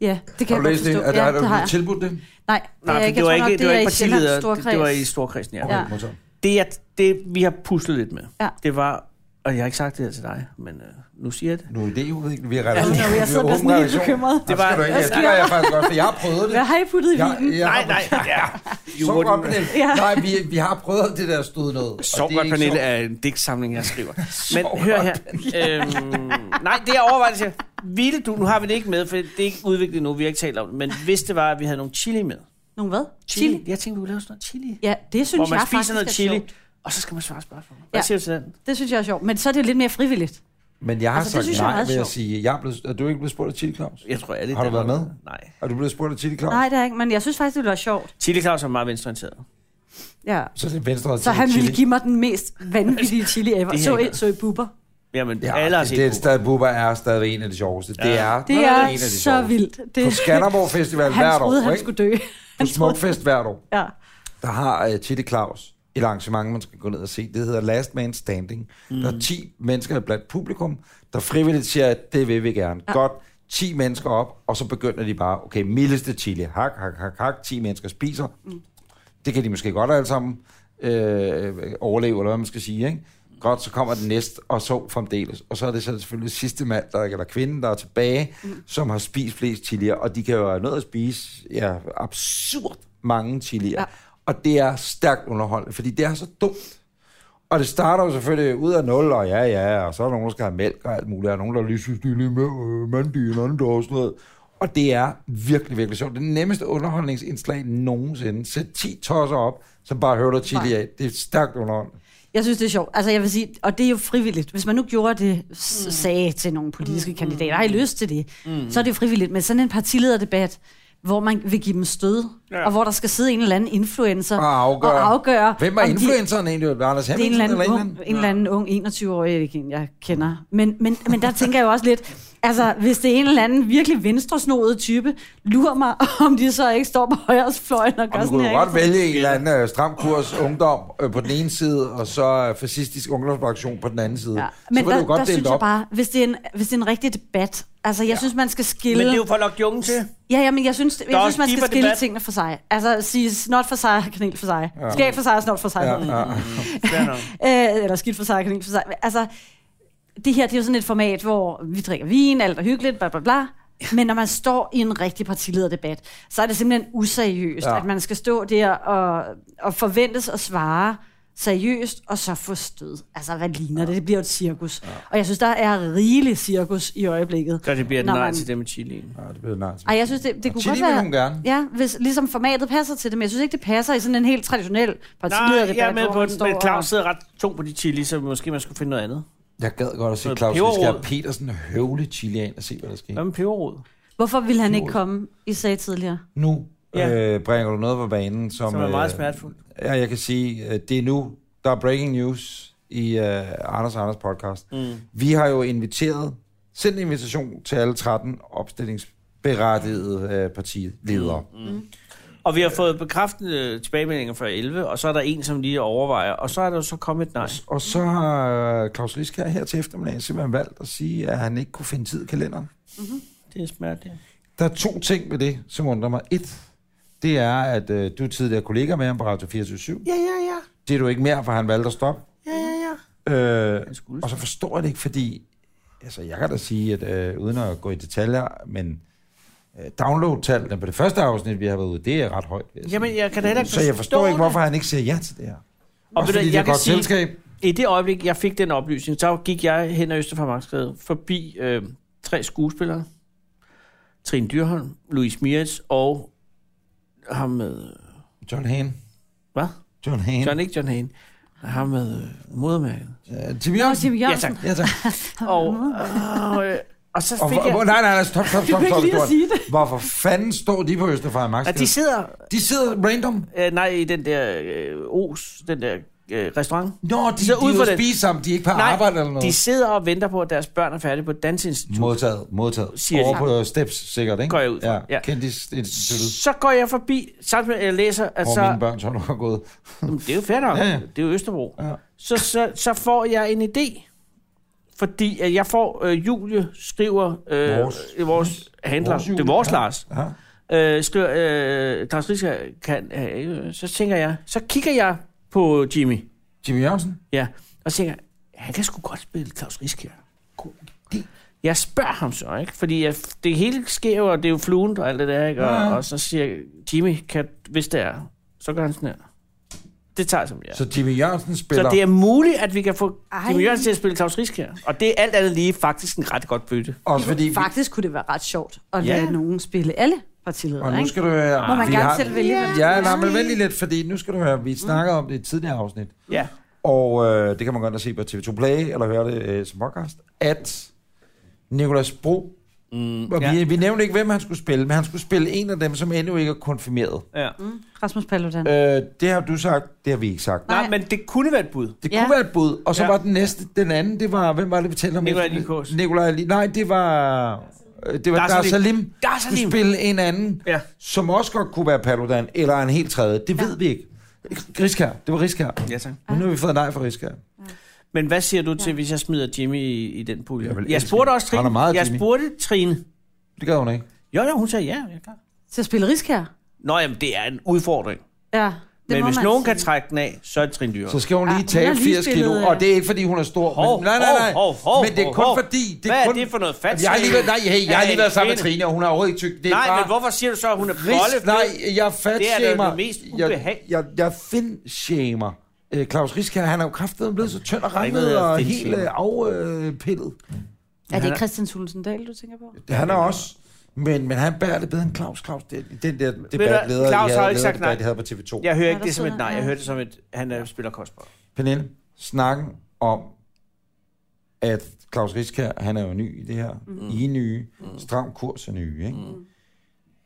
[SPEAKER 3] Ja, det
[SPEAKER 1] Har
[SPEAKER 3] kan jeg
[SPEAKER 1] du
[SPEAKER 3] godt
[SPEAKER 1] læst
[SPEAKER 3] forstå.
[SPEAKER 1] det? Er der,
[SPEAKER 3] ja,
[SPEAKER 1] er
[SPEAKER 3] det har
[SPEAKER 1] der
[SPEAKER 3] jeg.
[SPEAKER 1] tilbudt det?
[SPEAKER 3] Nej, det er
[SPEAKER 2] Nej,
[SPEAKER 3] jeg
[SPEAKER 2] for
[SPEAKER 3] ikke.
[SPEAKER 2] det var
[SPEAKER 3] Jeg tror
[SPEAKER 2] ikke,
[SPEAKER 3] nok,
[SPEAKER 2] det var ikke
[SPEAKER 3] Sjællands
[SPEAKER 2] partileder, det, det var i
[SPEAKER 3] Storkreds.
[SPEAKER 2] Storkredsen, ja.
[SPEAKER 1] Okay,
[SPEAKER 3] Ja.
[SPEAKER 1] modtaget.
[SPEAKER 2] Det, jeg, det, vi har puslet lidt med,
[SPEAKER 3] Ja.
[SPEAKER 2] det var, og jeg har ikke sagt det her til dig, men øh, nu siger jeg det.
[SPEAKER 1] Nu er det jo ikke, vi er
[SPEAKER 3] Ja,
[SPEAKER 1] redaktion.
[SPEAKER 3] nu er jeg
[SPEAKER 1] Vi er
[SPEAKER 3] sidder og
[SPEAKER 1] åben
[SPEAKER 3] bliver sådan helt
[SPEAKER 1] redaktion.
[SPEAKER 3] bekymret.
[SPEAKER 1] Det var,
[SPEAKER 2] Hvad
[SPEAKER 1] det gør jeg faktisk godt, for jeg har prøvet det.
[SPEAKER 3] Hvad har I puttet i
[SPEAKER 1] Jeg,
[SPEAKER 3] vinen?
[SPEAKER 1] jeg
[SPEAKER 2] Nej,
[SPEAKER 1] har-
[SPEAKER 2] nej, ja.
[SPEAKER 1] Så
[SPEAKER 2] wouldn't-
[SPEAKER 1] godt, Pernille.
[SPEAKER 3] Ja.
[SPEAKER 1] Nej, vi, vi har prøvet det der stod noget. og
[SPEAKER 2] Sov
[SPEAKER 1] det er
[SPEAKER 2] godt,
[SPEAKER 1] ikke
[SPEAKER 2] Pernille,
[SPEAKER 1] sjovt.
[SPEAKER 2] er en digtsamling, jeg skriver.
[SPEAKER 1] (laughs) Sov
[SPEAKER 2] Men hør her. Øhm, nej, det er overvejelse. Ville du, nu har vi det ikke med, for det er ikke udviklet nu, vi har ikke talt om det, men hvis det var, at vi havde nogle chili med.
[SPEAKER 3] Nogle hvad?
[SPEAKER 2] Chili? Jeg tænkte, vi kunne lave sådan noget chili.
[SPEAKER 3] Ja, det synes
[SPEAKER 2] Hvor man
[SPEAKER 3] jeg faktisk
[SPEAKER 2] spiser noget
[SPEAKER 3] er
[SPEAKER 2] chili,
[SPEAKER 3] sjovt.
[SPEAKER 2] og så skal man svare spørgsmål. Hvad
[SPEAKER 3] Ja.
[SPEAKER 2] siger du til den?
[SPEAKER 3] Det synes jeg er sjovt, men så er det jo lidt mere frivilligt.
[SPEAKER 1] Men jeg har
[SPEAKER 3] Altså, det
[SPEAKER 1] sagt
[SPEAKER 3] synes jeg er
[SPEAKER 1] nej,
[SPEAKER 3] meget
[SPEAKER 1] vil jeg
[SPEAKER 3] sjovt.
[SPEAKER 1] sige. Jeg er, blevet, er du ikke blevet spurgt af Chili Claus?
[SPEAKER 2] Jeg tror, alle
[SPEAKER 1] Har du
[SPEAKER 2] der
[SPEAKER 1] været med?
[SPEAKER 2] Nej.
[SPEAKER 1] Er du blevet spurgt af Chili Claus?
[SPEAKER 3] Nej, det er ikke, men jeg synes faktisk, det ville være sjovt.
[SPEAKER 2] Chili Claus er meget venstreorienteret.
[SPEAKER 3] Ja.
[SPEAKER 1] Så er det venstre og
[SPEAKER 3] Så han
[SPEAKER 1] chili.
[SPEAKER 3] ville give mig den mest
[SPEAKER 2] (laughs)
[SPEAKER 3] vanvittige chili ever.
[SPEAKER 2] Det er
[SPEAKER 3] Så,
[SPEAKER 2] ikke-
[SPEAKER 3] I- så i buber.
[SPEAKER 2] Jamen, ja,
[SPEAKER 1] Ja,
[SPEAKER 2] alle har
[SPEAKER 1] det,
[SPEAKER 2] set
[SPEAKER 1] det er
[SPEAKER 2] det,
[SPEAKER 1] stadig, Bubber er stadig en af de sjoveste. Det er,
[SPEAKER 3] Det
[SPEAKER 1] en af
[SPEAKER 3] er
[SPEAKER 1] de
[SPEAKER 3] så
[SPEAKER 1] sjoveste.
[SPEAKER 3] vildt. Det,
[SPEAKER 1] På Skanderborg Festival
[SPEAKER 3] (laughs) han
[SPEAKER 1] hvert
[SPEAKER 3] troede,
[SPEAKER 1] år,
[SPEAKER 3] han
[SPEAKER 1] ikke?
[SPEAKER 3] skulle dø.
[SPEAKER 1] På Smukfest hvert år.
[SPEAKER 3] Ja.
[SPEAKER 1] der har uh, Titte Claus et arrangement, man skal gå ned og se. Det hedder Last Man Standing. Mm. Der er 10 mennesker blandt publikum, der frivilligt siger, at det vil vi gerne. Ja. Godt 10 mennesker op, og så begynder de bare, okay, mildeste chili, hak, hak, hak, hak, 10 mennesker spiser. Mm. Det kan de måske godt alle sammen øh, overleve, eller hvad man skal sige. Ikke? Godt, så kommer den næste, og så fremdeles. Og så er det så selvfølgelig sidste mand, der, eller kvinden, der er tilbage, mm. som har spist flest chilier, og de kan jo have noget at spise ja, absurd mange chilier.
[SPEAKER 3] Ja.
[SPEAKER 1] Ja. Og det er stærkt underholdende, fordi det er så dumt. Og det starter jo selvfølgelig ud af nul, og ja, ja, og så er der nogen, der skal have mælk og alt muligt, og nogen, der lige synes, de er lige med øh, mandig en anden og sådan noget. Og det er virkelig, virkelig sjovt. Det er det nemmeste underholdningsindslag nogensinde. Sæt 10 tosser op, som bare hører chili af. Det er stærkt underholdende.
[SPEAKER 3] Jeg synes, det er sjovt. Altså, jeg vil sige, og det er jo frivilligt. Hvis man nu gjorde det, s- sagde til nogle politiske mm. kandidater, har I lyst til det? Mm. Så er det jo frivilligt. Men sådan en partilederdebat, hvor man vil give dem stød,
[SPEAKER 2] Ja.
[SPEAKER 3] ja. og hvor der skal sidde en eller anden influencer
[SPEAKER 1] Og afgøre.
[SPEAKER 3] og afgøre
[SPEAKER 1] Hvem er
[SPEAKER 3] om de-
[SPEAKER 1] influenceren egentlig? Er det Anders
[SPEAKER 3] det er en
[SPEAKER 1] Hemmingsen
[SPEAKER 3] eller
[SPEAKER 1] eller
[SPEAKER 3] anden,
[SPEAKER 1] en eller
[SPEAKER 3] ung,
[SPEAKER 1] anden?
[SPEAKER 3] en eller anden ung 21-årig, jeg, ved ikke, en, jeg kender. Men, men, men der tænker jeg jo også lidt, altså hvis det er en eller anden virkelig venstresnodet type, lurer mig, om de så ikke står på højre fløjen og
[SPEAKER 1] Og
[SPEAKER 3] gør
[SPEAKER 1] man
[SPEAKER 3] sådan
[SPEAKER 1] kunne jo
[SPEAKER 3] her.
[SPEAKER 1] godt vælge en eller anden øh, stram kurs ungdom øh, på den ene side, og så øh, fascistisk ungdomsfraktion på den anden side.
[SPEAKER 3] Ja.
[SPEAKER 1] Ja.
[SPEAKER 3] Men
[SPEAKER 1] så var
[SPEAKER 3] der,
[SPEAKER 1] det jo godt
[SPEAKER 3] der synes
[SPEAKER 1] delt
[SPEAKER 3] jeg
[SPEAKER 1] op.
[SPEAKER 3] bare, hvis det, er en, hvis det er en rigtig debat, altså jeg ja. synes, man skal skille...
[SPEAKER 2] Men det er jo for at lokke de unge til.
[SPEAKER 3] Ja, ja, men jeg synes, jeg
[SPEAKER 2] også
[SPEAKER 3] synes man
[SPEAKER 2] deeper
[SPEAKER 3] skal skille
[SPEAKER 2] debat.
[SPEAKER 3] tingene for sig. Altså sige snot for sig og kanel for sig. Ja. Skab for sig og snot for sig. Ja, ja.
[SPEAKER 1] Ja, ja.
[SPEAKER 2] Fair
[SPEAKER 3] (laughs)
[SPEAKER 2] nok.
[SPEAKER 3] Øh, eller skidt for sig, kanin for sig. Men Altså, det her, det er jo sådan et format, hvor vi drikker vin, alt er hyggeligt, bla bla bla. Men når man står i en rigtig partilederdebat, så er det simpelthen useriøst, ja.
[SPEAKER 1] Ja.
[SPEAKER 3] at man skal stå der og, og forventes at svare seriøst, og så få stød. Altså, hvad ligner ja. det? Det bliver jo et cirkus. Ja. Og jeg synes, der er rigelig cirkus i øjeblikket.
[SPEAKER 2] Så det bliver et
[SPEAKER 3] Når
[SPEAKER 2] nej
[SPEAKER 3] man-
[SPEAKER 2] til det med
[SPEAKER 3] Altså,
[SPEAKER 2] chilien.
[SPEAKER 1] ja, det blev nej.
[SPEAKER 3] Ej, jeg synes, det, det kunne
[SPEAKER 1] Chili
[SPEAKER 3] godt
[SPEAKER 1] vil
[SPEAKER 3] være...
[SPEAKER 1] hun gerne.
[SPEAKER 3] Ja, hvis ligesom formatet passer til det, men jeg synes ikke, det passer i sådan en helt traditionel
[SPEAKER 2] Nej,
[SPEAKER 3] partilederdebat,
[SPEAKER 2] jeg er med
[SPEAKER 3] hvor
[SPEAKER 2] på
[SPEAKER 3] man
[SPEAKER 2] den,
[SPEAKER 3] står
[SPEAKER 2] men
[SPEAKER 3] og-
[SPEAKER 2] Claus sidder ret tung på de chili, så måske man skulle finde noget andet.
[SPEAKER 1] Jeg gad godt at se
[SPEAKER 2] Noget
[SPEAKER 1] Claus Riskær
[SPEAKER 2] peberrod.
[SPEAKER 1] Petersen høvle chili af og se, hvad der sker.
[SPEAKER 2] Hvad med peberrod?
[SPEAKER 3] Hvorfor ville han ikke komme, I sagde tidligere?
[SPEAKER 1] Nu
[SPEAKER 2] Ja.
[SPEAKER 1] ja. øh, bringer du noget på banen, som,
[SPEAKER 2] Som er meget
[SPEAKER 1] øh,
[SPEAKER 2] smertefuldt.
[SPEAKER 1] Ja, jeg kan sige, øh, det er nu, der er breaking news i øh, Anders og Anders podcast. Mm. Vi har jo inviteret, sendt en invitation til alle 13 opstillingsberettigede øh, partiledere. Mm.
[SPEAKER 2] Og vi har fået bekræftende tilbagemeldinger fra 11, og så er der en, som lige overvejer, og så er der jo så kommet et nej.
[SPEAKER 1] Og så har øh, Claus Liskær her til eftermiddag simpelthen valgt at sige, at han ikke kunne finde tid i kalenderen.
[SPEAKER 2] Det er smert, ja.
[SPEAKER 1] Der er to ting ved det, som undrer mig. Et, det er, at øh, du er tidligere kollega med ham på Radio 24
[SPEAKER 2] Ja, ja, ja.
[SPEAKER 1] Det er du ikke mere, for han valgte at stoppe.
[SPEAKER 2] Ja, ja, ja.
[SPEAKER 1] Øh,
[SPEAKER 2] Han skulle.
[SPEAKER 1] og så forstår jeg det ikke, fordi... Altså, jeg kan da sige, at øh, uden at gå i detaljer, men øh, download-tallene på det første afsnit, vi har været ude, det er ret højt. vil jeg sige.
[SPEAKER 2] Jamen, jeg kan da heller ikke
[SPEAKER 1] så jeg forstår
[SPEAKER 2] forstå
[SPEAKER 1] ikke,
[SPEAKER 2] det.
[SPEAKER 1] hvorfor han ikke siger ja til det her.
[SPEAKER 2] Og
[SPEAKER 1] Også
[SPEAKER 2] ved du,
[SPEAKER 1] fordi det er
[SPEAKER 2] jeg
[SPEAKER 1] et
[SPEAKER 2] kan
[SPEAKER 1] godt
[SPEAKER 2] sige,
[SPEAKER 1] selskab.
[SPEAKER 2] i det øjeblik, jeg fik den oplysning, så gik jeg hen ad Østerfarmarkskade forbi øh, tre skuespillere. Trine Dyrholm, Louise Mieritz og ham med...
[SPEAKER 1] John Hane.
[SPEAKER 2] Hvad?
[SPEAKER 1] John Hane.
[SPEAKER 2] John, ikke John Hane. Ham med øh, modermærket.
[SPEAKER 1] Øh, Jimmy
[SPEAKER 3] Nå,
[SPEAKER 1] Jørgensen.
[SPEAKER 3] Tim Jørgensen.
[SPEAKER 2] tak.
[SPEAKER 1] Ja, tak. (laughs)
[SPEAKER 2] Og, øh, øh, og så
[SPEAKER 1] Og,
[SPEAKER 2] fik
[SPEAKER 1] hvor- hvor-
[SPEAKER 2] jeg...
[SPEAKER 1] nej, nej, nej, stop, stop, stop,
[SPEAKER 3] ikke
[SPEAKER 1] stop.
[SPEAKER 3] lige at
[SPEAKER 1] stop.
[SPEAKER 3] sige det.
[SPEAKER 1] Hvorfor fanden står de på Østerfejl Max?
[SPEAKER 2] Ja, de sidder...
[SPEAKER 1] de sidder random.
[SPEAKER 2] Øh, nej, i den der øh, os, den der øh, restaurant.
[SPEAKER 1] Nå, de, de, de
[SPEAKER 2] sidder
[SPEAKER 1] er
[SPEAKER 2] ude
[SPEAKER 1] ude
[SPEAKER 2] for
[SPEAKER 1] for
[SPEAKER 2] den.
[SPEAKER 1] spise sammen, de er ikke på arbejde eller noget.
[SPEAKER 2] de sidder og venter på, at deres børn er færdige på Dansinstitut.
[SPEAKER 1] Modtaget, modtaget.
[SPEAKER 2] Siger de.
[SPEAKER 1] Over på øh, Steps, sikkert, ikke?
[SPEAKER 2] Går jeg ud fra,
[SPEAKER 1] Ja,
[SPEAKER 2] ja.
[SPEAKER 1] ja. Kendis-instituttet,
[SPEAKER 2] Så går jeg forbi, samtidig med, at jeg læser, at
[SPEAKER 1] hvor
[SPEAKER 2] så...
[SPEAKER 1] mine børn tror, du har gået.
[SPEAKER 2] Jamen, det er jo fair nok.
[SPEAKER 1] Ja, ja.
[SPEAKER 2] Det er jo Østerbro.
[SPEAKER 1] Ja.
[SPEAKER 2] Så, så, så får jeg en idé. Fordi at jeg får, øh, Julie skriver, øh, vores,
[SPEAKER 1] Vores-
[SPEAKER 2] vores handler, vores
[SPEAKER 1] vores
[SPEAKER 2] det er
[SPEAKER 1] Julie,
[SPEAKER 2] vores ja.
[SPEAKER 1] ja.
[SPEAKER 2] Lars,
[SPEAKER 1] Ja.
[SPEAKER 2] øh, skriver, øh, Claus Riske kan, øh, så tænker jeg, så kigger jeg på Jimmy,
[SPEAKER 1] Jimmy Jørgensen?
[SPEAKER 2] ja, og tænker, han kan sgu godt spille Claus Riske.
[SPEAKER 1] God idé.
[SPEAKER 2] Jeg spørger ham så, ikke? Fordi jeg, det hele sker jo, og det er jo fluent og alt det der, ikke? Og,
[SPEAKER 1] Ja.
[SPEAKER 2] og så siger jeg, Jimmy, kan, hvis det er, så gør han sådan her. Det tager jeg som ja.
[SPEAKER 1] Så Jimmy Jørgensen spiller...
[SPEAKER 2] Så det er muligt, at vi kan få
[SPEAKER 3] Ej.
[SPEAKER 2] Jimmy Jørgensen til at spille Claus Risk her. Og det er alt andet lige faktisk en ret godt bytte.
[SPEAKER 1] Også fordi... Vi,
[SPEAKER 3] Faktisk kunne det være ret sjovt at
[SPEAKER 2] Ja.
[SPEAKER 3] lade nogen spille alle partiledere,
[SPEAKER 1] og nu
[SPEAKER 3] ikke?
[SPEAKER 1] skal du høre...
[SPEAKER 3] Må man
[SPEAKER 1] vi
[SPEAKER 3] gerne
[SPEAKER 1] har-
[SPEAKER 3] selv vælge, hvem man
[SPEAKER 1] Ja,
[SPEAKER 3] vil
[SPEAKER 1] nej,
[SPEAKER 3] have.
[SPEAKER 1] men vent lige lidt, fordi nu skal du høre,
[SPEAKER 3] Mm.
[SPEAKER 1] vi snakkede om det i et tidligere afsnit,
[SPEAKER 2] Ja.
[SPEAKER 1] og øh, det kan man godt se på TV2 Play, eller høre det øh, som podcast, at Nicolas Bro... Mm,
[SPEAKER 2] ja.
[SPEAKER 1] ja. vi, vi nævnte ikke, hvem han skulle spille, men han skulle spille en af dem, som endnu ikke er konfirmeret.
[SPEAKER 2] ja.
[SPEAKER 3] Rasmus Paludan.
[SPEAKER 1] Øh, det har du sagt, det har vi ikke sagt.
[SPEAKER 2] Nej,
[SPEAKER 3] Nej.
[SPEAKER 2] men det kunne være et bud.
[SPEAKER 1] Det
[SPEAKER 3] Ja.
[SPEAKER 1] kunne være et bud. Og så
[SPEAKER 2] Ja.
[SPEAKER 1] ja. var den næste, den anden, det var, hvem var det, vi talte om?
[SPEAKER 2] Nikolaj
[SPEAKER 1] efter-
[SPEAKER 2] Likos.
[SPEAKER 1] Nikolaj Li- Nej, det var, øh, det var
[SPEAKER 2] Dar
[SPEAKER 1] Dar
[SPEAKER 2] Salim.
[SPEAKER 1] Salim.
[SPEAKER 2] Dar
[SPEAKER 1] skulle
[SPEAKER 2] Salim.
[SPEAKER 1] spille en anden,
[SPEAKER 2] Ja.
[SPEAKER 1] som også godt kunne være Paludan, eller en helt tredje. Det ved vi ikke. Riskær, det var Riskær.
[SPEAKER 2] Ja, tak.
[SPEAKER 1] Men nu har vi fået nej fra Riskær.
[SPEAKER 2] Men hvad siger du til, hvis jeg smider Jimmy i, i den pulje?
[SPEAKER 1] Jeg
[SPEAKER 2] Jeg,
[SPEAKER 1] vil
[SPEAKER 2] jeg
[SPEAKER 1] elske
[SPEAKER 2] spurgte
[SPEAKER 1] det.
[SPEAKER 2] også
[SPEAKER 1] Han
[SPEAKER 2] Trine.
[SPEAKER 1] er meget
[SPEAKER 2] jeg
[SPEAKER 1] Jimmy.
[SPEAKER 2] spurgte Trine.
[SPEAKER 1] Det gør hun ikke.
[SPEAKER 2] Jo, jo, hun sagde ja. Jeg er klar.
[SPEAKER 3] Til at spille risk her.
[SPEAKER 2] Nå, jamen, det er en udfordring.
[SPEAKER 3] Ja.
[SPEAKER 2] Men
[SPEAKER 3] må
[SPEAKER 2] hvis
[SPEAKER 3] man
[SPEAKER 2] nogen kan
[SPEAKER 3] sige.
[SPEAKER 2] trække den af, så er det Trine Dyrhoff.
[SPEAKER 1] Så skal hun lige
[SPEAKER 3] Ah, hun
[SPEAKER 1] tabe
[SPEAKER 3] har lige
[SPEAKER 1] 80 kilo,
[SPEAKER 3] spillet, øh,
[SPEAKER 1] og det er ikke, fordi hun er stor.
[SPEAKER 2] Hov,
[SPEAKER 1] men, nej, nej, nej.
[SPEAKER 2] hov, hov, hov,
[SPEAKER 1] men det er kun
[SPEAKER 2] hov.
[SPEAKER 1] fordi... Det er
[SPEAKER 2] Hvad er
[SPEAKER 1] kun,
[SPEAKER 2] det for noget fat-
[SPEAKER 1] Jeg har lige været, nej, hey, jeg har lige været sammen med
[SPEAKER 2] Kvinde.
[SPEAKER 1] Trine, og hun har overhovedet ikke tyk. Det er
[SPEAKER 2] Nej,
[SPEAKER 1] bare
[SPEAKER 2] men hvorfor siger du så, at hun er bolle?
[SPEAKER 1] Ris, nej, jeg
[SPEAKER 2] det er da
[SPEAKER 1] fatshamer.
[SPEAKER 2] det mest
[SPEAKER 1] jeg,
[SPEAKER 2] ubehag-
[SPEAKER 1] jeg, jeg finshamer. Øh, Claus Riske, han er jo kraftedet blevet så tynd og
[SPEAKER 2] ikke noget,
[SPEAKER 1] rammet
[SPEAKER 2] der
[SPEAKER 1] og
[SPEAKER 2] hedder
[SPEAKER 1] helt øh, afpillet.
[SPEAKER 3] Er det Christian Sulsen Dahl, du tænker på?
[SPEAKER 1] Han er også... Men, men han bærer det bedre end Claus. Claus, det, den der debat, leder,
[SPEAKER 2] Claus
[SPEAKER 1] I
[SPEAKER 2] har
[SPEAKER 1] havde,
[SPEAKER 2] jo ikke sagt
[SPEAKER 1] lederdebat,
[SPEAKER 2] nej.
[SPEAKER 1] I havde på TV2. Ja.
[SPEAKER 2] Jeg hører
[SPEAKER 3] Nej,
[SPEAKER 2] ikke
[SPEAKER 3] der
[SPEAKER 2] det som et
[SPEAKER 3] sidder-
[SPEAKER 2] nej, jeg
[SPEAKER 3] ja.
[SPEAKER 2] hører det som et, han er, spiller kostbar.
[SPEAKER 1] Pernille, snakken om, at Claus Riske, han er jo ny i det her. Mm. I er nye. Stram kurs er nye, ikke? Mm.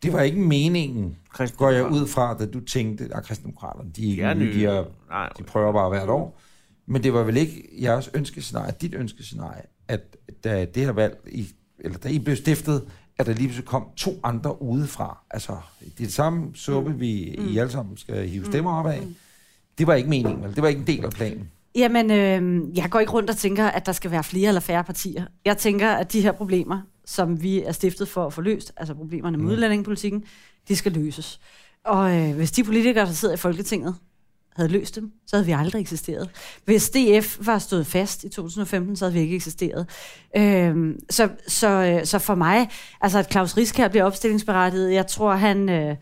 [SPEAKER 1] Det var ikke meningen, går jeg ud fra, at du tænkte, at kristendemokraterne, de er, ikke
[SPEAKER 2] Jeg er
[SPEAKER 1] nye,
[SPEAKER 2] ny.
[SPEAKER 1] de er
[SPEAKER 2] Nej,
[SPEAKER 1] De prøver bare hvert år. Men det var vel ikke jeres ønskescenarie, dit ønskescenarie, at da det her valg, I, eller da I blev stiftet, at der lige pludselig kom to andre udefra. Altså, det er det samme suppe,
[SPEAKER 3] Mm.
[SPEAKER 1] vi I alle sammen skal hive stemmer op af. Det var ikke meningen, vel? Det var ikke en del af planen.
[SPEAKER 3] Jamen, øh, jeg går ikke rundt og tænker, at der skal være flere eller færre partier. Jeg tænker, at de her problemer, som vi er stiftet for at få løst, altså problemerne med udlændingepolitikken, de skal løses. Og øh, hvis de politikere, der sidder i Folketinget, havde løst dem, så havde vi aldrig eksisteret. Hvis DF var stået fast i 2015, så havde vi ikke eksisteret. Øhm, så, så, øh, så for mig, altså at Claus Riskær bliver opstillingsberettiget, jeg tror, han øh,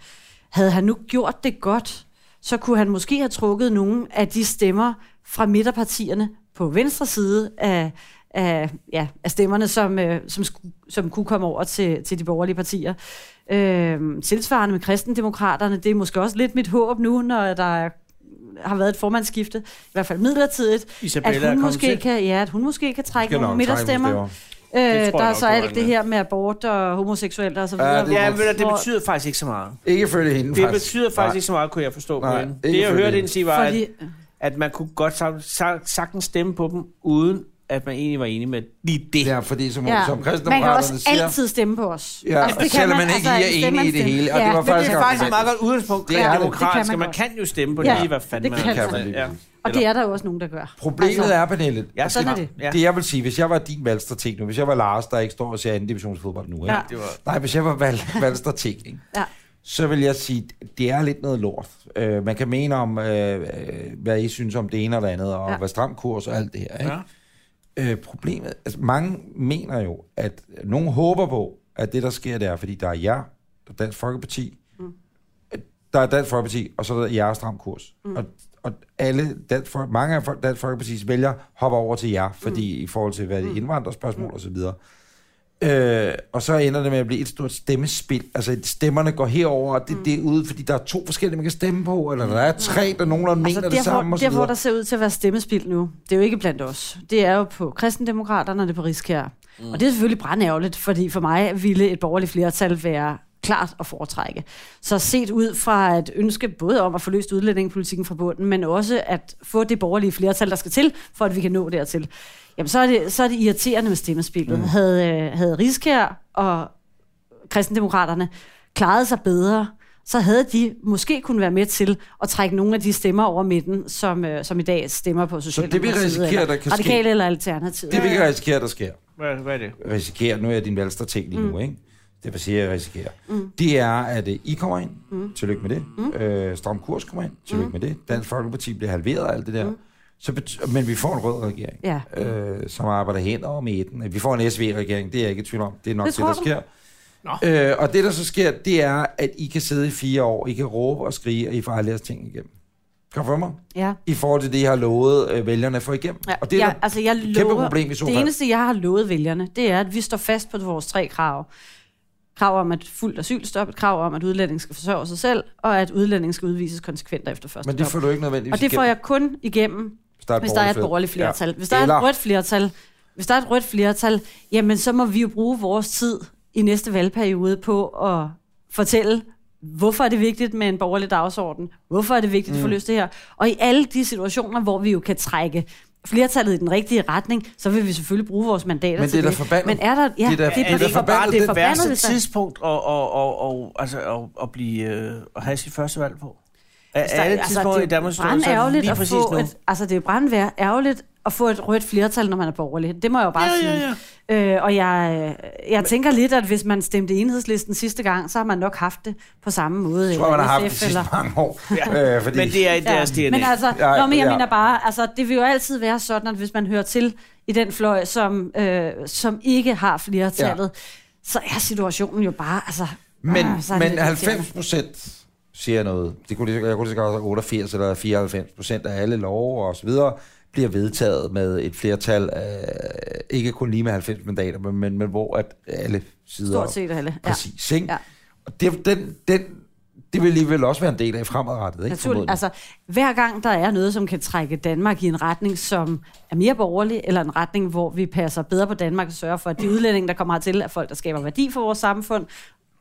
[SPEAKER 3] havde han nu gjort det godt, så kunne han måske have trukket nogle af de stemmer fra midterpartierne på venstre side af, af, ja, af stemmerne, som, øh, som, sku, som kunne komme over til, til de borgerlige partier. Øh, tilsvarende med kristendemokraterne, det er måske også lidt mit håb nu, når der er har været et formandsskifte, i hvert fald midlertidigt,
[SPEAKER 2] Isabella er
[SPEAKER 3] at, hun
[SPEAKER 2] kommet
[SPEAKER 3] måske
[SPEAKER 2] til.
[SPEAKER 3] kan, ja, at hun måske kan trække
[SPEAKER 1] Skal nok
[SPEAKER 3] nogle
[SPEAKER 1] trække
[SPEAKER 3] midterstemmer.
[SPEAKER 1] nogle
[SPEAKER 3] Øh,
[SPEAKER 2] Det tror
[SPEAKER 3] der
[SPEAKER 2] jeg
[SPEAKER 3] er
[SPEAKER 2] nok,
[SPEAKER 3] så
[SPEAKER 2] du har
[SPEAKER 3] alt
[SPEAKER 2] ret
[SPEAKER 3] det
[SPEAKER 2] med.
[SPEAKER 3] her med abort og homoseksuelle og så
[SPEAKER 1] Ja,
[SPEAKER 3] videre.
[SPEAKER 1] det er
[SPEAKER 2] Ja, men ved du, det
[SPEAKER 3] Hvor-
[SPEAKER 2] betyder faktisk ikke så meget.
[SPEAKER 1] Ikke følge hende,
[SPEAKER 2] Det
[SPEAKER 1] faktisk.
[SPEAKER 2] betyder faktisk
[SPEAKER 1] Nej.
[SPEAKER 2] ikke så meget, kunne jeg forstå på
[SPEAKER 1] Nej,
[SPEAKER 2] hende.
[SPEAKER 1] ikke
[SPEAKER 2] Det, jeg
[SPEAKER 1] fordi-
[SPEAKER 2] hørte hende sige, var, at,
[SPEAKER 3] Fordi,
[SPEAKER 2] at man kunne godt sa- sa- sagtens stemme på dem, uden at man egentlig var enig med lige det.
[SPEAKER 1] Ja, fordi som, ja.
[SPEAKER 3] ja,
[SPEAKER 1] som
[SPEAKER 3] man kan også
[SPEAKER 1] kristendemokraterne siger...
[SPEAKER 3] altid stemme på os. Altså,
[SPEAKER 1] Ja, selvom man ikke lige er
[SPEAKER 3] en stemme
[SPEAKER 1] enig i det
[SPEAKER 3] stemme.
[SPEAKER 1] hele, og det var
[SPEAKER 3] men
[SPEAKER 1] faktisk
[SPEAKER 2] Det er
[SPEAKER 1] godt
[SPEAKER 2] faktisk et
[SPEAKER 1] argument.
[SPEAKER 2] meget godt udgangspunkt.
[SPEAKER 1] Det
[SPEAKER 2] Det
[SPEAKER 1] er
[SPEAKER 2] er
[SPEAKER 1] det.
[SPEAKER 2] demokratisk,
[SPEAKER 3] Det kan
[SPEAKER 2] og
[SPEAKER 3] man
[SPEAKER 2] man kan jo stemme på
[SPEAKER 3] Ja,
[SPEAKER 2] lige, hvad fanden
[SPEAKER 3] det
[SPEAKER 2] man
[SPEAKER 3] kan
[SPEAKER 1] Det kan
[SPEAKER 3] man.
[SPEAKER 1] man lige
[SPEAKER 2] Ja.
[SPEAKER 1] præcis.
[SPEAKER 3] Og det er der jo også nogen, der gør.
[SPEAKER 1] Problemet
[SPEAKER 3] Altså-
[SPEAKER 1] er, Pernille,
[SPEAKER 2] Jeg
[SPEAKER 3] Sådan er
[SPEAKER 2] skal-
[SPEAKER 3] det.
[SPEAKER 2] Ja.
[SPEAKER 1] det jeg vil sige, hvis jeg var din valgstrateg nu, hvis jeg var Lars, der ikke står og ser anden divisionsfodbold nu, ikke?
[SPEAKER 3] Ja.
[SPEAKER 2] Det var...
[SPEAKER 1] Nej, hvis jeg var valg, valgstrateg, ikke?
[SPEAKER 3] Ja.
[SPEAKER 1] så vil jeg sige, det er lidt noget lort. Øh, man kan mene om, øh, øh, hvad I synes om det ene og det andet, og
[SPEAKER 3] Ja.
[SPEAKER 1] ja. hvad stram kurs og alt det her. Ikke?
[SPEAKER 2] Ja.
[SPEAKER 1] Øh, problemet, altså mange mener jo, at nogen håber på, at det der sker, det er, fordi der er jer, der er Dansk Folkeparti, mm. der er Dansk Folkeparti, og så er der jer og stram kurs. Mm. Og, og alle Dansk, Fol- mange af folk- Dansk Folkepartis vælgere hopper over til jer, fordi mm. i forhold til, hvad det er indvandrerspørgsmål mm. osv., Øh, og så ender det med at blive et stort stemmespil. Altså, stemmerne går herover, og det, mm. det er ude, fordi der er to forskellige, man kan stemme på, eller der er tre, der nogenlunde altså,
[SPEAKER 3] Altså
[SPEAKER 1] mener det
[SPEAKER 3] der,
[SPEAKER 1] samme,
[SPEAKER 3] hvor,
[SPEAKER 1] og så
[SPEAKER 3] der, hvor
[SPEAKER 1] videre.
[SPEAKER 3] der ser ud til at være stemmespil nu, det er jo ikke blandt os. Det er jo på kristendemokraterne, og det er på Rigskær. Mm. Og det er selvfølgelig brændærgerligt, fordi for mig ville et borgerligt flertal være klart at foretrække. Så set ud fra et ønske både om at få løst udlændingepolitikken fra bunden, men også at få det borgerlige flertal, der skal til, for at vi kan nå dertil. Jamen, så er det, så er det irriterende med stemmespillet. Mm. Havde, øh, havde Rigskær og kristendemokraterne klarede sig bedre, så havde de måske kunne være med til at trække nogle af de stemmer over midten, som, øh, som i dag stemmer på Socialdemokratiet,
[SPEAKER 1] risikerer,
[SPEAKER 3] eller
[SPEAKER 1] der kan ske-
[SPEAKER 3] radikale eller alternativet.
[SPEAKER 1] Det vi kan risikere, der sker.
[SPEAKER 2] Hvad, hvad er det?
[SPEAKER 1] risikerer, nu er jeg din valgstrateg lige nu, mm. ikke? Det vil sige, at jeg risikerer. Mm. Det er, at øh, I kommer ind. Mm. Tillykke med det. Mm. Øh, Stram Kurs kommer ind. Tillykke mm. med det. Dansk Folkeparti bliver halveret og alt det der. Mm. Så bet- men vi får en rød regering,
[SPEAKER 3] Ja.
[SPEAKER 1] øh, som arbejder hen over midten. Vi får en SV-regering, det er jeg ikke i tvivl om. Det er nok
[SPEAKER 3] Det
[SPEAKER 1] det, det der
[SPEAKER 3] tror
[SPEAKER 1] sker. Øh, og det, der så sker, det er, at I kan sidde i fire år, I kan råbe og skrige, og I får aldrig jeres ting igennem. Kom for mig.
[SPEAKER 3] Ja.
[SPEAKER 1] I forhold til det, I har lovet øh, vælgerne at få igennem.
[SPEAKER 3] Ja,
[SPEAKER 1] og det er
[SPEAKER 3] jeg,
[SPEAKER 1] der-
[SPEAKER 3] altså, jeg
[SPEAKER 1] et
[SPEAKER 3] lover,
[SPEAKER 1] kæmpe problem i så
[SPEAKER 3] Det
[SPEAKER 1] fald.
[SPEAKER 3] eneste, jeg har lovet vælgerne, det er, at vi står fast på vores tre krav. Krav om, at fuldt asylstop, et krav om, at udlændingen skal forsørge sig selv, og at udlændingen skal udvises konsekvent efter første
[SPEAKER 1] men det
[SPEAKER 3] dom.
[SPEAKER 1] får du ikke nødvendigvis
[SPEAKER 3] Og det får
[SPEAKER 1] igennem.
[SPEAKER 3] jeg kun igennem
[SPEAKER 1] Hvis der er et
[SPEAKER 3] hvis der er et
[SPEAKER 1] flertal.
[SPEAKER 3] borgerligt flertal. Ja. Hvis der
[SPEAKER 1] Eller-
[SPEAKER 3] er et rødt flertal, hvis der er et rødt flertal, jamen så må vi jo bruge vores tid i næste valgperiode på at fortælle, hvorfor er det vigtigt med en borgerlig dagsorden? Hvorfor er det vigtigt
[SPEAKER 1] Mm.
[SPEAKER 3] at få løst det her? Og i alle de situationer, hvor vi jo kan trække flertallet i den rigtige retning, så vil vi selvfølgelig bruge vores mandater
[SPEAKER 1] Men det er
[SPEAKER 3] til
[SPEAKER 1] da
[SPEAKER 3] det.
[SPEAKER 1] forbandet.
[SPEAKER 3] Men er der... Ja,
[SPEAKER 1] Det er da-
[SPEAKER 2] Det er, det
[SPEAKER 1] da
[SPEAKER 2] ikke bare
[SPEAKER 1] forbandet,
[SPEAKER 2] det,
[SPEAKER 1] det-
[SPEAKER 2] det værste
[SPEAKER 3] det er-
[SPEAKER 2] tidspunkt at, at, at, at, altså, at, at, blive, øh, at have sit første valg på? Af
[SPEAKER 3] Hvis der-
[SPEAKER 2] alle tidspunkter i
[SPEAKER 3] Altså, det er
[SPEAKER 2] Danmarks historie, så er Altså, det
[SPEAKER 3] brandærgerligt
[SPEAKER 2] lige
[SPEAKER 3] at
[SPEAKER 2] præcis
[SPEAKER 3] få
[SPEAKER 2] nu.
[SPEAKER 3] et, Altså, det er brandvær ærgerligt at få et rødt flertal, når man er borgerlig. Det må jeg jo bare
[SPEAKER 2] Ja,
[SPEAKER 3] sige.
[SPEAKER 2] ja,
[SPEAKER 3] Øh, og jeg, jeg tænker lidt, at hvis man stemte enhedslisten sidste gang, så har man nok haft det på samme måde.
[SPEAKER 1] Jeg tror,
[SPEAKER 3] eller
[SPEAKER 1] man har haft
[SPEAKER 3] SF
[SPEAKER 1] det de sidste
[SPEAKER 3] eller-
[SPEAKER 1] mange år.
[SPEAKER 2] Ja.
[SPEAKER 1] Øh, fordi,
[SPEAKER 2] Men det er i
[SPEAKER 3] Ja,
[SPEAKER 2] deres DNA.
[SPEAKER 3] Men altså,
[SPEAKER 1] Ja,
[SPEAKER 3] ja, nå, men jeg
[SPEAKER 1] ja.
[SPEAKER 3] ja. mener bare, altså, det vil jo altid være sådan, at hvis man hører til i den fløj, som, øh, som ikke har flertallet, ja. så er situationen jo bare, altså...
[SPEAKER 1] men,
[SPEAKER 3] ah, så er det
[SPEAKER 1] men
[SPEAKER 3] lidt
[SPEAKER 1] 90 procent siger noget. Det kunne lige, så- jeg kunne lige så godt have 88 eller 94 procent af alle love og så videre bliver vedtaget med et flertal af, ikke kun lige med 90 mandater, men, men, men hvor at alle sider...
[SPEAKER 3] Stort set alle. Ja.
[SPEAKER 1] Præcis, ikke?
[SPEAKER 3] Ja.
[SPEAKER 1] Og det, den, den, det vil alligevel også være en del af fremadrettet, ikke?
[SPEAKER 3] Naturligt.
[SPEAKER 1] Formodentlig.
[SPEAKER 3] Altså, hver gang der er noget, som kan trække Danmark i en retning, som er mere borgerlig, eller en retning, hvor vi passer bedre på Danmark og sørger for, at de udlændinge, der kommer hertil, er folk, der skaber værdi for vores samfund,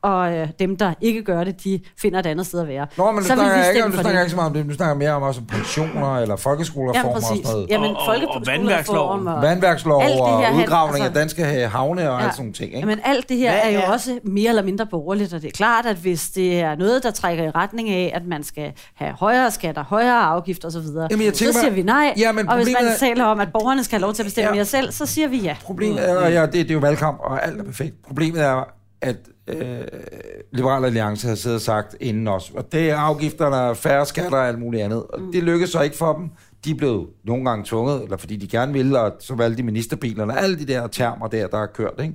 [SPEAKER 3] og øh, dem, der ikke gør det, de finder et andet sted at være.
[SPEAKER 1] Nå, men nu
[SPEAKER 3] så vil
[SPEAKER 1] snakker,
[SPEAKER 3] vi
[SPEAKER 1] jeg ikke,
[SPEAKER 3] stemme
[SPEAKER 1] nu
[SPEAKER 3] for
[SPEAKER 1] snakker jeg
[SPEAKER 3] det.
[SPEAKER 1] ikke så meget om det. Nu snakker jeg mere om også om pensioner eller folkeskolereformer og sådan noget.
[SPEAKER 3] Jamen,
[SPEAKER 2] Og- og- og
[SPEAKER 3] folkeskolereform
[SPEAKER 2] vandværksloven.
[SPEAKER 3] og-
[SPEAKER 1] Vandværkslov
[SPEAKER 3] alt det
[SPEAKER 1] og
[SPEAKER 3] her han-
[SPEAKER 1] udgravning af
[SPEAKER 3] altså-
[SPEAKER 1] danske øh, havne og ja. alt sådan nogle ting, ikke?
[SPEAKER 3] Jamen alt det her
[SPEAKER 2] Hvad
[SPEAKER 3] er jo
[SPEAKER 2] er-
[SPEAKER 3] også mere eller mindre borgerligt, og det er klart, at hvis det er noget, der trækker i retning af, at man skal have højere skatter, højere afgifter osv.,
[SPEAKER 1] Jamen, jeg
[SPEAKER 3] så
[SPEAKER 1] tænker
[SPEAKER 3] siger
[SPEAKER 1] bare-
[SPEAKER 3] vi nej.
[SPEAKER 1] Ja, men
[SPEAKER 3] og hvis man
[SPEAKER 1] problemet er-
[SPEAKER 3] taler om, at borgerne skal have lov til at bestemme
[SPEAKER 1] Ja.
[SPEAKER 3] mere selv, så siger vi ja.
[SPEAKER 1] Problemet er, og ja, det, det er jo valgkamp, og alt er perfekt. Problemet er, at øh, Liberal Alliance har siddet og sagt inden os, og det er afgifterne, færre skatter og alt muligt andet. Og det lykkedes så ikke for dem. De blev nogle gange tvunget, eller fordi de gerne ville, og så valgte de ministerbilerne, og alle de der termer der, der er kørt, ikke?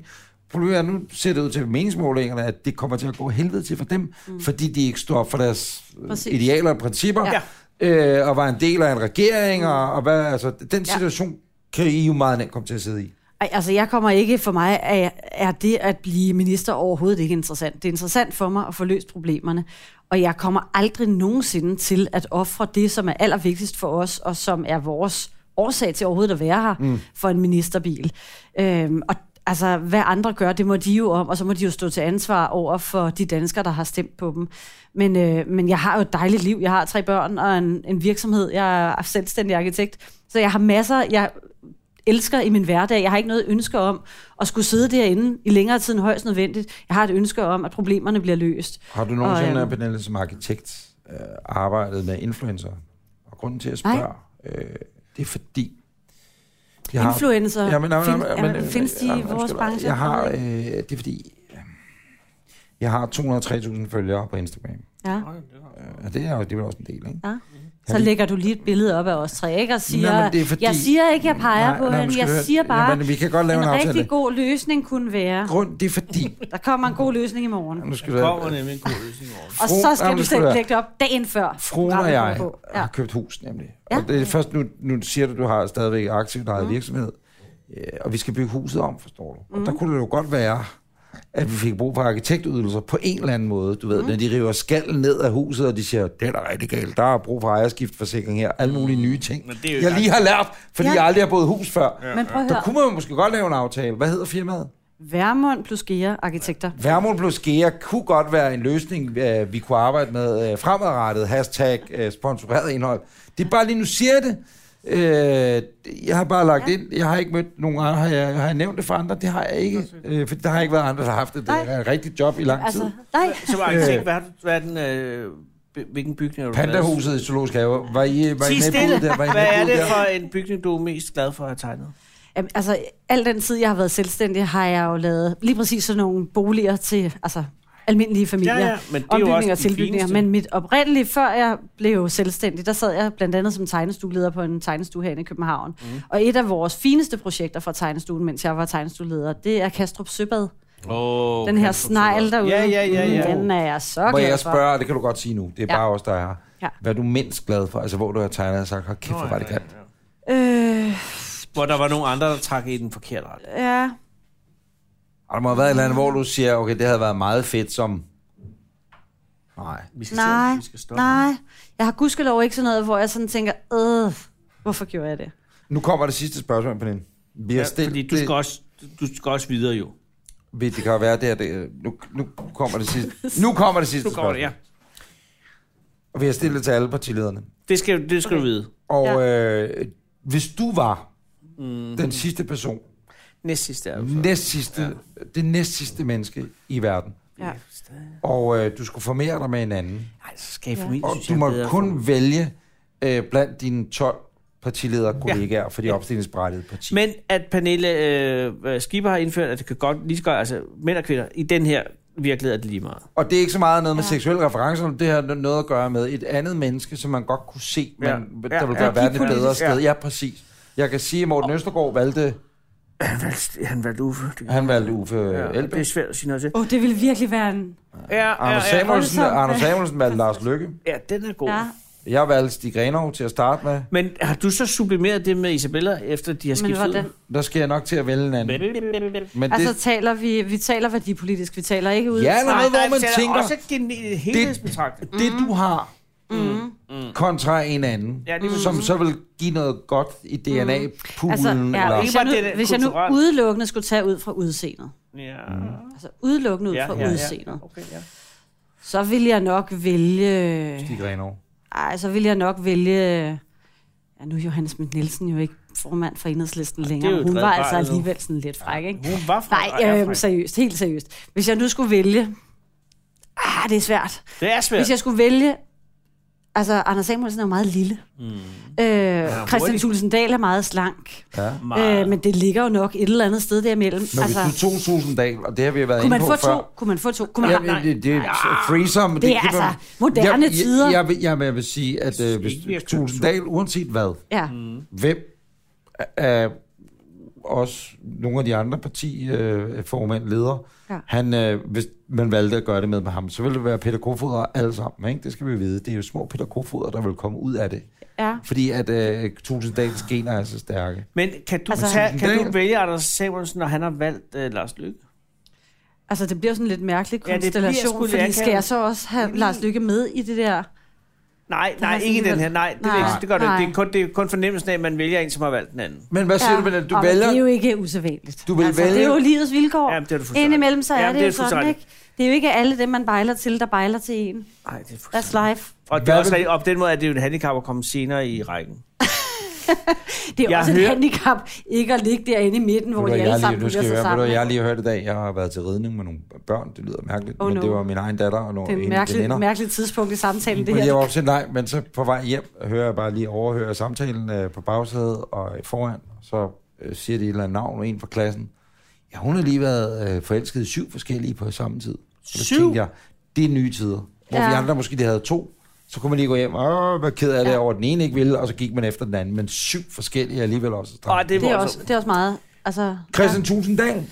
[SPEAKER 1] Problemet er, nu ser det ud til meningsmålingerne, at det kommer til at gå helvede til for dem, mm. fordi de ikke står op for deres Præcis.
[SPEAKER 3] Præcis.
[SPEAKER 1] idealer og principper,
[SPEAKER 2] Ja.
[SPEAKER 1] øh, og var en del af en regering, og, og hvad, altså, den situation kan I jo meget nemt komme til at sidde i.
[SPEAKER 3] Ej, altså jeg kommer ikke for mig, er, er det at blive minister overhovedet ikke interessant. Det er interessant for mig at få løst problemerne, og jeg kommer aldrig nogensinde til at ofre det, som er allervigtigst for os, og som er vores årsag til overhovedet at være her, mm. for en ministerbil. Øhm, og altså, hvad andre gør, det må de jo om, og så må de jo stå til ansvar over for de danskere, der har stemt på dem. Men, øh, men jeg har jo et dejligt liv. Jeg har tre børn og en, en virksomhed. Jeg er selvstændig arkitekt, så jeg har masser. Jeg elsker i min hverdag. Jeg har ikke noget ønske om at skulle sidde derinde i længere tid end højst nødvendigt. Jeg har et ønske om, at problemerne bliver løst.
[SPEAKER 1] Har du nogensinde,
[SPEAKER 3] Og,
[SPEAKER 1] og,
[SPEAKER 3] øhm,
[SPEAKER 1] Pernille, som arkitekt øh, arbejdet med influencer? Og grunden til, at jeg
[SPEAKER 3] Nej.
[SPEAKER 1] spørger, øh, det er fordi... Jeg
[SPEAKER 3] Influencer,
[SPEAKER 1] Ja, men, nej, nej,
[SPEAKER 3] find,
[SPEAKER 1] nej,
[SPEAKER 3] er-
[SPEAKER 1] men, øh,
[SPEAKER 3] findes de
[SPEAKER 1] nej,
[SPEAKER 3] i
[SPEAKER 1] undskyld
[SPEAKER 3] vores
[SPEAKER 1] mig.
[SPEAKER 3] branche?
[SPEAKER 1] Jeg har, øh, det er fordi, øh, jeg har 203.000 følgere på Instagram.
[SPEAKER 3] ja.
[SPEAKER 1] Øh, Og det er jo det er vel også en del, ikke?
[SPEAKER 3] Ja.
[SPEAKER 1] Jeg
[SPEAKER 3] Så
[SPEAKER 1] vil-
[SPEAKER 3] lægger du lige et billede op af os tre, ikke? Og siger,
[SPEAKER 1] men det er fordi-
[SPEAKER 3] jeg siger ikke, jeg peger
[SPEAKER 1] Nej,
[SPEAKER 3] på
[SPEAKER 1] nej, men
[SPEAKER 3] hende.
[SPEAKER 1] skal
[SPEAKER 3] Jeg
[SPEAKER 1] du høre-
[SPEAKER 3] siger bare,
[SPEAKER 1] Jamen, vi kan godt lave en,
[SPEAKER 3] en
[SPEAKER 1] aftale.
[SPEAKER 3] rigtig god løsning kunne være.
[SPEAKER 1] Grund, det er
[SPEAKER 3] (laughs)
[SPEAKER 1] fordi...
[SPEAKER 3] Der kommer en god løsning i morgen.
[SPEAKER 1] Nu skal du
[SPEAKER 2] Der kommer
[SPEAKER 1] høre,
[SPEAKER 2] nemlig en god løsning over. det.
[SPEAKER 3] Og
[SPEAKER 1] Fro-
[SPEAKER 3] så
[SPEAKER 1] Jamen,
[SPEAKER 3] skal du
[SPEAKER 1] det skulle
[SPEAKER 3] selv
[SPEAKER 1] være-
[SPEAKER 3] lægge det op dagen før.
[SPEAKER 1] Fruen og
[SPEAKER 3] programmet
[SPEAKER 1] jeg
[SPEAKER 3] kommer på.
[SPEAKER 1] har
[SPEAKER 3] Ja.
[SPEAKER 1] købt hus, nemlig.
[SPEAKER 3] Ja.
[SPEAKER 1] Og det er først nu, nu siger du, du har stadigvæk aktivt eget mm. virksomhed, øh, og vi skal bygge huset om, forstår du.
[SPEAKER 3] Mm.
[SPEAKER 1] Og der kunne det jo godt være, at vi fik brug for arkitektydelser på en eller anden måde. Du ved, mm. når de river skallen ned af huset, og de siger, det er da rigtig galt, der er brug for ejerskiftforsikring her, alle mulige nye ting,
[SPEAKER 2] Mm. Men det er jo
[SPEAKER 1] jeg
[SPEAKER 2] ikke-
[SPEAKER 1] lige har lært, fordi
[SPEAKER 3] Ja.
[SPEAKER 1] jeg aldrig har boet i hus før.
[SPEAKER 3] Men prøv at
[SPEAKER 1] Der
[SPEAKER 3] høre.
[SPEAKER 1] kunne man jo måske godt lave en aftale. Hvad hedder firmaet?
[SPEAKER 3] Værmund plus Gea Arkitekter.
[SPEAKER 1] Værmund plus Gea kunne godt være en løsning, øh, vi kunne arbejde med øh, fremadrettet. Hashtag øh, sponsoreret indhold. Det er bare lige nu siger jeg det. Øh, jeg har bare lagt ja. ind. Jeg har ikke mødt nogen andre. Har jeg, har jeg nævnt det for andre? Det har jeg ikke. Øh, for der har ikke været andre, der har haft det. Det
[SPEAKER 3] Nej.
[SPEAKER 1] er et rigtigt job i lang tid.
[SPEAKER 3] Altså, nej.
[SPEAKER 2] Som
[SPEAKER 1] Øh.
[SPEAKER 2] arkitekt, hvad, har du- hvad er den, øh, b- hvilken bygning har du lavet?
[SPEAKER 1] Pandahuset i Zoologisk Have. Var I, var I
[SPEAKER 2] Sig
[SPEAKER 1] med
[SPEAKER 2] stille.
[SPEAKER 1] på der? Var I
[SPEAKER 2] Hvad er
[SPEAKER 1] med på
[SPEAKER 2] det
[SPEAKER 1] der?
[SPEAKER 2] for en bygning, du er mest glad for at have tegnet?
[SPEAKER 3] Jamen, altså, al den tid, jeg har været selvstændig, har jeg jo lavet lige præcis sådan nogle boliger til altså, almindelige familier.
[SPEAKER 2] Ja, ja, men det er jo
[SPEAKER 3] Ombygninger
[SPEAKER 2] også de
[SPEAKER 3] og tilbygninger.
[SPEAKER 2] fineste.
[SPEAKER 3] Men mit oprindelige, før jeg blev selvstændig, der sad jeg blandt andet som tegnestueleder på en tegnestue herinde i København.
[SPEAKER 2] Mhm.
[SPEAKER 3] Mm. Og et af vores fineste projekter fra tegnestuen, mens jeg var tegnestueleder, det er Kastrup Søbad.
[SPEAKER 2] Oh,
[SPEAKER 3] Den her snegl derude. Mm.
[SPEAKER 2] Ja, ja, ja, ja.
[SPEAKER 3] Den er jeg så
[SPEAKER 1] Må
[SPEAKER 3] glad
[SPEAKER 1] jeg
[SPEAKER 3] for.
[SPEAKER 1] spørge, det kan du godt sige nu. Det er
[SPEAKER 3] Ja.
[SPEAKER 1] bare os, der er her.
[SPEAKER 3] Ja.
[SPEAKER 1] Hvad er du mindst glad for? Altså, hvor du har tegnet og sagt, "Hold kæft, hvor var det grimt.
[SPEAKER 3] Øh,
[SPEAKER 2] Hvor der var nogle andre, der trak i den forkerte retning.
[SPEAKER 3] ja.
[SPEAKER 1] Og der må have været et eller andet, hvor du siger, okay, det havde været meget fedt som... Nej.
[SPEAKER 2] Vi skal
[SPEAKER 3] Nej,
[SPEAKER 2] se, om vi skal stoppe.
[SPEAKER 3] nej. Jeg har gudskelov ikke sådan noget, hvor jeg sådan tænker, øh, hvorfor gjorde jeg det?
[SPEAKER 1] Nu kommer det sidste spørgsmål, Pernille. Vi har
[SPEAKER 2] Ja,
[SPEAKER 1] stillet,
[SPEAKER 2] fordi du skal, også, du skal også videre jo.
[SPEAKER 1] det, det kan jo være, det er det. Nu, nu kommer det sidste, nu kommer det sidste
[SPEAKER 2] Nu går det, ja.
[SPEAKER 1] spørgsmål. Og vi har stillet det til alle partilederne.
[SPEAKER 2] Det skal, det skal okay. du vide.
[SPEAKER 1] Og øh, hvis du var mm. den sidste person,
[SPEAKER 2] Næst sidste er jo så.
[SPEAKER 1] næst sidste, ja. det næst sidste menneske i verden,
[SPEAKER 3] Ja.
[SPEAKER 1] og øh, du skulle formere dig med en anden,
[SPEAKER 2] Nej, så skal I
[SPEAKER 3] Ja.
[SPEAKER 2] familie,
[SPEAKER 1] og
[SPEAKER 2] synes
[SPEAKER 1] du
[SPEAKER 2] jeg, er
[SPEAKER 1] må
[SPEAKER 2] bedre
[SPEAKER 1] kun vælge øh, blandt dine 12 partilederkollegaer ja. for de opstillingsberettigede partier.
[SPEAKER 2] Men at Pernille øh, Skipper har indført, at det kan godt lige så godt, altså mænd og kvinder, i den her virkelighed er det lige meget.
[SPEAKER 1] Og det er ikke så meget noget med
[SPEAKER 3] Ja.
[SPEAKER 1] ja. seksuelle referencer, det har noget at gøre med et andet menneske, som man godt kunne se, man,
[SPEAKER 2] Ja.
[SPEAKER 1] ja.
[SPEAKER 2] Ja,
[SPEAKER 1] der vil
[SPEAKER 2] ja,
[SPEAKER 1] gøre verden et
[SPEAKER 2] politisk,
[SPEAKER 1] bedre sted.
[SPEAKER 2] ja.
[SPEAKER 1] Ja. ja, præcis. Jeg kan sige, at Morten Østergaard valgte,
[SPEAKER 2] Han valgte, han valgte Uffe. Det,
[SPEAKER 1] han valgte Uffe ja,
[SPEAKER 2] ja, det er
[SPEAKER 1] Elbæk.
[SPEAKER 2] svært at sige noget til.
[SPEAKER 3] Åh, oh, det ville virkelig være en...
[SPEAKER 2] Ja, ja,
[SPEAKER 1] Anders Samuelsen,
[SPEAKER 3] voldsomt.
[SPEAKER 1] Anders Samuelsen
[SPEAKER 2] (laughs)
[SPEAKER 1] valgte Lars Lykke.
[SPEAKER 2] ja, den er god.
[SPEAKER 3] Ja.
[SPEAKER 2] Ja.
[SPEAKER 1] Jeg valgte Stig Grenov til at starte med.
[SPEAKER 2] Men har du så sublimeret det med Isabella, efter de har
[SPEAKER 3] Men
[SPEAKER 2] skiftet
[SPEAKER 3] hvordan?
[SPEAKER 2] ud?
[SPEAKER 1] Der skal jeg nok til at vælge en anden. Men det,
[SPEAKER 3] Altså, taler vi, vi taler værdipolitisk, vi taler ikke ud
[SPEAKER 1] Ja, eller hvad, hvor man
[SPEAKER 2] det er
[SPEAKER 1] tænker,
[SPEAKER 2] Også en helhedsbetragtning.
[SPEAKER 1] det du har, mm. kontra en anden,
[SPEAKER 2] Ja, det er
[SPEAKER 1] som så vil give noget godt i DNA-poolen.
[SPEAKER 3] Altså, ja,
[SPEAKER 1] eller,
[SPEAKER 3] hvis, jeg
[SPEAKER 2] Ikke bare det
[SPEAKER 3] nu,
[SPEAKER 2] der
[SPEAKER 3] hvis jeg nu
[SPEAKER 2] kulturelle.
[SPEAKER 3] udelukkende skulle tage ud fra udseendet,
[SPEAKER 2] Ja.
[SPEAKER 3] altså udelukkende ud
[SPEAKER 2] Ja,
[SPEAKER 3] fra
[SPEAKER 2] ja, ja.
[SPEAKER 3] udseendet,
[SPEAKER 2] Okay, ja.
[SPEAKER 3] så ville jeg nok vælge...
[SPEAKER 1] Stig Grenov.
[SPEAKER 3] Ej, så ville jeg nok vælge... Ja, nu er Johannes Schmidt Nielsen jo ikke formand for enhedslisten
[SPEAKER 2] jo
[SPEAKER 3] længere.
[SPEAKER 2] et
[SPEAKER 3] Hun
[SPEAKER 2] glad
[SPEAKER 3] var
[SPEAKER 2] barn
[SPEAKER 3] altså
[SPEAKER 2] nu.
[SPEAKER 3] alligevel sådan lidt fræk, ikke?
[SPEAKER 2] Hun var fra og er
[SPEAKER 3] Nej,
[SPEAKER 2] fra-
[SPEAKER 3] øh, seriøst, helt seriøst. Hvis jeg nu skulle vælge... Ah, det er svært.
[SPEAKER 2] Det er svært.
[SPEAKER 3] Hvis jeg skulle vælge... Altså, Anders Samuelsen er jo meget lille. Mm. Øh, Christian
[SPEAKER 2] hurtig.
[SPEAKER 3] Thulesen Dahl er meget slank.
[SPEAKER 1] Ja.
[SPEAKER 2] Meget.
[SPEAKER 3] Øh, men det ligger jo nok et eller andet sted derimellem.
[SPEAKER 1] Men altså, hvis du tog Susendal, og det har vi været
[SPEAKER 3] kunne
[SPEAKER 1] inde
[SPEAKER 3] man
[SPEAKER 1] på
[SPEAKER 3] få
[SPEAKER 1] før.
[SPEAKER 3] to? Kunne man få to? Kunne man,
[SPEAKER 1] Ja,
[SPEAKER 3] nej, nej.
[SPEAKER 1] det, det er threesome.
[SPEAKER 3] Det er
[SPEAKER 1] kan man-
[SPEAKER 3] altså moderne
[SPEAKER 1] jeg,
[SPEAKER 3] tider.
[SPEAKER 1] Jeg, jeg, vil- jeg, jeg vil sige, at øh, hvis
[SPEAKER 2] ikke, vi har købt
[SPEAKER 1] Tulsendal, uanset hvad,
[SPEAKER 3] Ja.
[SPEAKER 1] hvem af os, nogle af de andre partiformænd, ledere,
[SPEAKER 3] Ja.
[SPEAKER 1] ja. han, øh, hvis man valgte at gøre det med, med ham, så ville det være Peter Kofoder alle sammen. Ikke? Det skal vi vide. Det er jo små Peter Kofoder, der vil komme ud af det.
[SPEAKER 3] ja.
[SPEAKER 1] Fordi at øh, Tulsendals gener er så stærke.
[SPEAKER 2] Men kan du,
[SPEAKER 3] Altså,
[SPEAKER 2] altså, tage, kan du
[SPEAKER 1] det-
[SPEAKER 2] vælge Anders Samuelsen, når han har valgt uh, Lars Lykke?
[SPEAKER 3] Altså, det bliver sådan en lidt mærkelig
[SPEAKER 2] Ja, det bliver
[SPEAKER 3] konstellation,
[SPEAKER 2] sgu
[SPEAKER 3] ja, fordi
[SPEAKER 2] lidt
[SPEAKER 3] skal
[SPEAKER 2] akavet.
[SPEAKER 3] jeg så også have
[SPEAKER 2] Mm.
[SPEAKER 3] Lars Lykke med i det der?
[SPEAKER 2] Nej,
[SPEAKER 3] har
[SPEAKER 2] nej,
[SPEAKER 3] sådan
[SPEAKER 2] ikke i den
[SPEAKER 3] vel-
[SPEAKER 2] her. Nej, det,
[SPEAKER 3] Nej.
[SPEAKER 2] nej, ikke, det gør det
[SPEAKER 3] Nej.
[SPEAKER 2] ikke. Det er, kun, det er kun fornemmelsen af, at man vælger en, som har valgt den anden.
[SPEAKER 1] Men hvad siger
[SPEAKER 3] Ja.
[SPEAKER 1] ja. du, Pernille? du
[SPEAKER 3] Og
[SPEAKER 1] vælger?
[SPEAKER 3] Det er jo ikke usædvanligt.
[SPEAKER 1] Du vil
[SPEAKER 3] altså,
[SPEAKER 1] vælge-
[SPEAKER 3] Det er jo livets vilkår.
[SPEAKER 2] Jamen, det er du fuldstændig.
[SPEAKER 3] Indimellem så er
[SPEAKER 2] Jamen,
[SPEAKER 3] det,
[SPEAKER 2] det er
[SPEAKER 3] jo
[SPEAKER 2] du
[SPEAKER 3] sådan,
[SPEAKER 2] fuldstændig.
[SPEAKER 3] ikke? Det er jo ikke alle dem, man bejler til, der bejler til en.
[SPEAKER 2] Nej, det er fuldstændig.
[SPEAKER 3] That's life.
[SPEAKER 2] Og det er
[SPEAKER 1] Hvad
[SPEAKER 2] også
[SPEAKER 1] vil-
[SPEAKER 2] rigtigt. Og på den måde er det jo et handicap at komme senere i rækken.
[SPEAKER 3] Det er jo
[SPEAKER 2] Jeg
[SPEAKER 3] også
[SPEAKER 2] hører-
[SPEAKER 3] et handicap, ikke at ligge derinde i midten, hvor
[SPEAKER 1] Ved du hvad,
[SPEAKER 3] de
[SPEAKER 1] jeg
[SPEAKER 3] alle
[SPEAKER 1] har lige,
[SPEAKER 3] sammen
[SPEAKER 1] nu
[SPEAKER 3] putter
[SPEAKER 1] skal jeg,
[SPEAKER 3] sig
[SPEAKER 1] høre, ved du,
[SPEAKER 3] sammen.
[SPEAKER 1] hvad, jeg har lige hørt i dag, jeg har været til ridning med nogle børn, det lyder mærkeligt,
[SPEAKER 3] Oh
[SPEAKER 1] oh, men
[SPEAKER 3] no.
[SPEAKER 1] det var min egen datter og nogle
[SPEAKER 3] Det er et
[SPEAKER 1] en
[SPEAKER 3] mærkeligt,
[SPEAKER 1] veninder.
[SPEAKER 3] mærkeligt tidspunkt i samtalen, det
[SPEAKER 1] Men jeg
[SPEAKER 3] her.
[SPEAKER 1] var også nej, men så på vej hjem hører jeg bare lige overhører samtalen øh, på bagsædet og foran, så øh, siger de et eller andet navn, og en fra klassen. Ja, hun har lige været øh, forelsket i syv forskellige på samme tid. Så
[SPEAKER 2] Syv?
[SPEAKER 1] tænkte jeg, det er nye tider. Hvor
[SPEAKER 3] Ja.
[SPEAKER 1] ja. vi andre måske lige havde to, så kunne man lige gå hjem, åh, hvad ked af det ja. over, at den ene ikke ville, og så gik man efter den anden, men syv forskellige er alligevel også stramt.
[SPEAKER 2] Og det er,
[SPEAKER 3] Det er,
[SPEAKER 2] voldsomt.
[SPEAKER 3] også, det er også meget... Altså,
[SPEAKER 1] Christian Tusinddal.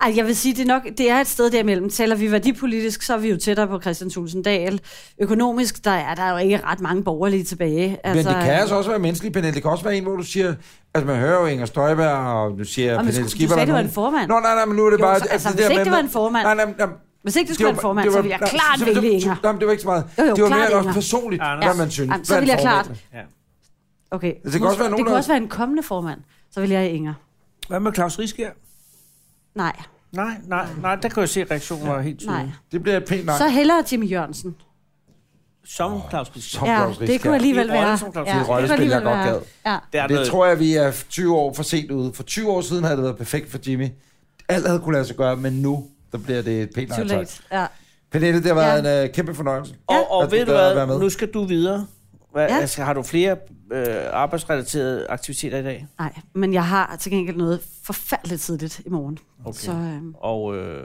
[SPEAKER 3] Ej, jeg vil sige, det er, nok, det er et sted derimellem. Taler vi værdipolitisk, så er vi jo tættere på Christian Tulsendal. Økonomisk, der er der er jo ikke ret mange borgerlige tilbage.
[SPEAKER 1] Altså, men det
[SPEAKER 3] øh,
[SPEAKER 1] kan altså også være menneskeligt, Pernille. Det kan også være en, hvor du siger... Altså, man hører jo Inger Støjberg, og nu siger jeg
[SPEAKER 3] men
[SPEAKER 1] Pernille
[SPEAKER 3] sku- du
[SPEAKER 1] Skipper...
[SPEAKER 3] sagde,
[SPEAKER 1] der
[SPEAKER 3] det var
[SPEAKER 1] nogen-
[SPEAKER 3] en formand.
[SPEAKER 1] Nå, nej, nej, men nu er det
[SPEAKER 3] Jo,
[SPEAKER 1] bare...
[SPEAKER 3] så- altså, hvis ikke det var en formand-
[SPEAKER 1] Nej, nej, nej, nej,
[SPEAKER 3] Hvis ikke det skulle
[SPEAKER 1] var-
[SPEAKER 3] være en formand, så ville jeg klart
[SPEAKER 1] så- så-
[SPEAKER 3] vælge Inger.
[SPEAKER 1] så- Nej, men det var ikke så meget.
[SPEAKER 3] Jo, jo,
[SPEAKER 1] det var
[SPEAKER 3] klart
[SPEAKER 1] mere også
[SPEAKER 3] Inger.
[SPEAKER 1] personligt,
[SPEAKER 2] Anders.
[SPEAKER 1] hvad man synes.
[SPEAKER 3] Jamen, så
[SPEAKER 1] hvad
[SPEAKER 3] ville
[SPEAKER 1] en
[SPEAKER 3] jeg klart...
[SPEAKER 1] formand
[SPEAKER 2] Ja.
[SPEAKER 3] Okay.
[SPEAKER 1] kan også være
[SPEAKER 3] Måske-
[SPEAKER 1] nogen,
[SPEAKER 3] det kunne
[SPEAKER 1] der-
[SPEAKER 3] også være en kommende formand. Så vil jeg Inger.
[SPEAKER 2] Hvad med Claus Rieskjær?
[SPEAKER 3] Nej,
[SPEAKER 2] Nej, nej, nej, der kan jeg se, at reaktionen var helt
[SPEAKER 3] nej.
[SPEAKER 2] tydelig.
[SPEAKER 1] er. Det bliver et pænt nej.
[SPEAKER 3] Så hellere Jimmy Jørgensen.
[SPEAKER 2] Som Claus Rieskjær.
[SPEAKER 1] Som Claus
[SPEAKER 3] det
[SPEAKER 1] Riskær.
[SPEAKER 3] kunne alligevel
[SPEAKER 2] Det er en
[SPEAKER 3] være.
[SPEAKER 2] rolle, som Claus
[SPEAKER 3] det kunne
[SPEAKER 1] Riskær. Det er en
[SPEAKER 3] alligevel
[SPEAKER 1] rolle, jeg
[SPEAKER 3] være.
[SPEAKER 1] godt
[SPEAKER 3] Ja.
[SPEAKER 2] Det er
[SPEAKER 1] Det
[SPEAKER 2] noget.
[SPEAKER 1] tror jeg, vi er 20 år for sent ude. For 20 år siden havde det været perfekt for Jimmy. Alt havde kunne lade sig gøre, men nu der bliver det et pænt
[SPEAKER 3] Too
[SPEAKER 1] nej. tak.
[SPEAKER 3] late. Ja.
[SPEAKER 1] Pernille, det har været
[SPEAKER 3] Ja.
[SPEAKER 1] en øh, kæmpe fornøjelse.
[SPEAKER 2] Og, og
[SPEAKER 1] At
[SPEAKER 2] ved du
[SPEAKER 1] gad at være
[SPEAKER 2] hvad,
[SPEAKER 1] med.
[SPEAKER 2] nu skal du videre. Hvad,
[SPEAKER 3] Ja.
[SPEAKER 2] ja. altså, har du flere øh, arbejdsrelaterede aktiviteter i dag?
[SPEAKER 3] Nej, men jeg har til gengæld noget forfærdeligt tidligt i morgen. Okay. Så øh,
[SPEAKER 2] Og øh,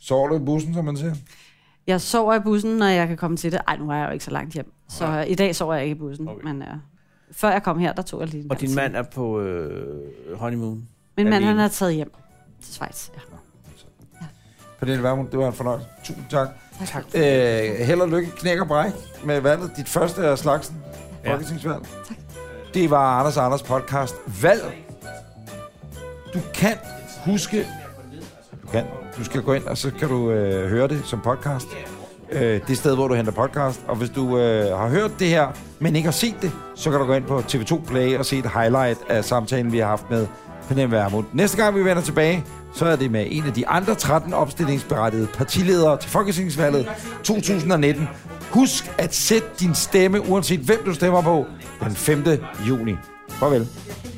[SPEAKER 1] Sover du i bussen, som man siger?
[SPEAKER 3] jeg sover i bussen, når jeg kan komme til det. Ej, nu er jeg jo ikke så langt hjem. Så øh, i dag sover jeg ikke i bussen. Okay.
[SPEAKER 2] Okay.
[SPEAKER 3] Men øh, før jeg kom her, der tog jeg lige en
[SPEAKER 2] Og din
[SPEAKER 3] time.
[SPEAKER 2] mand er på øh, honeymoon.
[SPEAKER 3] Min mand, han
[SPEAKER 2] alene.
[SPEAKER 3] er taget hjem til Schweiz. Ja.
[SPEAKER 1] Pernille Vermund, det var en fornøjelse. Tusind tak.
[SPEAKER 3] Tak.
[SPEAKER 1] Øh, held og lykke, knæk og bræk med valget. Dit første af slagsen.
[SPEAKER 2] Ja.
[SPEAKER 1] Folketingsvalg.
[SPEAKER 3] Tak.
[SPEAKER 1] Det var Anders og Anders podcast. Valg. Du kan huske... Du kan. Du skal gå ind, og så kan du øh, høre det som podcast. Øh, det sted, hvor du henter podcast. Og hvis du øh, har hørt det her, men ikke har set det, så kan du gå ind på TV2 Play og se et highlight af samtalen, vi har haft med Pernille Vermund. Næste gang, vi vender tilbage, så er det med en af de andre 13 opstillingsberettigede partiledere til Folketingsvalget 2019. Husk at sætte din stemme, uanset hvem du stemmer på, den 5. juni. Farvel.